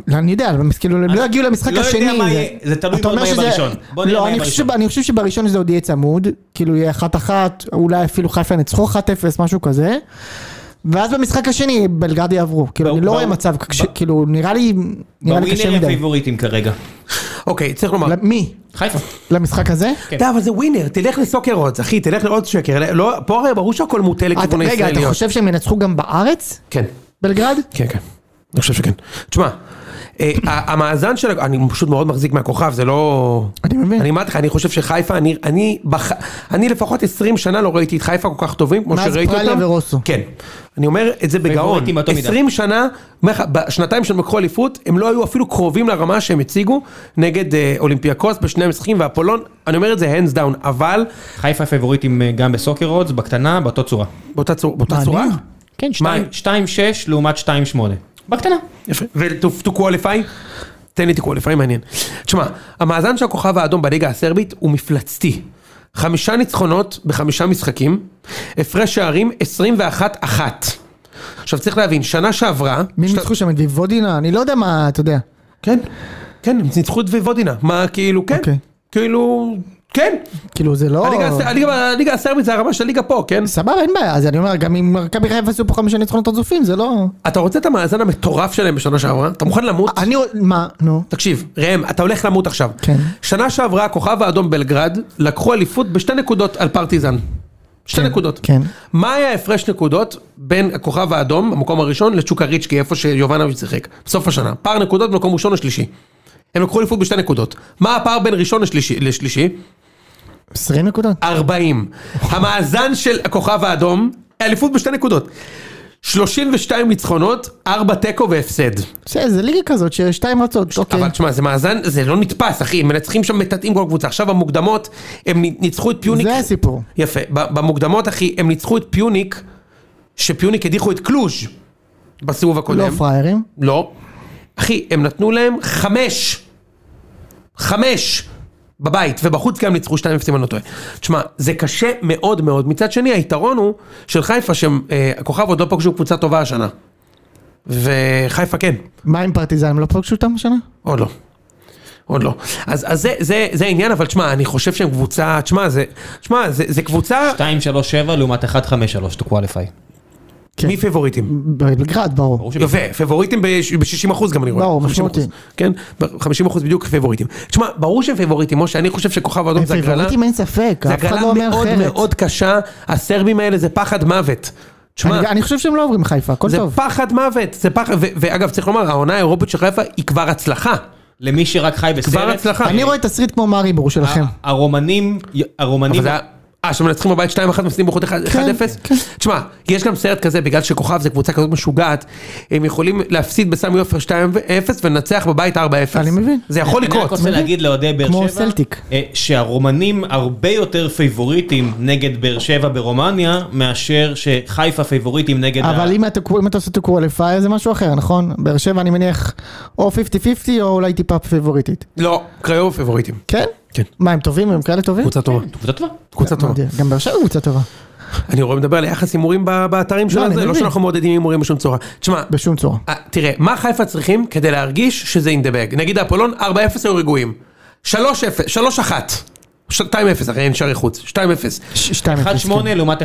C: לא, אני יודע, אבל כאילו, הם לא יגיעו למשחק
D: לא יודע
C: השני.
D: מה יהיה, זה תלוי
C: אתה אומר
D: מאוד מה יהיה
C: שזה-
D: בראשון. בוא נראה מה
C: לא,
D: יהיה
C: אני חושב
D: בראשון.
C: שב- אני חושב שבראשון זה עוד יהיה צמוד, כאילו יהיה אחת-אחת, אולי אפילו חיפה ינצחו 1-0, משהו כזה. ואז במשחק השני בלגרד יעברו, כאילו
D: בא-
C: אני לא
D: בא-
C: רואה מצב, כש- כאילו נראה לי, נראה לי
D: בווינר
C: קשה
D: הם
C: מדי.
D: פייבוריטים כרגע.
A: אוקיי, צריך לומר.
C: ל- מי?
D: חיפה.
C: למשחק הזה?
D: כן.
A: אתה יודע, אבל זה ווינר, תלך לסוקר אודס, אחי, תלך לעוד שקר. לא, פה הרי ברור שהכל מוטה
C: אתה-
A: לכיוון
C: אה, רגע, אתה
A: הישראליות.
C: חושב שהם ינצחו גם בארץ?
A: כן.
C: בלגרד?
A: כן, כן. אני חושב שכן. תשמע, אה, ה- המאזן של... אני פשוט מאוד מחזיק מהכוכב, זה לא...
C: אני מבין.
A: אני אמרתי לך, אני חושב שחיפה, אני, אני, בח... אני לפחות 20 שנה לא ראיתי את חיפה כל כך טובים כמו
C: מאז
A: שראיתי אותם.
C: פרליה ורוסו.
A: כן. אני אומר את זה בגאון.
D: פייבוריטים באותו מידה.
A: 20 שנה, אומר לך, בשנתיים שהם לקחו אליפות, הם לא היו אפילו קרובים לרמה שהם הציגו נגד אה, אולימפיאקוס בשני המשחקים והפולון. אני אומר את זה hands down, אבל
D: חיפה פייבוריטים אה, גם בסוקר אודס, בקטנה, באותה צורה.
A: באותה צור- באותה
C: מעניין.
A: צורה.
D: כן,
A: שתיים-
D: 2-6 לעומת 2-8. בקטנה.
A: יפה. ו-to qualify? תן לי to qualify, מעניין. תשמע, המאזן של הכוכב האדום בליגה הסרבית הוא מפלצתי. חמישה ניצחונות בחמישה משחקים, הפרש שערים 21-1. עכשיו צריך להבין, שנה שעברה...
C: מי
A: שת-
C: ניצחו שם את ויבודינה? אני לא יודע מה, אתה יודע.
A: כן, כן, הם ניצחו את וודינה. מה, כאילו, כן?
C: אוקיי.
A: כאילו, כן.
C: כאילו זה לא...
A: הליגה הס- הליגה- הליגה הסרבית זה הרמה של הליגה פה, כן?
C: סבבה, אין בעיה, אז אני אומר, גם אם מכבי חיפה עשו פה חמישה ניצחונות רצופים, זה לא...
A: אתה רוצה את המאזן המטורף שלהם בשנה שעברה? אתה מוכן למות?
C: אני... מה? נו.
A: תקשיב, ראם, אתה הולך למות עכשיו.
C: כן.
A: שנה שעברה הכוכב האדום בלגרד לקחו אליפות בשתי נקודות על פרטיזן. שתי
C: כן,
A: נקודות.
C: כן.
A: מה היה הפרש נקודות בין הכוכב האדום, המקום הראשון, לצ'וקריצ'קי, איפה שיובנוביץ' שיחק? בסוף השנה. פער נקודות במקום ראשון לשלישי. הם לקחו אליפות בשתי נקודות. מה הפער בין ראשון לשלישי? לשלישי?
C: 20 נקודות?
A: 40. המאזן של הכוכב האדום, אליפות בשתי נקודות. 32 ניצחונות, 4 תיקו והפסד.
C: בסדר, זה ליגה כזאת ששתיים רצות, אוקיי.
A: אבל תשמע, זה מאזן, זה לא נתפס, אחי, הם מנצחים שם, מטאטאים כל קבוצה. עכשיו במוקדמות, הם ניצחו את פיוניק.
C: זה הסיפור.
A: יפה, ב- במוקדמות, אחי, הם ניצחו את פיוניק, שפיוניק הדיחו את קלוז' בסיבוב
C: לא
A: הקודם.
C: פראיירים.
A: לא. אחי, הם נתנו להם חמש. חמש בבית, ובחוץ גם ניצחו 2-0 אם אני לא טועה. תשמע, זה קשה מאוד מאוד. מצד שני, היתרון הוא של חיפה, שהכוכב עוד לא פגשו קבוצה טובה השנה. וחיפה כן,
C: מה עם פרטיזן? הם לא פגשו אותם השנה?
A: עוד לא. עוד לא. אז, אז זה, זה, זה העניין, אבל תשמע, אני חושב שהם קבוצה, תשמע, זה, תשמע, זה, זה קבוצה,
D: 2-3-7 לעומת 1-5-3 to qualify.
C: כן.
A: מי פבוריטים?
C: בגראד, ברור.
D: ברור שב-
A: יפה, פבוריטים ב-60 אחוז גם אני רואה.
C: ברור,
A: 50%.
C: משמעותי.
A: כן, 50 אחוז בדיוק פבוריטים. תשמע, ברור שהם פבוריטים, משה, אני חושב שכוכב האדום
C: הם
A: לא- זה הגרלה.
C: פייבוריטים אין ספק,
A: זה
C: אף אחד
A: הגרלה
C: לא אומר
A: מאוד
C: אחרת.
A: מאוד קשה, הסרבים האלה זה פחד מוות. תשמע,
C: אני- אני חושב שהם לא עוברים חיפה, הכל
A: זה
C: טוב.
A: פחד מוות, זה פחד, ו- ואגב צריך לומר, העונה האירופית של חיפה היא כבר הצלחה,
D: למי שרק חי בסרט.
A: כבר הצלחה.
C: אני רואה תסריט כמו מאריבור
A: אה,
C: שלכם.
D: ה- הרומנים,
A: אבל
D: הרומנים,
A: זה היה... אה, שמנצחים בבית 2-1, מפסידים בחוץ 1-0?
C: כן.
A: תשמע, יש גם סרט כזה, בגלל שכוכב זה קבוצה כזאת משוגעת, הם יכולים להפסיד בסמי עופר 2-0 ולנצח בבית 4-0.
C: אני מבין.
A: זה יכול
D: אני רק
A: לקרות.
D: רוצה להגיד לאוהדי באר שבע,
C: כמו סלטיק.
D: אה, שהרומנים הרבה יותר פייבוריטים נגד באר שבע ברומניה, מאשר שחיפה פייבוריטים נגד ה...
C: אבל אם אתה אם אתה עושה to qualify זה משהו אחר, נכון? באר שבע אני מניח או 50-50 או אולי טיפה פייבוריטית.
A: לא, קריוב פבוריטים.
C: כן?
A: כן.
C: מה, הם טובים? הם כאלה טובים?
A: קבוצה טובה.
D: קבוצה טובה.
A: קבוצה טובה.
C: מדהים. גם באר שבע קבוצה טובה.
A: אני רואה מדבר על יחס הימורים ב- באתרים
C: לא,
A: שלנו,
C: אני
A: זה לא
C: מבין.
A: שאנחנו מעודדים הימורים בשום צורה. תשמע,
C: בשום צורה.
A: אה, תראה, מה חיפה צריכים כדי להרגיש שזה in the bag? נגיד אפולון 4-0 היו רגועים. 3-0, 3-1. 2-0 אחי, אין שערי חוץ. 2-0.
C: ש- שתיים
D: 1-8
C: אפס, כן.
D: לעומת 1-9-5,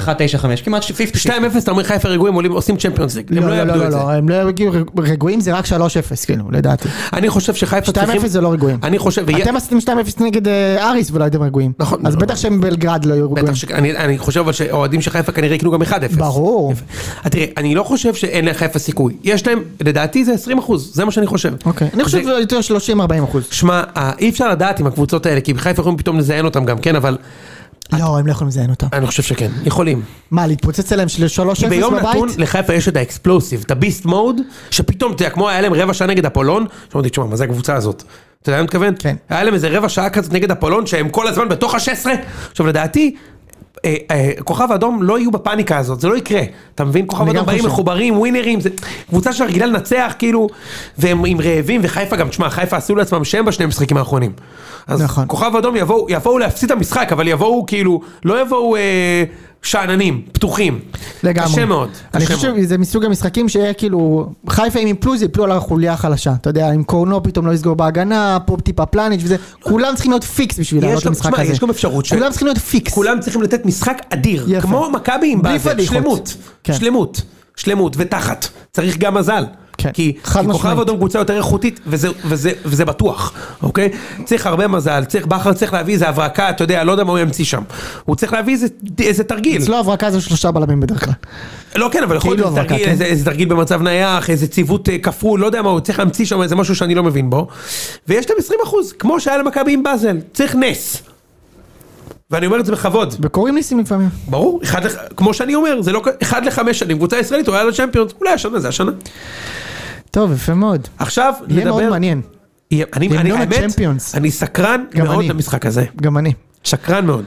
D: כמעט 50.
A: 2-0 אתה אומר חיפה רגועים עולים עושים צ'מפיונס ליג, הם לא
C: לא, לא,
A: יאבדו
C: לא,
A: את זה.
C: לא, הם לא יגיעו רג- רגועים, זה רק 3-0, כאילו, לדעתי.
A: אני חושב שחיפה
C: 2-0 זה לא רגועים.
A: אני חושב, ויה-
C: אתם עשיתם 2-0 נגד אה, אריס ולא הייתם רגועים.
A: נכון.
C: אז
A: לא.
C: בטח שהם בלגרד לא יהיו רגועים.
A: בטח ש... אני, אני חושב אבל שהאוהדים של חיפה כנראה יקנו גם 1-0.
C: ברור.
A: יפה. תראה, אני לא חושב שאין לחיפה סיכוי. יש להם, לדעתי זה 20 אחוז, זה מה שאני חושב.
C: אוקיי. אני חושב
A: זה-
C: יותר 30-40 אחוז.
A: שמע, אה, אי אפשר לדעת עם הקבוצות האלה, כי חיפה יכולים פתאום לזיין אותם גם, כן? אבל
C: לא, הם לא יכולים לזיין אותם.
A: אני חושב שכן, יכולים.
C: מה, להתפוצץ עליהם של 3-0
A: כי ביום
C: בבית?
A: נתון לחיפה יש את האקספלוסיב, את הביסט מוד, שפתאום, אתה יודע, כמו היה להם רבע שעה נגד אפולון, שאמרתי, תשמע, מה זה הקבוצה הזאת? אתה יודע מה אני מתכוון?
C: כן.
A: היה להם איזה רבע שעה כזאת נגד אפולון, שהם כל הזמן בתוך ה-16. עכשיו, לדעתי, אה, אה, כוכב אדום לא יהיו בפאניקה הזאת, זה לא יקרה. אתה מבין? כוכב
C: אני גם
A: אדום באים
C: חושב.
A: מחוברים, ווינרים, זה קבוצה שרגילה לנצח, כאילו, והם עם רעבים, וחיפה גם, תשמע, חיפה עשו לעצמם שם בשני המשחקים האחרונים. אז
C: נכון.
A: כוכב אדום יבואו, יבואו להפסיד את המשחק, אבל יבואו כאילו, לא יבואו אה, שאננים, פתוחים.
C: לגמרי.
A: קשה מאוד.
C: אני
A: קשה
C: חושב
A: מאוד.
C: שזה מסוג המשחקים שיהיה כאילו, חיפה אם יפלו זה יפלו על החוליה החלשה. אתה יודע, אם קורנו פתאום לא יסגור בהגנה, פה טיפה פלניץ' וזה, כולם צריכים להיות פיקס בשביל
A: יש
C: לעלות
A: גם-
C: למשחק
A: תשמע,
C: הזה.
A: יש גם אפשרות ש-
C: כולם צריכים להיות פיקס.
A: כולם צריכים לתת משחק אדיר,
C: יפה.
A: כמו מכבי עם
C: בלי
A: באזל,
C: פדיחות.
A: שלמות,
C: כן.
A: שלמות, שלמות ותחת, צריך גם מזל.
C: כן.
A: כי
C: חד
A: כי כוכב
C: משמעית.
A: אדום קבוצה יותר איכותית, וזה, וזה, וזה בטוח, אוקיי? צריך הרבה מזל, צריך בכר צריך להביא איזה הברקה, אתה יודע, לא יודע מה הוא ימציא שם. הוא צריך להביא איזה, איזה תרגיל.
C: אצלו הברקה זה שלושה בלמים בדרך כלל.
A: לא כן, אבל יכול להיות
C: כאילו
A: איזה
C: הברקה,
A: תרגיל,
C: כן.
A: איזה- איזה תרגיל במצב נייח, איזה ציוות אה, כפול, לא יודע מה, הוא צריך להמציא שם איזה משהו שאני לא מבין בו. ויש להם 20 אחוז, כמו שהיה למכבי עם באזל, צריך נס. ואני אומר את זה בכבוד.
C: וקוראים ניסים לפעמים.
A: ברור, אחד לח... כמו שאני אומר, זה לא... ק- אחד לחמש שנים, קבוצה ישראלית, הוא היה לצ'מפיונס, אולי השנה, זה השנה.
C: טוב, יפה מאוד.
A: עכשיו,
C: יהיה מאוד
A: נדבר-
C: מעניין.
A: יהיה- אני, אני,
C: המנון
A: האמת,
C: הצ'מפיונס.
A: אני סקרן
C: גם
A: מאוד
C: אני.
A: למשחק הזה.
C: גם אני.
A: שקרן מאוד.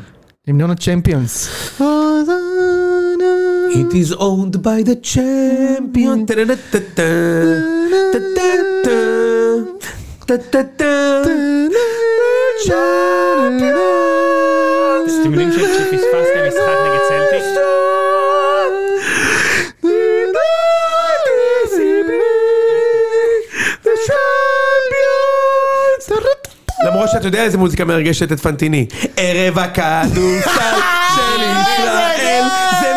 C: המנון הצ'מפיונס.
A: It is owned by the champion. טה-טה-טה-טה. טה-טה-טה. טה-טה-טה. Champions.
E: אתם יודעים ש- שפספסתם משחק נגד סלטיק?
A: למרות שאתה יודע איזה מוזיקה מרגשת את פנטיני. ערב הכדורסל של ישראל, זה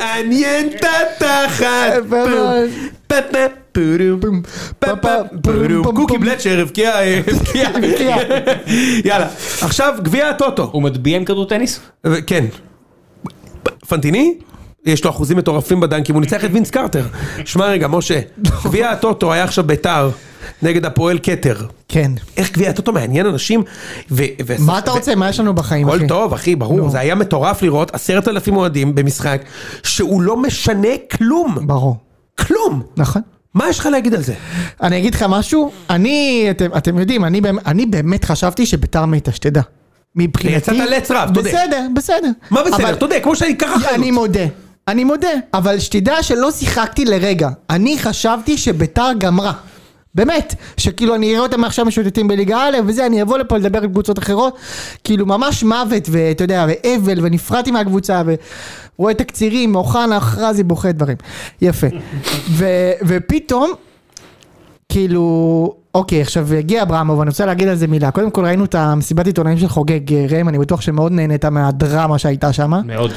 A: מעניין את התחת.
C: יפה מאוד.
A: פה, פה, פורום. פה, פה, פורום. קוקי בלצ'ר הבקיע... אה, הבקיע.
C: הבקיע.
A: כן. יאללה, עכשיו גביע הטוטו.
D: הוא מטביע עם כדור טניס?
A: ו- כן. פנטיני? יש לו אחוזים מטורפים בדנקים, הוא ניצח את וינס קרטר. שמע רגע, משה, גביע הטוטו היה עכשיו ביתר נגד הפועל כתר.
C: כן.
A: איך גביע הטוטו מעניין אנשים? ו- ו-
C: מה אתה
A: ו-
C: רוצה? מה יש לנו בחיים, אחי?
A: הכל טוב, אחי, ברור.
C: נו.
A: זה היה מטורף לראות עשרת אלפים אוהדים במשחק שהוא לא משנה כלום.
C: ברור.
A: כלום.
C: נכון.
A: מה יש לך להגיד על זה?
C: אני אגיד לך משהו, אני, אתם, אתם יודעים, אני, באמת- אני באמת חשבתי שביתר מתה, שתדע. מבחינתי...
A: יצאת לעץ רב, תודה.
C: בסדר, בסדר.
A: מה בסדר?
C: אבל-
A: אתה יודע, כמו שאני ככה
C: אני מודה, אני מודה, אבל שתדע שלא שיחקתי לרגע. אני חשבתי שביתר גמרה. באמת, שכאילו אני אראה אותם עכשיו משוטטים בליגה א' וזה, אני אבוא לפה לדבר עם קבוצות אחרות, כאילו ממש מוות, ואתה יודע, ואבל, ונפרדתי מהקבוצה, ורואה תקצירים, אוחנה, חרזי, בוכה דברים. יפה. ו, ופתאום, כאילו, אוקיי, עכשיו הגיע אברמוב, אני רוצה להגיד על זה מילה. קודם כל ראינו את המסיבת עיתונאים של חוגג אה, ראם, אני בטוח שמאוד נהנית מהדרמה שהייתה שם.
D: מאוד.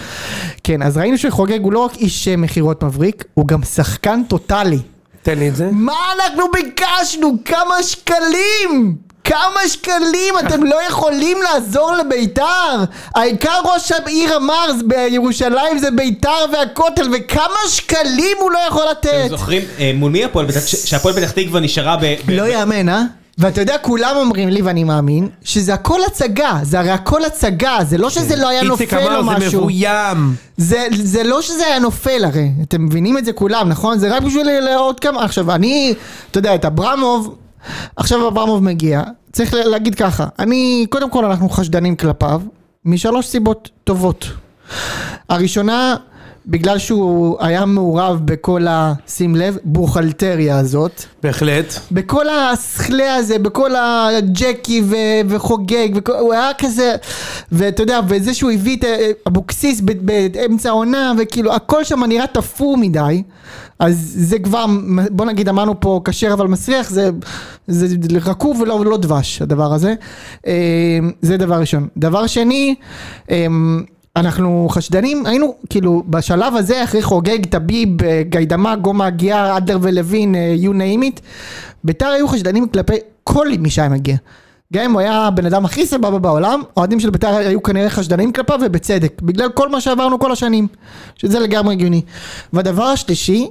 C: כן, אז ראינו שחוגג הוא לא רק איש אה, מכירות מבריק, הוא גם שחקן טוטאלי.
A: תן לי את זה.
C: מה אנחנו ביקשנו? כמה שקלים! כמה שקלים! אתם לא יכולים לעזור לביתר! העיקר ראש העיר אמר בירושלים זה ביתר והכותל, וכמה שקלים הוא לא יכול
D: אתם
C: לתת!
D: זוכרים אה, מול מי הפועל פתח ש- שהפועל פתח תקווה נשארה ב... ב-
C: לא יאמן, אה? ואתה יודע, כולם אומרים לי, ואני מאמין, שזה הכל הצגה, זה הרי הכל הצגה, זה לא שזה לא היה
A: כן. איציק
C: נופל או
A: אמר זה
C: משהו.
A: מבוים.
C: זה, זה לא שזה היה נופל הרי, אתם מבינים את זה כולם, נכון? זה רק בשביל לעוד כמה... עכשיו, אני, אתה יודע, את אברמוב, עכשיו אברמוב מגיע, צריך לה- להגיד ככה, אני, קודם כל אנחנו חשדנים כלפיו, משלוש סיבות טובות. הראשונה, בגלל שהוא היה מעורב בכל ה... שים לב, בוכלטריה הזאת.
A: בהחלט.
C: בכל הסכלה הזה, בכל הג'קי ו- וחוגג, וכו- הוא היה כזה, ואתה יודע, וזה שהוא הביא את אה, אבוקסיס ב- באמצע העונה, וכאילו הכל שם נראה תפור מדי, אז זה כבר, מ- בוא נגיד אמרנו פה כשר אבל מסריח, זה, זה רקוב ולא לא דבש הדבר הזה. אה, זה דבר ראשון. דבר שני, אה, אנחנו חשדנים, היינו כאילו בשלב הזה אחרי חוגג, טביב, אה, גיידמק, גומה הגיעה, אדלר ולוין, אה, you name it, ביתר היו חשדנים כלפי כל מי שהיה מגיע. גם אם הוא היה הבן אדם הכי סבבה בעולם, אוהדים של ביתר היו כנראה חשדנים כלפיו ובצדק, בגלל כל מה שעברנו כל השנים, שזה לגמרי הגיוני. והדבר השלישי,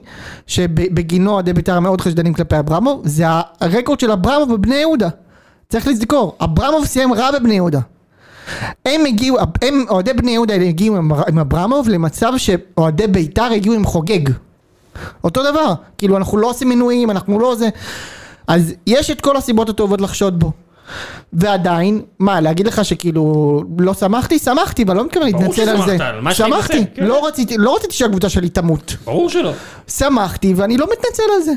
C: שבגינו אוהדי ביתר מאוד חשדנים כלפי אברמוב, זה הרקורד של אברמוב בבני יהודה. צריך לזכור, אברמוב סיים רע בבני יהודה. הם הגיעו, הם, אוהדי בני יהודה הגיעו עם, עם אברמוב למצב שאוהדי בית"ר הגיעו עם חוגג. אותו דבר, כאילו אנחנו לא עושים מינויים, אנחנו לא זה. אז יש את כל הסיבות הטובות לחשוד בו. ועדיין, מה, להגיד לך שכאילו לא שמחתי? שמחתי, אבל לא מתכוון
E: ברור
C: להתנצל על זה.
E: ששמחת, על מה שהתנצל,
C: שמחתי,
E: כן.
C: לא רציתי, לא רציתי שהקבוצה שלי תמות.
E: ברור שלא.
C: שמחתי, ואני לא מתנצל על זה.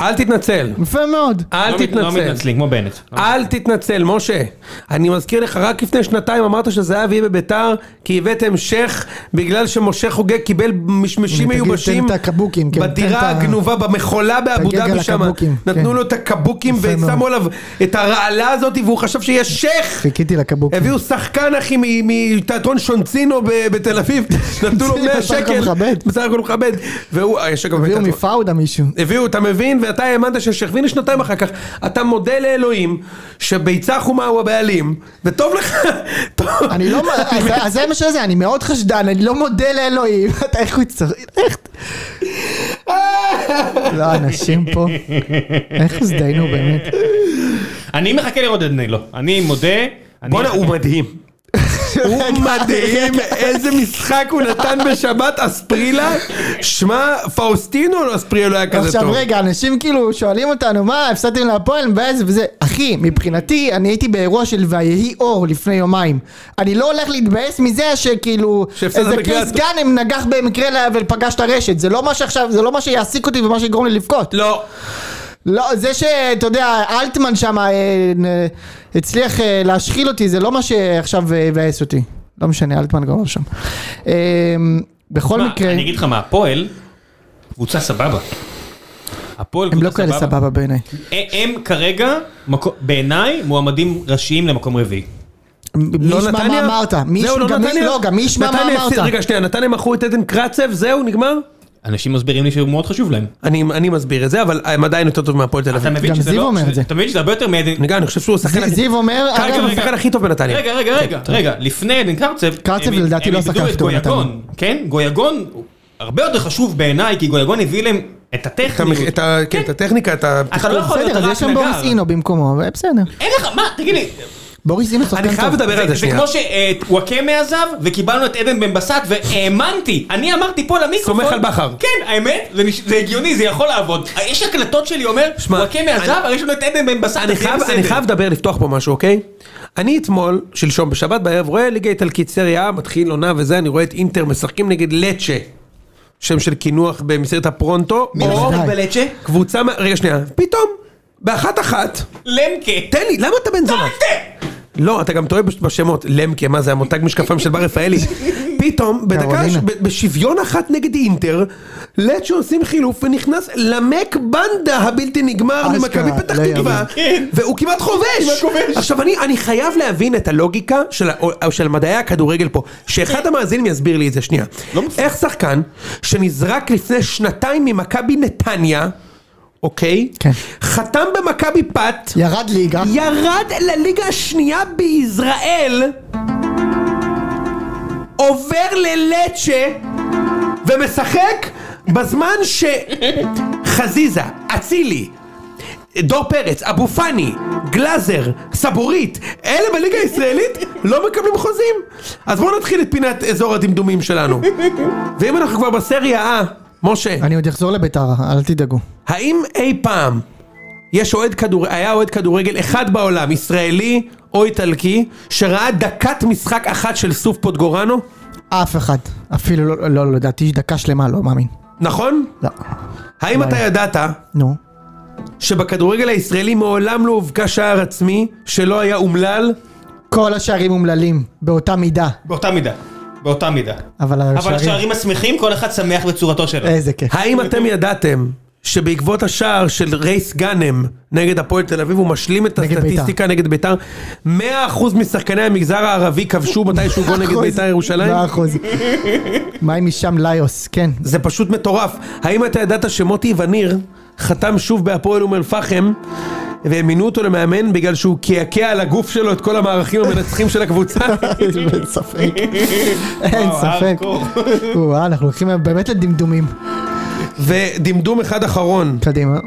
A: אל תתנצל.
C: יפה מאוד.
A: אל
D: לא מת- לא
A: תתנצל.
D: מתנצלים, כמו בנט.
A: אל תתנצל, משה. אני מזכיר לך, רק לפני שנתיים אמרת שזהב יהיה בביתר, כי הבאתם שייח בגלל שמשה חוגג קיבל משמשים
C: הנה, תגיד,
A: מיובשים
C: תן את הקבוקים, כן, תן את
A: בדירה
C: ה-
A: הגנובה, במחולה באבו
C: תגג על
A: דאבי שם.
C: הקבוקים,
A: נתנו
C: כן.
A: לו את הקבוקים
C: יפה
A: ושמו
C: מאוד.
A: עליו את הרעלה הזאת, והוא חשב שיהיה שייח!
C: חיכיתי לקבוק.
A: הביאו שחקן אחי מ- מתיאטרון שונצינו ב- בתל אביב, נתנו לו
C: בסך
A: 100
C: הכל
A: שקל,
C: מכבד.
A: בסך הכל מכבד, והוא, יש אגב
C: הביאו
A: בתיאטרון-
C: מפאודה מישהו.
A: הביאו, אתה מבין, ואתה האמנת ששכביני שנתיים אחר כך, אתה מודה לאלוהים שביצה חומה הוא הבעלים, וטוב לך, טוב.
C: אני לא, אז- אז זה מה שזה, אני מאוד חשדן, אני לא מודה לאלוהים, אתה איך הוא יצטרך, איך... לא, אנשים פה, איך הזדיינו באמת.
D: אני מחכה לראות את דנילו. אני מודה. אני-
A: בואנה, הוא מדהים. הוא מדהים, איזה משחק הוא נתן בשבת, אספרילה, שמע, פאוסטינו או אספרילה לא היה כזה
C: עכשיו
A: טוב.
C: רגע, אנשים כאילו שואלים אותנו, מה, הפסדתם להפועל, מבאס וזה. אחי, מבחינתי, אני הייתי באירוע של ויהי אור לפני יומיים. אני לא הולך להתבאס מזה שכאילו,
A: שהפסדת
C: איזה
A: בקריית-
C: קייס גאנם נגח במקרה לה- ופגש את הרשת. זה לא מה שעכשיו, זה לא מה שיעסיק אותי ומה שיגרום לי לבכות.
A: לא,
C: לא, זה שאתה יודע, אלטמן שם אה, נ- הצליח אה, להשחיל אותי, זה לא מה שעכשיו אה, יבאס אותי. לא משנה, אלטמן כבר לא שם. אה, בכל
D: מה,
C: מקרה,
D: אני אגיד לך מה, הפועל, קבוצה סבבה. הפועל
C: הם
D: קבוצה
C: לא כאלה סבבה בעיניי.
D: הם- הם כרגע, מקו- בעיניי, מועמדים ראשיים למקום רביעי.
C: מי
A: לא
C: ישמע מה
A: נתניה?
C: אמרת? מי
A: זהו,
C: ישמע- גם מי-
A: נתניה?
C: לא, גם מי ישמע מה
A: נתניה הפסיד-
C: אמרת?
A: רגע, שנייה, נתניה מכרו את עדן קרצב, זהו, נגמר?
D: אנשים מסבירים לי שהוא מאוד חשוב להם.
A: אני אני מסביר את זה, אבל הם עדיין יותר טוב מהפועל תל
D: אתה
A: אביב.
D: מבין
C: גם
D: שזה
C: זיו
D: לא...
C: אומר את
D: שזה-
C: זה.
D: אתה מבין שזה הרבה יותר מעדן...
A: רגע, אני חושב שהוא השחקן...
C: זיו- זיו אומר,
A: קרקב הוא
C: אגב,
D: רגע.
A: השחקן הכי טוב בנתניה.
D: רגע, רגע, רגע, כן, רגע, לפני עדן קרצב,
C: קרצב
D: הם-
C: לדעתי לא
D: הם
C: שחק
D: איבדו את
C: טוב
D: גויגון, כן? גויגון הוא הרבה יותר חשוב בעיניי, כי גויגון הביא להם
A: את המח-
D: את הטכניות.
A: את ה- כן, את הטכניקה, את ה...
D: אתה לא יכול להיות
C: בסדר, אז
D: רק
C: יש שם בוריס
D: נגר.
C: אינו במקומו, אבל בסדר.
D: אין לך, מה, תגיד לי,
C: בוריס אינו שחקן טוב.
A: אני חייב לדבר על זה
D: זה
A: שנייה.
D: כמו שוואקמה עזב, וקיבלנו את עדן בן בסט, והאמנתי, אני אמרתי פה למיקרופון.
A: סומך על בכר.
D: כן, האמת, זה נש- זה הגיוני, זה יכול לעבוד. יש הקלטות שלי אומר,
A: שמע,
D: וואקמה
A: אני-
D: עזב, אבל יש לנו את עדן בן בסט,
A: אני
D: אז יהיה
A: חייב, אני
D: בסדר."
A: חייב לדבר, לפתוח פה משהו, אוקיי? אני אתמול, שלשום בשבת בערב, רואה ליגה איטלקית סריה, מתחיל עונה וזה, אני רואה את אינטר משחקים נגד לצ'ה. שם של קינוח במסגרת הפרונטו.
D: מי
A: או
D: משחק בלצ'ה?
A: קבוצה, מה- רגע שנייה, פתאום. באחת אחת,
D: למקה.
A: תן לי, למה אתה בן זונה? לא, אתה גם טועה בש- בשמות, למקה, מה זה המותג משקפיים של בר רפאלי. פתאום, בדקה, ש-
C: קרולינה.
A: ב- בשוויון אחת נגד אינטר, לצ'ו עושים חילוף ונכנס למק בנדה הבלתי נגמר
C: אשכרה,
A: ממכבי פתח
C: לא
A: תקווה,
D: יאמן.
A: והוא כן. כמעט חובש. עכשיו, אני- אני חייב להבין את הלוגיקה של ה- או- של מדעי הכדורגל פה, שאחד המאזינים יסביר לי את זה שנייה. איך שחקן שנזרק לפני שנתיים ממכבי נתניה, אוקיי?
C: כן.
A: חתם במכבי פת.
C: ירד ליגה.
A: ירד לליגה השנייה בישראל, עובר ללצ'ה ומשחק בזמן שחזיזה, אצילי, דור פרץ, אבו פאני, גלאזר, סבורית, אלה בליגה הישראלית לא מקבלים חוזים. אז בואו נתחיל את פינת אזור הדמדומים שלנו. ואם אנחנו כבר בסריה A, משה,
C: אני עוד אחזור לביתר, אל תדאגו.
A: האם אי פעם יש אוהד כדור... היה אוהד כדורגל אחד בעולם, ישראלי או איטלקי, שראה דקת משחק אחת של סוף פוטגורנו?
C: אף אחד. אפילו לא, לא, לא, לדעתי דקה שלמה, לא מאמין.
A: נכון?
C: לא.
A: האם אתה ידעת
C: נו.
A: שבכדורגל הישראלי מעולם לא הובקע שער עצמי שלא היה אומלל?
C: כל השערים אומללים, באותה מידה.
D: באותה מידה. באותה מידה.
A: כן.
C: אבל
D: אבל
C: השערים...
D: השערים השמחים, כל אחד שמח בצורתו שלו.
C: איזה כיף.
A: האם אתם ידעתם שבעקבות השער של רייס גאנם נגד הפועל תל אביב, הוא משלים את
C: נגד
A: הסטטיסטיקה נגד בית"ר, 100% משחקני המגזר הערבי כבשו מתישהו גול נגד
C: אחוז.
A: בית"ר ירושלים?
C: מאה אחוז. מה עם משם ליוס? כן.
A: זה פשוט מטורף. האם אתה ידעת שמוטי וניר חתם שוב בהפועל אום אל-פחם, והם מינו אותו למאמן בגלל שהוא קעקע על הגוף שלו את כל המערכים המנצחים של הקבוצה?
C: אין ספק. אין
D: וואו,
C: ספק.
D: הארדקור.
C: וואו, אנחנו הולכים באמת לדמדומים.
A: ודמדום אחד אחרון,
C: קדימה.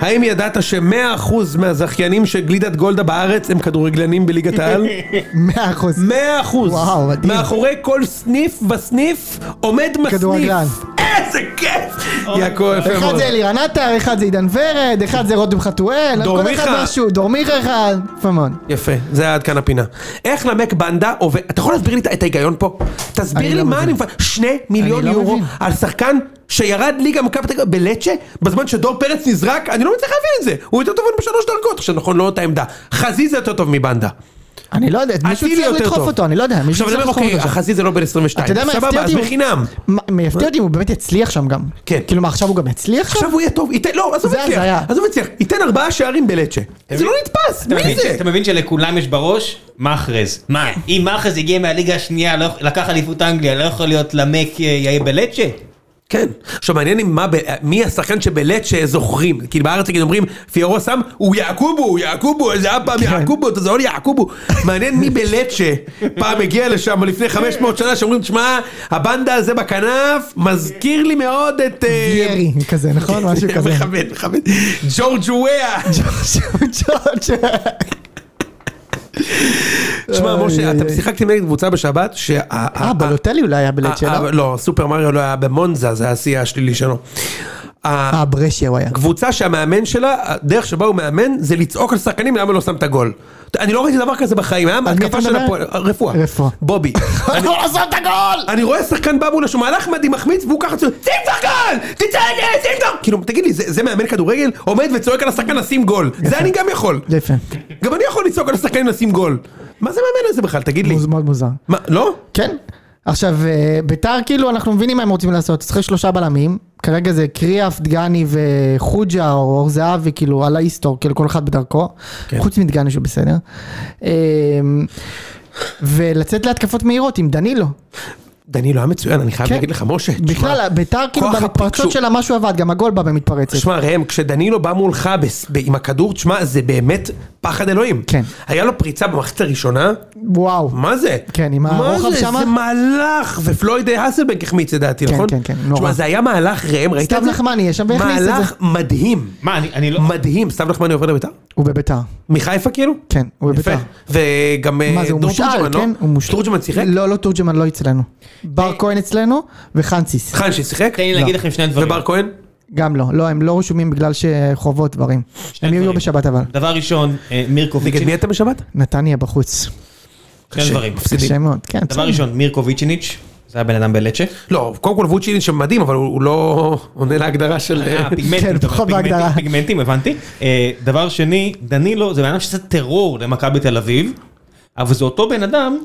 A: האם ידעת ש-100% מהזכיינים של גלידת גולדה בארץ הם כדורגלנים בליגת העל?
C: מאה אחוז.
A: 100%!
C: וואו, מדהים.
A: מאחורי כל סניף וסניף עומד מסניף.
C: כדורגלן.
A: איזה כיף! יעקב, יפה
C: אחד
A: מאוד.
C: זה אלירן עטר, אחד זה עידן ורד, אחד זה רותם חתואל,
A: דור
C: כל אחד
A: מיכה.
C: משהו, דור מיכה אחד, יפה מאוד.
A: יפה, זה היה עד כאן הפינה. איך למק בנדה עובד... אתה יכול להסביר לי את- את ההיגיון פה?
C: אני
A: תסביר לי
C: לא
A: מה
C: מבין.
A: אני מפ... שני מיליון
C: אני לא
A: יורו
C: מבין.
A: על שחקן שירד ליגה מכבי תל אביב בלצ'ה, בזמן שדור פרץ נזרק, אני לא מצליח להבין את זה. הוא יותר טוב ממנו בשלוש דרגות. עכשיו נכון, לא אותה עמדה. חזיזה יותר טוב מבנדה.
C: אני לא יודע, מישהו
A: אצילי
C: צריך
A: יותר
C: לדחוף
A: טוב.
C: אותו, אני לא יודע, מישהו
A: עכשיו אני
C: צריך
A: אומר,
C: לדחוף אותו.
A: אוקיי,
C: שם.
A: חזיזה לא בן 22.
C: אתה יודע מה
A: סבבה,
C: יפתיע אותי?
A: אז
C: אם הוא-
A: בחינם.
C: מה- מה יפתיע אותי אם הוא באמת יצליח שם גם.
A: כן.
C: כאילו מה, עכשיו הוא גם יצליח שם?
A: עכשיו הוא יהיה טוב, ייתן, לא, עזוב
C: זה הזיה.
A: יצליח, עזוב יצליח, ייתן ארבעה שערים בלצ'ה. זה לא נתפס,
D: אתה
A: מי
D: מבין-
A: זה?
D: אתה מבין שלכולם יש בראש? מאחרז. מה, אם מאחרז הגיע מהליגה השנייה, לא יכול- לקח אליפות אנגליה, לא יכול להיות למק אה, יאי בלצ'ה?
A: כן. עכשיו מעניין אם מה, ב- מי השחקן שבלצ'ה זוכרים. כאילו בארץ נגיד אומרים, פיירו שם, הוא יעקובו, הוא יעקובו, איזה
C: כן.
A: אבא יעקובו, אתה זוהר יעקובו. מעניין מי בלצ'ה פעם הגיע לשם לפני 500 שנה, שאומרים, תשמע, הבנדה הזה בכנף מזכיר לי מאוד את... אה,
C: ירי כזה, נכון? משהו כזה.
A: מכבד, מכבד. ג'ורג' וואה.
C: ג'ורג'.
A: תשמע,
C: אוי,
A: משה,
C: אוי,
A: אתם
C: אוי.
A: שיחקתם נגד קבוצה בשבת, שה...
C: אה, בלוטלי אולי היה בלד
A: אה,
C: שלו?
A: אה, לא, סופר מריו לא היה במונזה, זה השיא השלילי שלו.
C: אה, ברשיה הוא היה.
A: קבוצה שהמאמן שלה, הדרך שבה הוא מאמן, זה לצעוק על שחקנים למה לא שם את הגול. אני לא ראיתי דבר כזה בחיים, היה
C: אתה
A: התקפה של
C: מדבר?
A: הפועל, רפואה.
C: רפואה.
A: בובי. אני-
C: לא
A: אני רואה שחקן בא מולו שהוא מהלך מדהים מחמיץ והוא ככה צועק, שים כבר גול! תצא נגד, שים גול! כאילו, תגיד לי, זה זה מאמן כדורגל? עומד וצועק על השחקן לשים גול. זה אני גם יכול.
C: יפה.
A: גם אני יכול לצעוק על השחקנים לשים גול. מה זה מאמן הזה בכלל? תגיד לי.
C: מוז- מאוד מוזר.
A: מה, לא?
C: כן. עכשיו, אה, ביתר, כאילו, אנחנו מבינים מה הם רוצים לעשות. צריכים שלושה בלמים. כרגע זה קריאף, דגני וחוג'ה, או אור זהבי, כאילו, על האיסטור, כאילו, כל אחד בדרכו.
A: כן.
C: חוץ מדגני שהוא בסדר. אה, ולצאת להתקפות מהירות עם דנילו.
A: דנילו לא היה מצוין, אני חייב
C: כן.
A: להגיד לך, משה. תשמע,
C: בכלל, ביתר, כאילו,
A: כוח
C: במתפרצות
A: הפיקשו-
C: שלה משהו עבד, גם הגול בא במתפרצת.
A: תשמע ראם, כשדנילו בא מולך בס- ב- עם הכדור, תשמע, זה באמת פחד אלוהים.
C: כן.
A: היה לו פריצה במחצית הראשונה,
C: וואו.
A: מה זה?
C: כן, עם הרוחב
A: מה
C: שמה?
A: זה? זה מהלך, ופלויד האסלבנק החמיץ את דעתי,
C: כן,
A: נכון?
C: כן, כן, נורא.
A: תשמע, זה היה מהלך ראם, ראית
C: סתיו
A: את זה?
C: נחמני יהיה שם והכניס את זה.
A: מהלך מדהים.
D: מה, אני- אני לא...
A: מדהים, סתיו נחמני עובר לביתר?
C: הוא בביתר.
A: מחיפה כאילו?
C: כן, הוא
A: יפה.
C: בביתר.
A: וגם אה,
C: מה זה, הוא
A: דור
C: מושאל,
A: תורג'מן,
C: כן?
A: לא?
C: הוא מושאל.
A: תורג'מן שיחק? אה,
C: לא, לא תורג'מן, לא אצלנו. בר כהן אצלנו, וחנסיס.
A: חנשי שיחק?
D: תן לי להגיד לכם שני דברים.
A: ובר כהן?
C: גם לא. לא, הם לא רשומים בגלל שחובות דברים.
D: שני
C: הם יהיו
D: דברים.
C: בשבת אבל.
D: דבר ראשון, אה, מירקוביצ'יניץ',
A: נגד מי אתה בשבת?
C: נתניה בחוץ.
D: שני דברים.
A: מפסידים.
C: קשה מאוד, כן.
D: דבר
C: בסדר.
D: ראשון, מירקוביצ'יניץ', זה זה הבן אדם בלצ'ה.
A: לא, קודם כל ווצ'ילין שם מדהים, אבל הוא הוא לא עונה להגדרה של...
D: אה,
C: כן,
D: פיגמנטים, אתה אומר,
C: פחות
D: פיגמנטים,
C: בהגדרה.
D: פיגמנטים, הבנתי. אה, דבר שני, דנילו זה בן אדם שעשה טרור למכבי תל אביב, אבל זה אותו בן אדם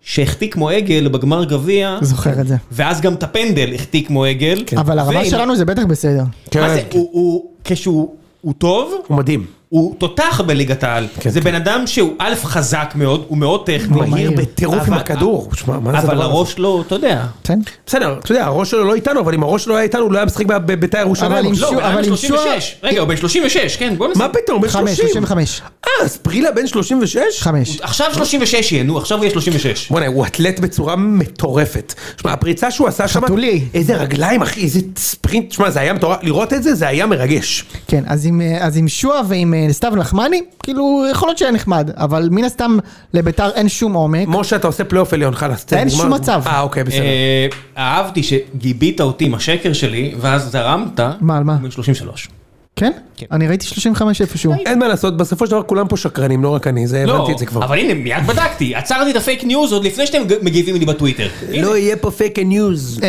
D: שהחטיא כמו עגל בגמר גביע,
C: זוכר את זה.
D: ואז גם את הפנדל החטיא כמו עגל.
C: אבל הרמה
D: ועם-
C: שלנו זה בטח בסדר.
A: כן,
D: מה זה, הוא- הוא, כשהוא הוא טוב,
A: הוא מדהים.
D: הוא תותח בליגת העל.
A: כן,
D: זה
A: כן.
D: בן אדם שהוא א', חזק מאוד, הוא מאוד טכני.
C: הוא מהיר
A: בטירוף עם
D: אבל-
A: הכדור. שמע, מה זה
D: אבל
A: הדבר הזה?
D: הראש לא, אתה יודע.
C: בסדר?
A: בסדר, אתה יודע, הראש שלו לא איתנו, אבל אם הראש שלו היה איתנו, הוא לא היה משחק ב- בביתר
C: אבל
A: ירושלים.
C: עם
A: לא,
D: לא,
C: שוע-
D: הוא היה
C: אבל
D: בן
C: עם שוע-
D: 36. רגע, הוא בן 36, כן, בוא נעשה.
A: מה פתאום, בן
C: חמש,
A: 30?
C: 35.
A: אה, אז פרילה בן 36?
C: חמש.
D: עכשיו 36 יהיה, נו, עכשיו הוא יהיה 36.
A: בוא'נה, הוא אתלט בצורה מטורפת. שמע, הפריצה שהוא עשה שם...
C: חתולי.
A: איזה רגליים, אחי, איזה ספרינט. שמע, זה היה מטורף, לראות את זה, זה היה מרגש.
C: כן, אז עם, אה, אז עם שועה ועם אה, סתיו נחמני, כאילו, יכול להיות שהיה נחמד, אבל מן הסתם לביתר אין שום עומק.
A: משה, אתה עושה פלייאוף עליון, חלאס. זה
C: אין
A: נגמר.
C: שום מצב.
A: אה, אוקיי, בסדר.
D: אה, אהבתי שגיבית אותי עם השקר שלי, ואז זרמת.
C: מה, על מה?
D: הוא בן 33.
C: כן?
D: כן.
C: אני ראיתי 35 איפשהו.
A: אין מה לעשות, בסופו של דבר כולם פה שקרנים, לא רק אני, זה
D: לא,
A: הבנתי את זה כבר.
D: אבל הנה, מיד בדקתי. עצרתי את הפייק ניוז עוד לפני שאתם ג- מגיבים לי בטוויטר. הנה.
A: לא יהיה פה פייק ניוז.
C: אה,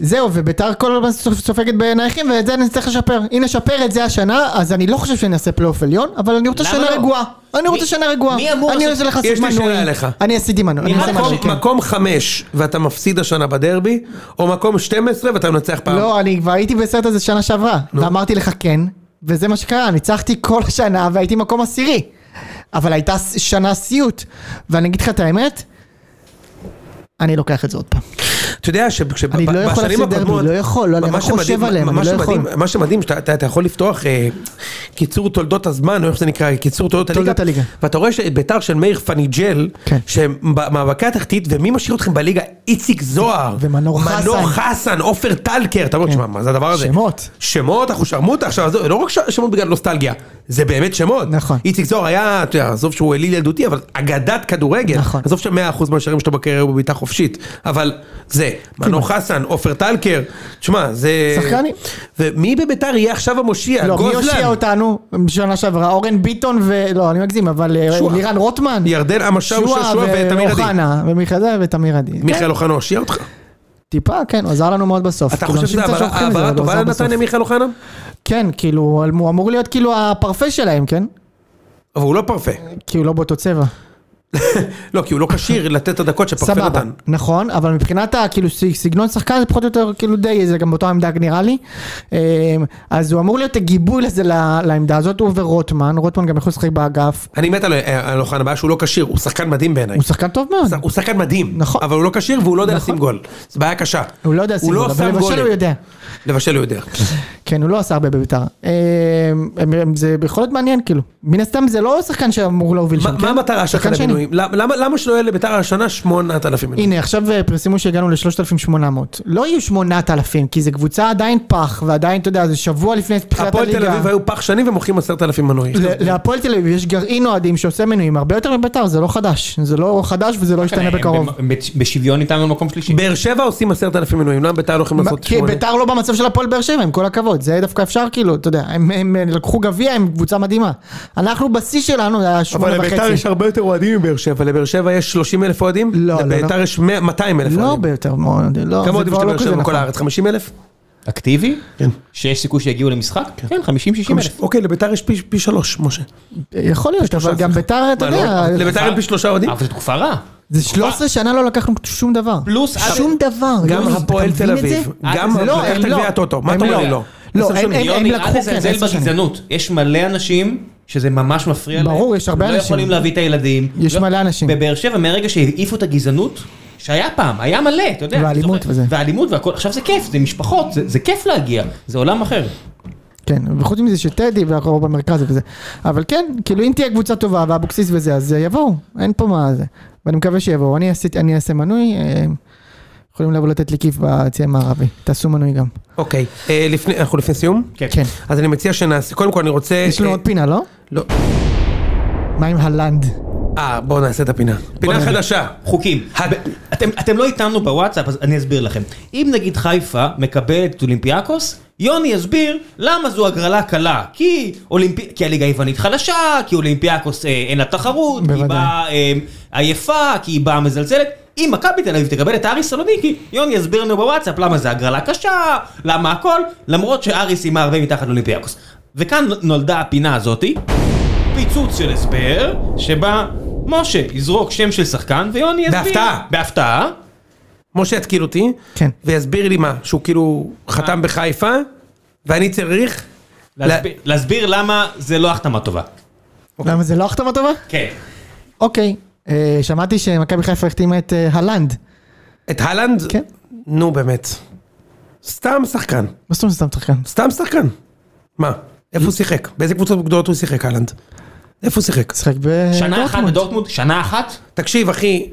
C: זהו, וביתר כל הזמן סופ- סופגת בנייחים, ואת זה אני צריך לשפר. אם נשפר את זה השנה, אז אני לא חושב שאני אעשה פלייאוף עליון, אבל אני רוצה
D: למה
C: שנה
D: לא?
C: רגועה. אני רוצה
D: מי-
C: שנה רגועה.
D: מי אמור
C: אני
D: לעשות-
C: רוצה לך
A: יש
C: לעשות
A: לי שאלה
C: מנוי.
A: אליך.
C: אני עשיתי מנוי. אני
D: נראה
C: עושה
D: מקום-
C: מנוי, כן.
A: מקום חמש, ואתה מפסיד השנה בדרבי, או מקום 12 ואתה מנצח פעם.
C: לא, אני כבר הייתי בסרט הזה שנה שעברה, ואמרתי לך כן, וזה מה שקרה, ניצחתי כל השנה והייתי מקום עשירי. אבל הייתה ס- שנה סיוט, ואני אגיד לך את האמת, אני לוקח את זה עוד פעם.
A: אתה יודע שבשנים
C: אני
A: הקודמות...
C: לא יכול להפסיד דרבי, לא יכול, לא, אני
A: מה
C: רק חושב
A: שמדהים-
C: עליהם, אני
A: מה
C: לא
A: שמדהים-
C: יכול.
A: מה שמדהים, שאתה אתה- אתה יכול לפתוח אה, קיצור תולדות הזמן, או איך זה נקרא, קיצור תולדות הליגה.
C: תולדות הליגה.
A: ואתה רואה שאת ביתר של מאיר פניג'ל,
C: כן.
A: שהם במאבקי התחתית, ומי משאיר אתכם בליגה? איציק זוהר.
C: ומנור חסן. כן.
A: מנור חסן, עופר טלקר. אתה אומר, שמע, מה זה הדבר הזה?
C: שמות.
A: שמות, אחושרמוטה. עכשיו, עזוב, לא רק ש- שמות בגלל נוסטלגיה, זה באמת שמות.
C: נכון.
A: איציק זוהר היה, אתה יודע, עזוב שהוא אליל ילדותי, אבל אגדת כדורגל.
C: נכון.
A: עזוב שמאה אחוז מהשערים שלו בקריירה הוא בבעיטה חופשית, אבל זה, מנור חסן, עופר טלקר, תשמע, זה...
C: שחקנים.
A: ומי בביתר יהיה עכשיו המושיע?
C: לא, מי
A: אה, גוזלן.
C: הושיע אותנו בשנה שעברה? אורן ביטון ו... לא, אני מגזים, אבל אה,
A: שועה.
C: לירן רוטמן?
A: ירדן המשאו של
C: שועה
A: שועה ותמיר עדי.
C: ואוחנה, ומיכאל זה ותמיר עדי. כן,
A: מיכאל אוחנה הושיע אותך?
C: טיפה, כן, הוא עזר לנו מאוד בסוף.
A: אתה
C: כאילו,
A: חושב
C: אנשים
A: שזה
C: קצת
A: העברה-
C: שוכחים את זה, אבל
A: העברה
C: הוא עזר
A: טובה
C: בסוף.
A: לנתניה מיכאל אוחנה?
C: כן, כאילו, הוא אמור להיות כאילו הפרפה שלהם, כן?
A: אבל הוא לא פרפה.
C: כי הוא לא באותו צבע.
A: לא, כי הוא לא כשיר לתת את הדקות שפרפה
C: סבבה,
A: נתן.
C: נכון, אבל מבחינת ה- כאילו ס- סגנון שחקן זה פחות או יותר כאילו די, זה גם באותה עמדה נראה לי. אמ, אז הוא אמור להיות הגיבוי לזה ל- לעמדה הזאת, הוא ורוטמן, רוטמן גם יכול לשחק באגף,
A: אני מת על- על אוחנה, הבעיה שהוא לא כשיר, הוא שחקן מדהים בעיניי.
C: הוא שחקן טוב מאוד.
A: הוא שחקן מדהים,
C: נכון.
A: אבל הוא לא כשיר והוא לא יודע
C: נכון.
A: לשים גול. זו בעיה קשה.
C: הוא לא יודע לשים גול, אבל
A: שם
C: לבשל
A: גולים.
C: הוא יודע.
A: לבשל הוא יודע.
C: כן, הוא לא עשה הרבה בביתר. אמ, אמ, אמ, זה יכול להיות מעניין כאילו. מן הסתם זה לא שחקן שאמור להוביל
A: מה
C: שם.
A: מה
C: כן?
A: המטרה שלך
C: שחקן שני.
A: למינויים? למ- למה למה שלא יהיה לביתר השנה 8,000 מינויים?
C: הנה עכשיו אה, פרסמו שהגענו ל-3,800. לא יהיו 8,000 כי זו קבוצה עדיין פח ועדיין אתה יודע זה שבוע לפני תחילת
A: הפועל
C: הליגה.
A: תל אביב היו פח שנים ומוכרים עשרת אלפים מנויים.
C: ל- להפועל תל אביב יש גרעין אוהדים שעושה מנויים הרבה יותר מביתר זה לא חדש זה לא חדש וזה לא
A: אה,
C: ישתנה
D: הם
C: בקרוב.
D: במ- בשוויון איתנו במקום שלישי.
A: באר שבע עושים עשרת אלפים מנויים, למה ביתר לא יכולים לעשות
C: כי
A: שמונה?
C: ביתר לא במצב של הפועל באר שבע עם כל הכבוד זה דווקא אפשר כאילו אתה יודע הם- הם אה, לקחו גביע הם קבוצה מדהימה. אנחנו בשיא שלנו זה היה שמונה
A: אבל לביתר יש
C: וחצי.
A: הרבה יותר אוהדים מבאר שבע, לבאר שבע יש 30 אלף אוהדים?
C: לא, לא,
A: לביתר
C: לא.
A: יש 200 אלף
C: לא
A: אוהדים.
C: הרבה יותר מאוד. לא,
A: כמה
C: זה
A: אוהדים
C: כבר
A: יש
C: לא
A: לבאר
C: כזה
A: שבע בכל
C: נכון.
A: הארץ? 50 אלף?
D: אקטיבי? כן. שיש סיכוי שיגיעו למשחק? כן, 50-60 אלף.
A: אוקיי, לביתר יש פי- פי שלוש, משה.
C: יכול להיות אבל גם ביתר אתה
A: מה, לא?
C: יודע. אה,
A: לביתר אין פי שלושה אוהדים?
D: אבל זו תקופה רעה.
C: זה 13 שנה לא לקחנו שום דבר.
D: פלוס-
C: שום דבר.
A: גם
C: יוני,
A: הפועל
C: אתה
A: תל
C: מבין לא את
A: אביב,
C: זה?
A: גם
C: זה לא,
A: לקח
C: הם
A: את
C: לא.
A: הגביע הטוטו, מה
C: הם
A: אתה אומר
C: לא.
A: לי לא?
C: לא,
A: עשר
C: הם-
A: שנים.
C: הם-
D: יוני,
C: לקחו,
D: אל תזלזל
C: כן, עשר שנים.
D: בגזענות. יש מלא אנשים שזה ממש מפריע להם.
C: ברור, יש הרבה
D: לא
C: אנשים.
D: יכולים להביא את הילדים.
C: יש
D: לא-
C: מלא אנשים.
D: בבאר שבע, מהרגע שהעיפו את הגזענות, שהיה פעם, היה מלא, אתה יודע.
C: והאלימות
D: אתה זוכר?
C: וזה.
D: והאלימות והכל. עכשיו זה כיף, זה משפחות, זה זה כיף להגיע. זה עולם אחר.
C: כן, וחוץ מזה שטדי והקרוב במרכז וזה. אבל כן, כאילו אם תהיה קבוצה טובה ואבוקסיס וזה, אז אה, יבואו, אין פה מה זה. ואני מקווה שיבואו. אני אעשה, אני אעשה מנוי, אה, יכולים לבוא לתת לי כיף ביציע המערבי. תעשו מנוי גם.
A: אוקיי, אה, לפני- אנחנו לפני סיום?
C: כן.
A: אז אני מציע שנעשה, קודם כל אני רוצה...
C: יש לנו
A: אה,
C: עוד פינה, לא?
A: לא.
C: מה עם הלנד?
A: אה, בואו נעשה את הפינה. פינה
D: נעשה.
A: חדשה.
D: חוקים. ב- אתם- אתם לא איתנו בוואטסאפ, אז אני אסביר לכם. אם נגיד חיפה מקבלת את אולימפיאקוס, יוני יסביר למה זו הגרלה קלה. כי אולימפי- כי הליגה היוונית חלשה, כי אולימפיאקוס אה, אין לה תחרות, כי היא
C: בוודאי.
D: באה אה, עייפה, כי היא באה מזלזלת. אם מכבי תל אביב תקבל את ארי סלוניקי, יוני יסביר לנו בוואטסאפ למה זה הגרלה קשה, למה הכל, למרות שארי סיימה הרבה מתחת לאולימפיאקוס. וכאן נולדה הפינה הזאתי, פיצוץ של הסבר, שבה משה יזרוק שם של שחקן ויוני יסביר.
A: בהפתעה.
D: בהפתעה.
A: משה יתקיל אותי,
C: כן.
A: ויסביר לי מה, שהוא כאילו
C: אה.
A: חתם בחיפה, ואני צריך...
D: להסביר, להסביר למה זה לא החתמה טובה.
C: למה זה לא החתמה טובה?
D: כן.
C: אוקיי, אה, שמעתי שמכבי חיפה החתימה את אה, הלנד.
A: לה- את הלנד?
C: כן.
A: נו באמת. סתם שחקן.
C: מה זאת אומרת סתם שחקן?
A: סתם שחקן. מה? איפה הוא שיחק? באיזה קבוצות גדולות הוא שיחק, הלנד? איפה הוא שיחק?
C: משחק ב...
D: שנה אחת
C: דורטמונד.
D: בדורטמונד, שנה אחת?
A: תקשיב, אחי,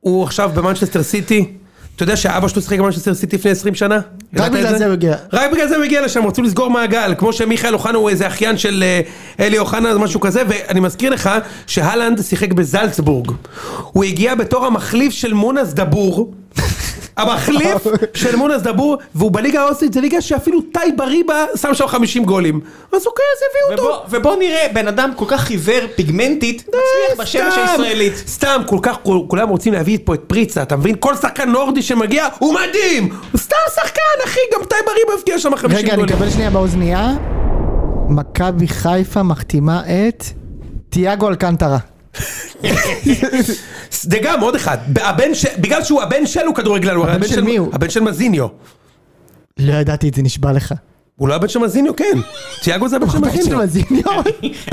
A: הוא עכשיו במנצ'סטר סיטי. אתה יודע שאבא שלו שיחק במנצ'סטר סיטי לפני 20 שנה? ידעת את
C: בגלל זה הוא הגיע.
A: רק בגלל זה הוא הגיע לשם, רצו לסגור מעגל. כמו שמיכאל אוחנה הוא איזה אחיין של אה, אלי אוחנה, משהו כזה, ואני מזכיר לך שהלנד שיחק בזלצבורג. הוא הגיע בתור המחליף של מונס דבור. המחליף של מונס דבור, והוא בליגה האוסטרית, זו ליגה שאפילו טייב אריבה שם שם 50 גולים. אז אוקיי, אז הביאו
D: ובוא,
A: אותו.
D: ובוא נראה, בן אדם כל כך חיוור, פיגמנטית, מצליח
A: אה,
D: בשמש
A: סתם.
D: הישראלית.
A: סתם, כל כך, כול- כולם רוצים להביא פה את פריצה, אתה מבין? כל שחקן נורדי שמגיע, הוא מדהים! הוא סתם שחקן, אחי, גם טייב אריבה הבקיע שם 50
C: רגע,
A: גולים.
C: אני אקבל שנייה באוזנייה. מכבי חיפה מחתימה את תיאגו אלקנטרה.
A: זה גם עוד אחד, הבן ש... בגלל שהוא הבן של הוא כדורגלן, הוא
C: הבן
A: הבן
C: של מי הוא?
A: הבן של מזיניו.
C: לא ידעתי את זה, נשבע לך.
A: הוא לא הבן של מזיניו, כן. תיאגו זה הבן של
C: הבן של
A: מזיניו.
C: מזיניו?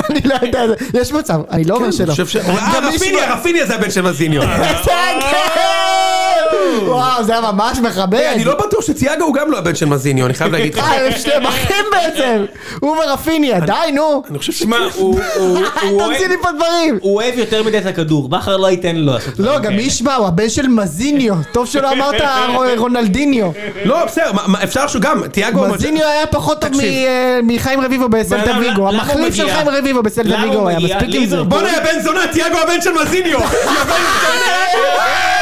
C: אני לא יודע, יש מצב, אני לא אומר
A: כן,
C: שלא.
A: אני חושב ש-
C: גם
A: אה,
C: מי
A: רפיניה,
C: שלא-
A: רפיניה זה הבן של מזיניו.
C: איזה גול! וואו, זה היה ממש מכבד.
A: אני לא בטוח שתיאגו הוא גם לא הבן של מזיניו, אני חייב להגיד לך.
C: אה, הם שניהם אחים בעצם! הוא ורפיניה, די נו! אה,
A: אני חושב ש...
D: שמע, הוא- הוא- הוא אוהב-
C: תמציא לי פה דברים!
D: הוא אוהב יותר מדי את הכדור, בכר לא ייתן לו לעשות את זה.
C: לא, גם
A: אוקיי.
C: ישמע, הוא הבן של מזיניו. טוב שלא אמרת רונלדיניו.
A: לא, בסדר, מה- מה, אפשר שהוא גם, תיאגו... הוא-
C: מזיניו היה פחות טוב
A: תקשיב.
C: מ- אה, מחיים רביבו בסלטה
D: למה-
C: ויגו.
D: למה הוא
C: המחליף של
D: מגיע?
C: חיים רביבו בסלטה
D: למה הוא
C: ויגו היה
D: מגיע?
C: מספיק עם זה.
D: ליברפול.
A: בואנה, יא בן זונה, תיאגו הבן של מזיניו! יא בן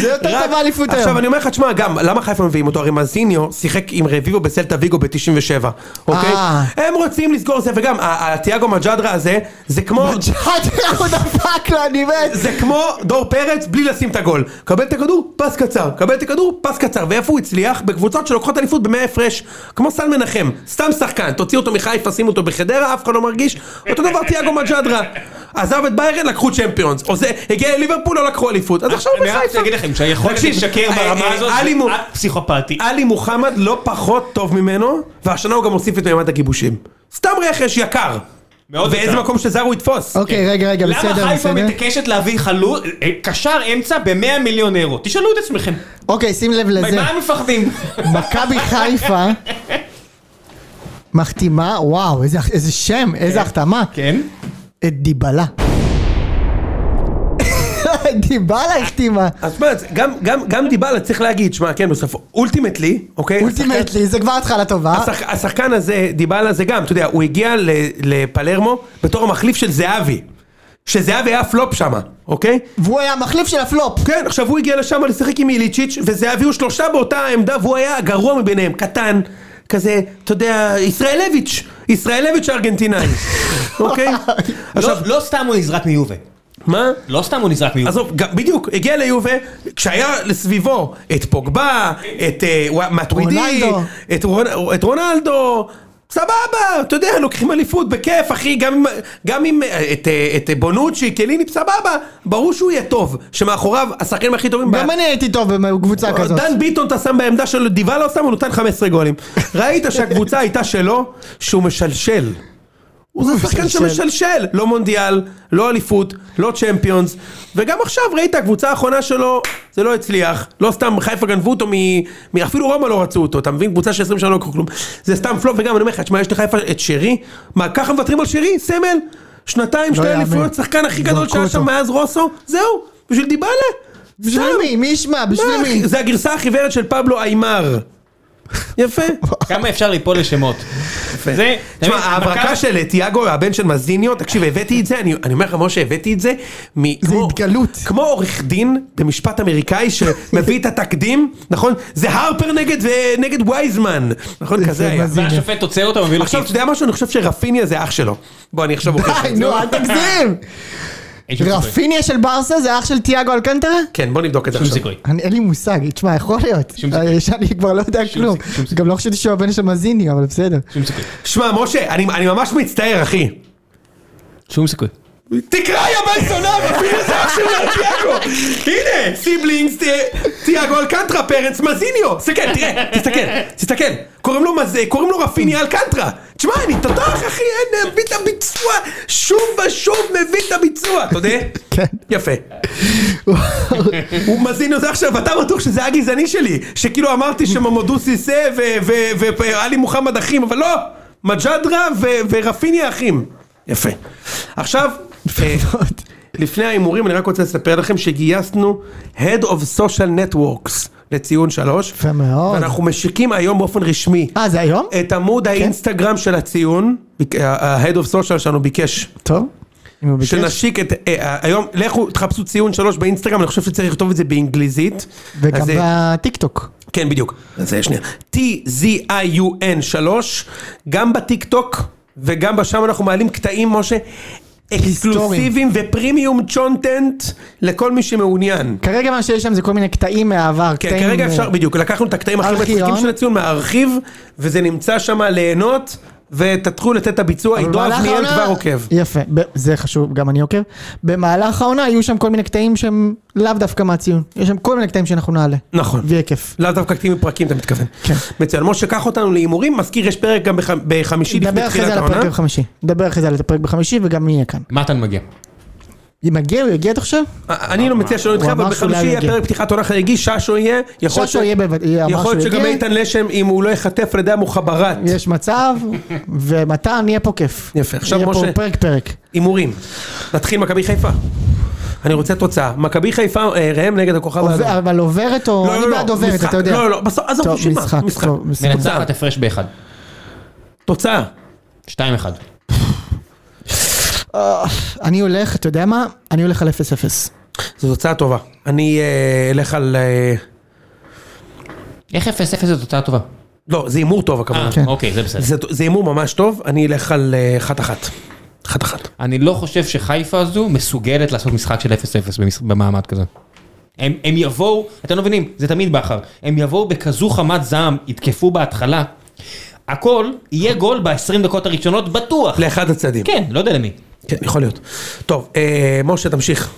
C: זה יותר טוב האליפות היום.
A: עכשיו אני אומר לך, תשמע, גם, למה חיפה מביאים אותו? הרי מזיניו שיחק עם רביבו בסלטה ויגו ב-97, אוקיי?
C: אה.
A: הם רוצים לסגור זה, וגם, ה- התיאגו מג'דרה הזה, זה כמו...
C: ג'אדרה הוא דפק לו, אני מת.
A: זה כמו דור פרץ בלי לשים את הגול. קבל את הכדור, פס קצר. קבל את הכדור, פס קצר. ואיפה הוא הצליח? בקבוצות שלוקחות אליפות במאה הפרש. כמו סל מנחם, סתם שחקן. תוציא אותו מחיפה, שים אותו בחדרה, אף אחד לא מרגיש. אותו דבר תיאגו מג'דרה. עזב את ביירן, לקחו צ'מפיונס. או זה, הגיע לליברפול, לא לקחו אליפות. אז עכשיו הוא
D: אני רק
A: בחיפה.
D: רוצה להגיד לכם שהיכולת
A: תקשיב,
D: לשקר
A: אה,
D: ברמה
A: אה,
D: הזאת,
A: עלי מו-
D: זה פסיכופתי.
A: עלי מוחמד לא פחות טוב ממנו, והשנה הוא גם הוסיף את מימד הכיבושים. סתם רכש יקר.
D: מאוד
A: ואיזה
D: יקר.
A: מקום שזר הוא יתפוס.
C: אוקיי, רגע, רגע, בסדר, בסדר.
D: למה חיפה מתעקשת להביא חלוץ, אה, קשר אמצע ב-100 מיליון אירו? תשאלו את עצמכם,
C: אוקיי, שים לב לזה.
D: ממה הם מפחדים?
C: לא, מכבי חיפה מחתימה, וואו, איזה- איזה שם, איזה החתמה.
D: כן?
C: את דיבלה. דיבלה החתימה.
A: אז מה, זה- גם, גם, גם דיבלה צריך להגיד, שמע, כן, בסוף, אולטימטלי, אוקיי? השחקן-
C: אולטימטלי, זה כבר התחלה טובה.
A: השח, השחקן הזה, דיבלה זה גם, אתה יודע, הוא הגיע ל, לפלרמו בתור המחליף של זהבי. שזהבי היה פלופ שם, אוקיי?
C: והוא היה המחליף של הפלופ.
A: כן, עכשיו הוא הגיע לשם לשחק עם איליצ'יץ', וזהבי הוא שלושה באותה העמדה, והוא היה הגרוע מביניהם, קטן, כזה, אתה יודע, ישראלביץ', ישראלביץ' הארגנטינאי, אוקיי? עכשיו,
D: לא- לא סתם הוא נזרק מיובה.
A: מה?
D: לא סתם הוא נזרק מיובה.
A: עזוב, גם- בדיוק, הגיע ליובה, כשהיה לסביבו את פוגבה, את אה, ווא- מטווידי,
C: רונלדו.
A: את רונ- את רונלדו, סבבה, אתה יודע, לוקחים אליפות בכיף, אחי, גם עם- גם עם אה, את, אה, את אה, בונוצ'י, קליניפ, סבבה, ברור שהוא יהיה טוב, שמאחוריו השחקנים הכי טובים,
C: גם
A: ב-
C: אני הייתי טוב בקבוצה כזאת.
A: כן. אה, דן ביטון אתה שם בעמדה שלו, דיבה לא שם, הוא נותן 15 גולים. ראית שהקבוצה הייתה שלו, שהוא משלשל. הוא זה שחקן
C: משלשל.
A: שמשלשל, לא מונדיאל, לא אליפות, לא צ'מפיונס, וגם עכשיו ראית, הקבוצה האחרונה שלו, זה לא הצליח, לא סתם חיפה גנבו אותו מ... מ- אפילו רומא לא רצו אותו, אתה מבין? קבוצה של 20 שנה לא לקחו כלום, זה סתם פלופ, וגם אני אומר לך, תשמע, יש לחיפה את שרי, מה, ככה מוותרים על שרי? סמל? שנתיים, שתי
C: לא יאמן.
A: אליפויות, שחקן הכי גדול
C: זרקו
A: שהיה
C: אותו.
A: שם מאז רוסו, זהו, בשביל דיבלה.
C: בשביל
A: סתם.
C: מי? מי ישמע?
A: מה,
C: בשביל מי?
A: אחי? זה הגרסה החיוורת של פבלו איימר. יפה.
D: כמה אפשר ליפול לשמות? זה...
A: תשמע,
D: מכבי-
A: ההברקה של תיאגו, הבן של מזיניו, תקשיב, הבאתי את זה, אני אני אומר לך, משה, הבאתי את זה מ... כמו-
C: התגלות.
A: כמו עורך דין במשפט אמריקאי שמביא את התקדים, נכון? זה הרפר נגד אה, נגד וייזמן, נכון?
C: זה
A: כזה היה.
C: מזיניו.
D: והשופט עוצר אותו ומביא לו
A: עכשיו,
D: כיף.
A: אתה יודע משהו? אני חושב שרפיניה זה אח שלו. בוא, אני עכשיו אוכל.
C: די, נו, אל תגזים!
D: אין שום סיכוי.
C: רפיניה של ברסה זה אח של תיאגו אלקנטרה?
A: כן, בוא נבדוק את זה
D: שום
A: עכשיו.
D: סיכוי.
C: אני, אין לי מושג, תשמע, יכול להיות.
D: שום סיכוי.
C: אה, שאני כבר לא יודע
D: שום
C: כלום.
D: סיכוי, שום סיכוי.
C: גם לא חשבתי שהוא הבן של מזיני, אבל בסדר.
D: שום סיכוי.
A: שמע, משה, אני אני ממש מצטער, אחי.
D: שום סיכוי.
A: תקרא, יא בן זונה, אפילו זה אח של תיאגו. הנה, סיבלינגס, תיאגו אלקנטרה, פרנס מזיניו. תסתכל, תראה, תסתכל, תסתכל. קוראים לו מז- קוראים לו רפיני אלקנטרה. תשמע, אני תותח, אחי, אין, מביא את הביצוע. שוב ושוב מביא את הביצוע, אתה יודע?
C: כן.
A: יפה. הוא מזיניו זה עכשיו, אתה בטוח שזה היה גזעני שלי. שכאילו אמרתי שממודו סיסא ו- ו- ו- ועלי מוחמד אחים, אבל לא. מג'דרה ו- ורפיניה אחים. יפה. עכשיו... אה, לפני ההימורים אני רק רוצה לספר לכם שגייסנו Head of Social Networks לציון שלוש.
C: יפה מאוד.
A: ואנחנו משיקים היום באופן רשמי
C: אה, זה היום?
A: את עמוד האינסטגרם של הציון, ביק- ה-Head of Social שלנו ביקש
C: טוב. אם הוא ביקש.
A: שנשיק את, אה, אה, היום, לכו תחפשו ציון שלוש באינסטגרם, אני חושב שצריך לכתוב את זה באנגליזית.
C: וגם
A: אז, אה,
C: בטיקטוק.
A: כן, בדיוק. אז אה, שנייה. T-Z-I-U-N 3, גם בטיקטוק וגם בשם אנחנו מעלים קטעים, משה, אקסקלוסיביים ופרימיום צ'ונטנט לכל מי שמעוניין.
C: כרגע מה שיש שם זה כל מיני קטעים מהעבר.
A: כן,
C: קטעים,
A: כרגע
C: אה,
A: אפשר, בדיוק, לקחנו את הקטעים הכי
C: ארכיון.
A: מצחיקים של הציון מהארכיב, וזה נמצא שם ליהנות, ותתחילו לתת את הביצוע,
C: אבל
A: עידו
C: במהלך
A: אבניאל
C: העונה-
A: כבר עוקב.
C: יפה, ב- זה חשוב, גם אני עוקב. במהלך העונה היו שם כל מיני קטעים שהם לאו דווקא מהציון. יש שם כל מיני קטעים שאנחנו נעלה.
A: נכון.
C: ויהיה כיף.
A: לאו דווקא קטעים מפרקים, אתה מתכוון.
C: כן.
A: מצוין, משה, קח אותנו להימורים, מזכיר, יש פרק גם בח- בחמישי לפני
C: נדבר אחרי זה
A: תחילת
C: על
A: העונה.
C: הפרק בחמישי. נדבר אחרי זה על הפרק בחמישי וגם יהיה כאן.
D: מתן מגיע.
C: אם מגיע, הוא יגיע אתה חושב?
A: אני לא מציע שלא נדחה,
C: הוא אמר
A: אבל
C: שאולי
A: בחמישי
C: הוא
A: יהיה
C: יגיע.
A: פרק פתיחת עונה חגיגי, ששו יהיה. יכול
C: ששו
A: ש-
C: יהיה בבת- יהיה, אמר
A: יכול להיות
C: שהוא
A: שגם
C: יגיע.
A: איתן לשם, אם הוא לא ייחטף על ידי המוחברת.
C: יש מצב, ומתן, יהיה פה כיף.
A: יפה, עכשיו
C: יהיה
A: משה- לא,
C: פה פרק פרק.
A: הימורים. נתחיל מכבי חיפה. אני רוצה תוצאה. מכבי חיפה, אה, ראם נגד הכוכב
C: עובר-
A: האדום.
C: אבל עוברת או... אני בעד עוברת,
A: משחק.
C: אתה יודע.
A: לא, לא, לא, בסוף, עזוב,
C: טוב,
A: רשימה,
C: משחק,
A: משחק.
C: טוב, משחק.
D: מנצחת הפרש באחד.
A: תוצאה.
D: שתיים אוקיי, אחד.
C: אני הולך, אתה יודע מה? אני הולך על 0-0.
A: זו תוצאה טובה. אני אה, אלך על... אה,
D: איך אפס אפס זו תוצאה טובה?
A: לא, זה הימור טוב הכוונה.
D: אה,
C: כן.
D: אוקיי, זה בסדר.
A: זה זה הימור ממש טוב, אני אלך על אה, אחת-אחת. אחת-אחת.
D: אני לא חושב שחיפה הזו מסוגלת לעשות משחק של 0-0 במש- במעמד כזה. הם, הם יבואו, אתם לא מבינים, זה תמיד בכר, הם יבואו בכזו חמת זעם, יתקפו בהתחלה, הכל יהיה גול ב-20 דקות הראשונות בטוח.
A: לאחד הצדדים.
D: כן, לא יודע למי.
A: כן, יכול להיות. טוב, אה, משה, תמשיך.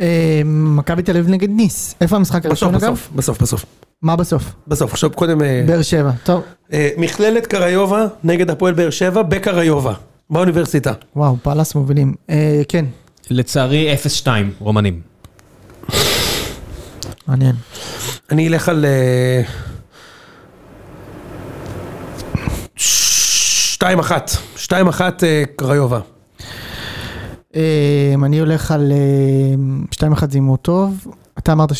C: אה, מכבי תל אביב נגד ניס. איפה המשחק
A: בסוף,
C: הראשון אגב?
A: בסוף, בסוף, בסוף.
C: מה בסוף?
A: בסוף, עכשיו קודם... אה,
C: באר שבע. טוב,
A: אה, מכללת קריובה נגד הפועל באר שבע בקריובה, באוניברסיטה.
C: וואו, פאלאס מובילים. אה, כן,
D: לצערי 0-2 רומנים.
C: מעניין.
A: אני אלך על... אה, שתיים אחת, שתיים אחת אה, קריובה.
C: אה, אני הולך על אה, 2-1 זה הימור טוב. אתה אמרת 2-0?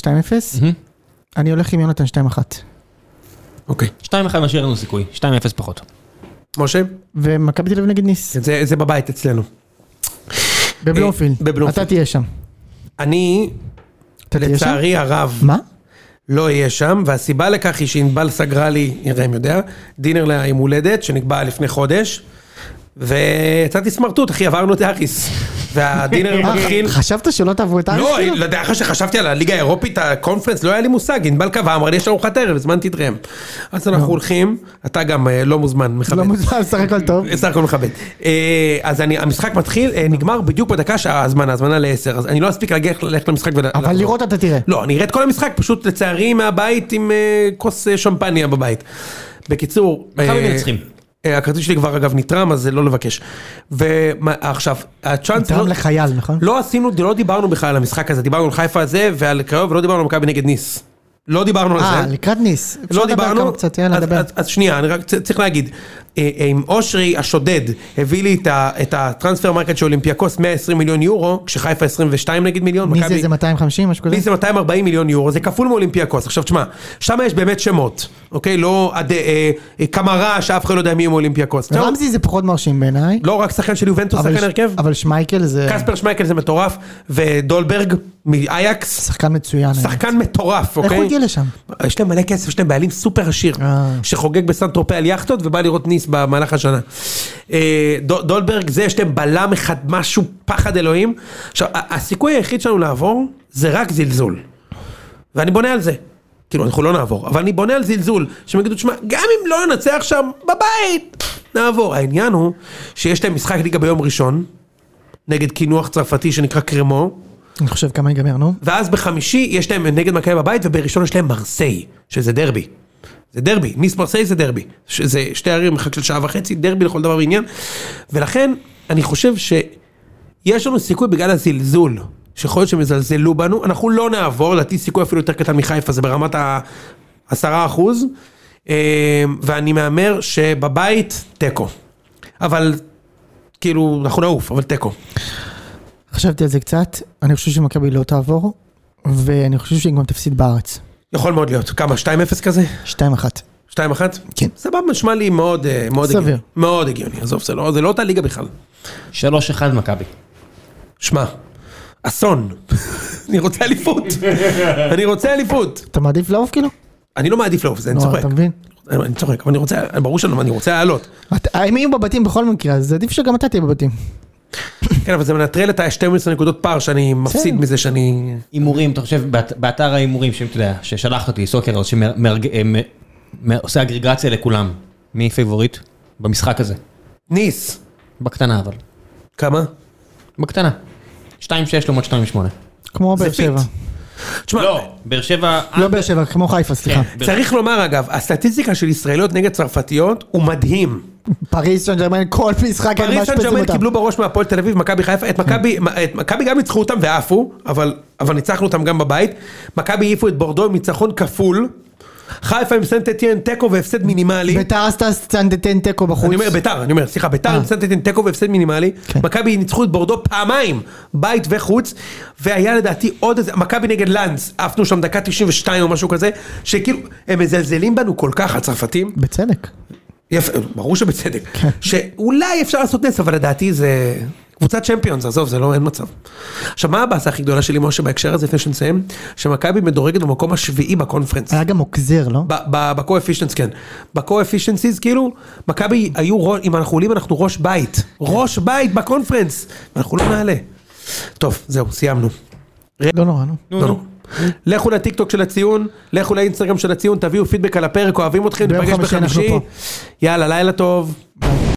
C: אני הולך עם יונתן 2-1.
A: אוקיי.
D: 2-1 משאיר לנו סיכוי, 2-0 פחות.
A: משה?
C: ומכבי תל אביב נגד ניס.
A: זה, זה בבית אצלנו.
C: בבלומפילד.
A: אה, בבלומפילד.
C: אתה תהיה שם.
A: אני,
C: אתה תהיה שם?
A: לצערי הרב,
C: מה?
A: לא אהיה שם, והסיבה לכך היא שענבל סגרה לי, ראם יודע, דינר ליום הולדת שנקבע לפני חודש, ויצאתי סמרטוט, אחי, עברנו את האריס. והדינר מתחיל...
C: אה, חשבת שלא תעברו את הארץ?
A: אה, כן. לא,
C: כאילו?
A: לא יודע, אחרי שחשבתי על הליגה האירופית, הקונפרנס, לא היה לי מושג, ענבל קבע, אמר לי, יש לנו ארוחת ערב, הזמנתי את ראם. אז אנחנו הולכים, אתה גם אה, לא מוזמן, מכבד.
C: לא מוזמן, סך הכל טוב.
A: סך הכל מכבד. אה, אז אני, המשחק מתחיל, אה, נגמר בדיוק בדקה שההזמנה, הזמנה לעשר, אז אני לא אספיק להגיע- ללכת למשחק ול...
C: אבל
A: לחזור.
C: לראות אתה תראה.
A: אה, לא, אני אראה את כל המשחק, פשוט לצערי מהבית עם אה, כוס אה, שמפניה בבית. בקיצור...
D: מכבי
A: אה,
D: מנצחים.
A: אה, הכרטיס שלי כבר אגב נתרם, אז זה לא לבקש. ועכשיו, הצ'אנס...
C: תרם
A: לא-
C: לחייל, נכון?
A: לא עשינו, לא דיברנו בכלל על המשחק הזה, דיברנו על חיפה הזה ועל קריוב, ולא דיברנו על מכבי נגד ניס. לא דיברנו על
C: אה,
A: זה.
C: לקראת ניס. אפשר
A: לא
C: לדבר
A: דיברנו,
C: כמה קצת, יאללה,
A: אז-
C: דבר.
A: אז- אז שנייה, אני רק צ- צריך להגיד, אה, אה, אם אושרי השודד הביא לי את ה- את הטרנספר מרקט של אולימפיאקוס 120 מיליון יורו, כשחיפה 22 נגיד מיליון,
C: מי זה?
A: מכבי-
C: זה 250? משהו
A: לי
C: כזה?
A: זה 240 מיליון יורו, זה כפול מאולימפיאקוס. עכשיו תשמע, שם יש באמת שמות, אוקיי? לא עד- אה, אה, קמרה, שאף אחד לא יודע מי הוא מאולימפיאקוס. עכשיו,
C: רמזי זה פחות מרשים בעיניי.
A: לא רק שחקן של יובנטוס,
C: אבל
A: שחקן
C: ש-
A: הרכב.
C: אבל שמייקל זה...
A: קספר שמייקל זה מטורף, ודולברג, מאייקס,
C: שחקן מצוין. האמת.
A: שחקן מטורף,
C: איך
A: אוקיי?
C: הוא הגיע לשם?
A: יש להם מלא כסף, יש להם בעלים סופר עשיר,
C: אה.
A: שחוגג בסן טרופה על יכטות ובא לראות ניס במהלך השנה. אה, דו- דולברג זה, יש להם בלם אחד, משהו, פחד אלוהים. עכשיו, ה- הסיכוי היחיד שלנו לעבור, זה רק זלזול. ואני בונה על זה. כאילו, אנחנו לא נעבור, אבל אני בונה על זלזול, שהם יגידו, תשמע, גם אם לא ננצח שם, בבית, נעבור. העניין הוא שיש להם משחק ליגה ביום ראשון, נגד קינוח צרפתי שנקרא קרמו,
C: אני חושב כמה ייגמר, נו.
A: ואז בחמישי יש להם נגד מכבי בבית, ובראשון יש להם מרסיי, שזה דרבי. זה דרבי, ניס מרסיי זה דרבי. ש- זה שתי ערים, מרחק של שעה וחצי, דרבי לכל דבר ועניין. ולכן, אני חושב שיש לנו סיכוי בגלל הזלזול, שיכול להיות שהם יזלזלו בנו, אנחנו לא נעבור, לדעתי סיכוי אפילו יותר קטן מחיפה, זה ברמת ה... עשרה אחוז, אה, ואני מהמר שבבית, תיקו. אבל, כאילו, אנחנו נעוף, אבל תיקו.
C: חשבתי על זה קצת, אני חושב שמכבי לא תעבור, ואני חושב שהיא גם תפסיד בארץ.
A: יכול מאוד להיות. כמה, 2-0 כזה?
C: 2-1.
A: 2-1?
C: כן.
A: סבבה, נשמע לי מאוד, אה, מאוד
C: סביר.
A: הגיוני. מאוד הגיוני, עזוב, זה לא, זה לא אותה ליגה בכלל.
D: 3-1 מכבי.
A: שמע, אסון. אני רוצה אליפות. אני רוצה אליפות.
C: אתה מעדיף לעוף כאילו?
A: אני לא מעדיף לעוף, זה אני
C: נו,
A: צוחק.
C: אתה מבין?
A: אני אני צוחק, אבל אני רוצה, ברור שאני אני רוצה לעלות.
C: אתה- הם יהיו בבתים בכל מקרה, אז עדיף שגם אתה תהיה בבתים.
A: כן, אבל זה מנטרל את ה-12 נקודות פער
C: כן.
A: שאני מפסיד מזה שאני...
D: הימורים, אתה חושב, באת- באתר ההימורים, שאתה יודע, ששלחת אותי, סוקר, אז אה, שעושה אגרגציה לכולם. מי פייבוריט? במשחק הזה.
A: ניס.
D: בקטנה אבל.
A: כמה?
C: לא.
D: בקטנה. 2-6 לעומת 2-8.
C: כמו
A: זה
C: באר שבע.
A: פיט. תשמע,
D: לא, באר שבע...
C: לא באר שבע, כמו חיפה, סליחה.
D: כן.
A: צריך לומר אגב, הסטטיסטיקה של ישראליות נגד צרפתיות הוא מדהים.
C: פריס סן ג'רמן, כל משחק הם
A: פריס כן. סן
C: מאשפזים
A: ג'רמן
C: אותם. כן.
A: קיבלו בראש מהפועל תל אביב, מכבי חיפה, את מכבי, את מכבי גם ניצחו אותם ועפו, אבל, אבל ניצחנו אותם גם בבית. מכבי העיפו את בורדו עם ניצחון כפול. חיפה עם סנטטיאן תיקו והפסד מינימלי.
C: ביתר עשתה סטנדטן תיקו בחוץ.
A: אני אומר, ביתר, אני אומר, סליחה, ביתר
C: אה.
A: עם סנטטיאן תיקו והפסד מינימלי.
C: כן.
A: מכבי ניצחו את בורדו פעמיים, בית וחוץ, והיה לדעתי עוד איזה, מכבי נגד לנס, עפנו שם דקה 92 או משהו כזה, שכאילו, הם מזלזלים בנו כל כך, הצרפתים.
C: בצדק.
A: יפה, ברור שבצדק.
C: כן.
A: שאולי אפשר לעשות נס, אבל לדעתי זה... קבוצת צ'מפיונס, עזוב, זה לא, אין מצב. עכשיו, מה הבאסה הכי גדולה שלי, משה, בהקשר הזה, לפני שנסיים? שמכבי מדורגת במקום השביעי בקונפרנס.
C: היה גם עוקזר, לא?
A: בקו-אפישנס, כן. בקו-אפישנסיז, כאילו, מכבי היו, רו- אם אנחנו עולים, אנחנו ראש
C: כן.
A: בית. ראש בית בקונפרנס. אנחנו לא נעלה. טוב, זהו, סיימנו.
C: לא נורא, נו.
A: לא, לא. לכו לטיקטוק של הציון, לכו לאינסטגרם של הציון, תביאו פידבק על הפרק, אוהבים אתכם,
C: ביום
A: ניפגש
C: חמישי אנחנו
A: בחמישי. יאללה, לילה טוב.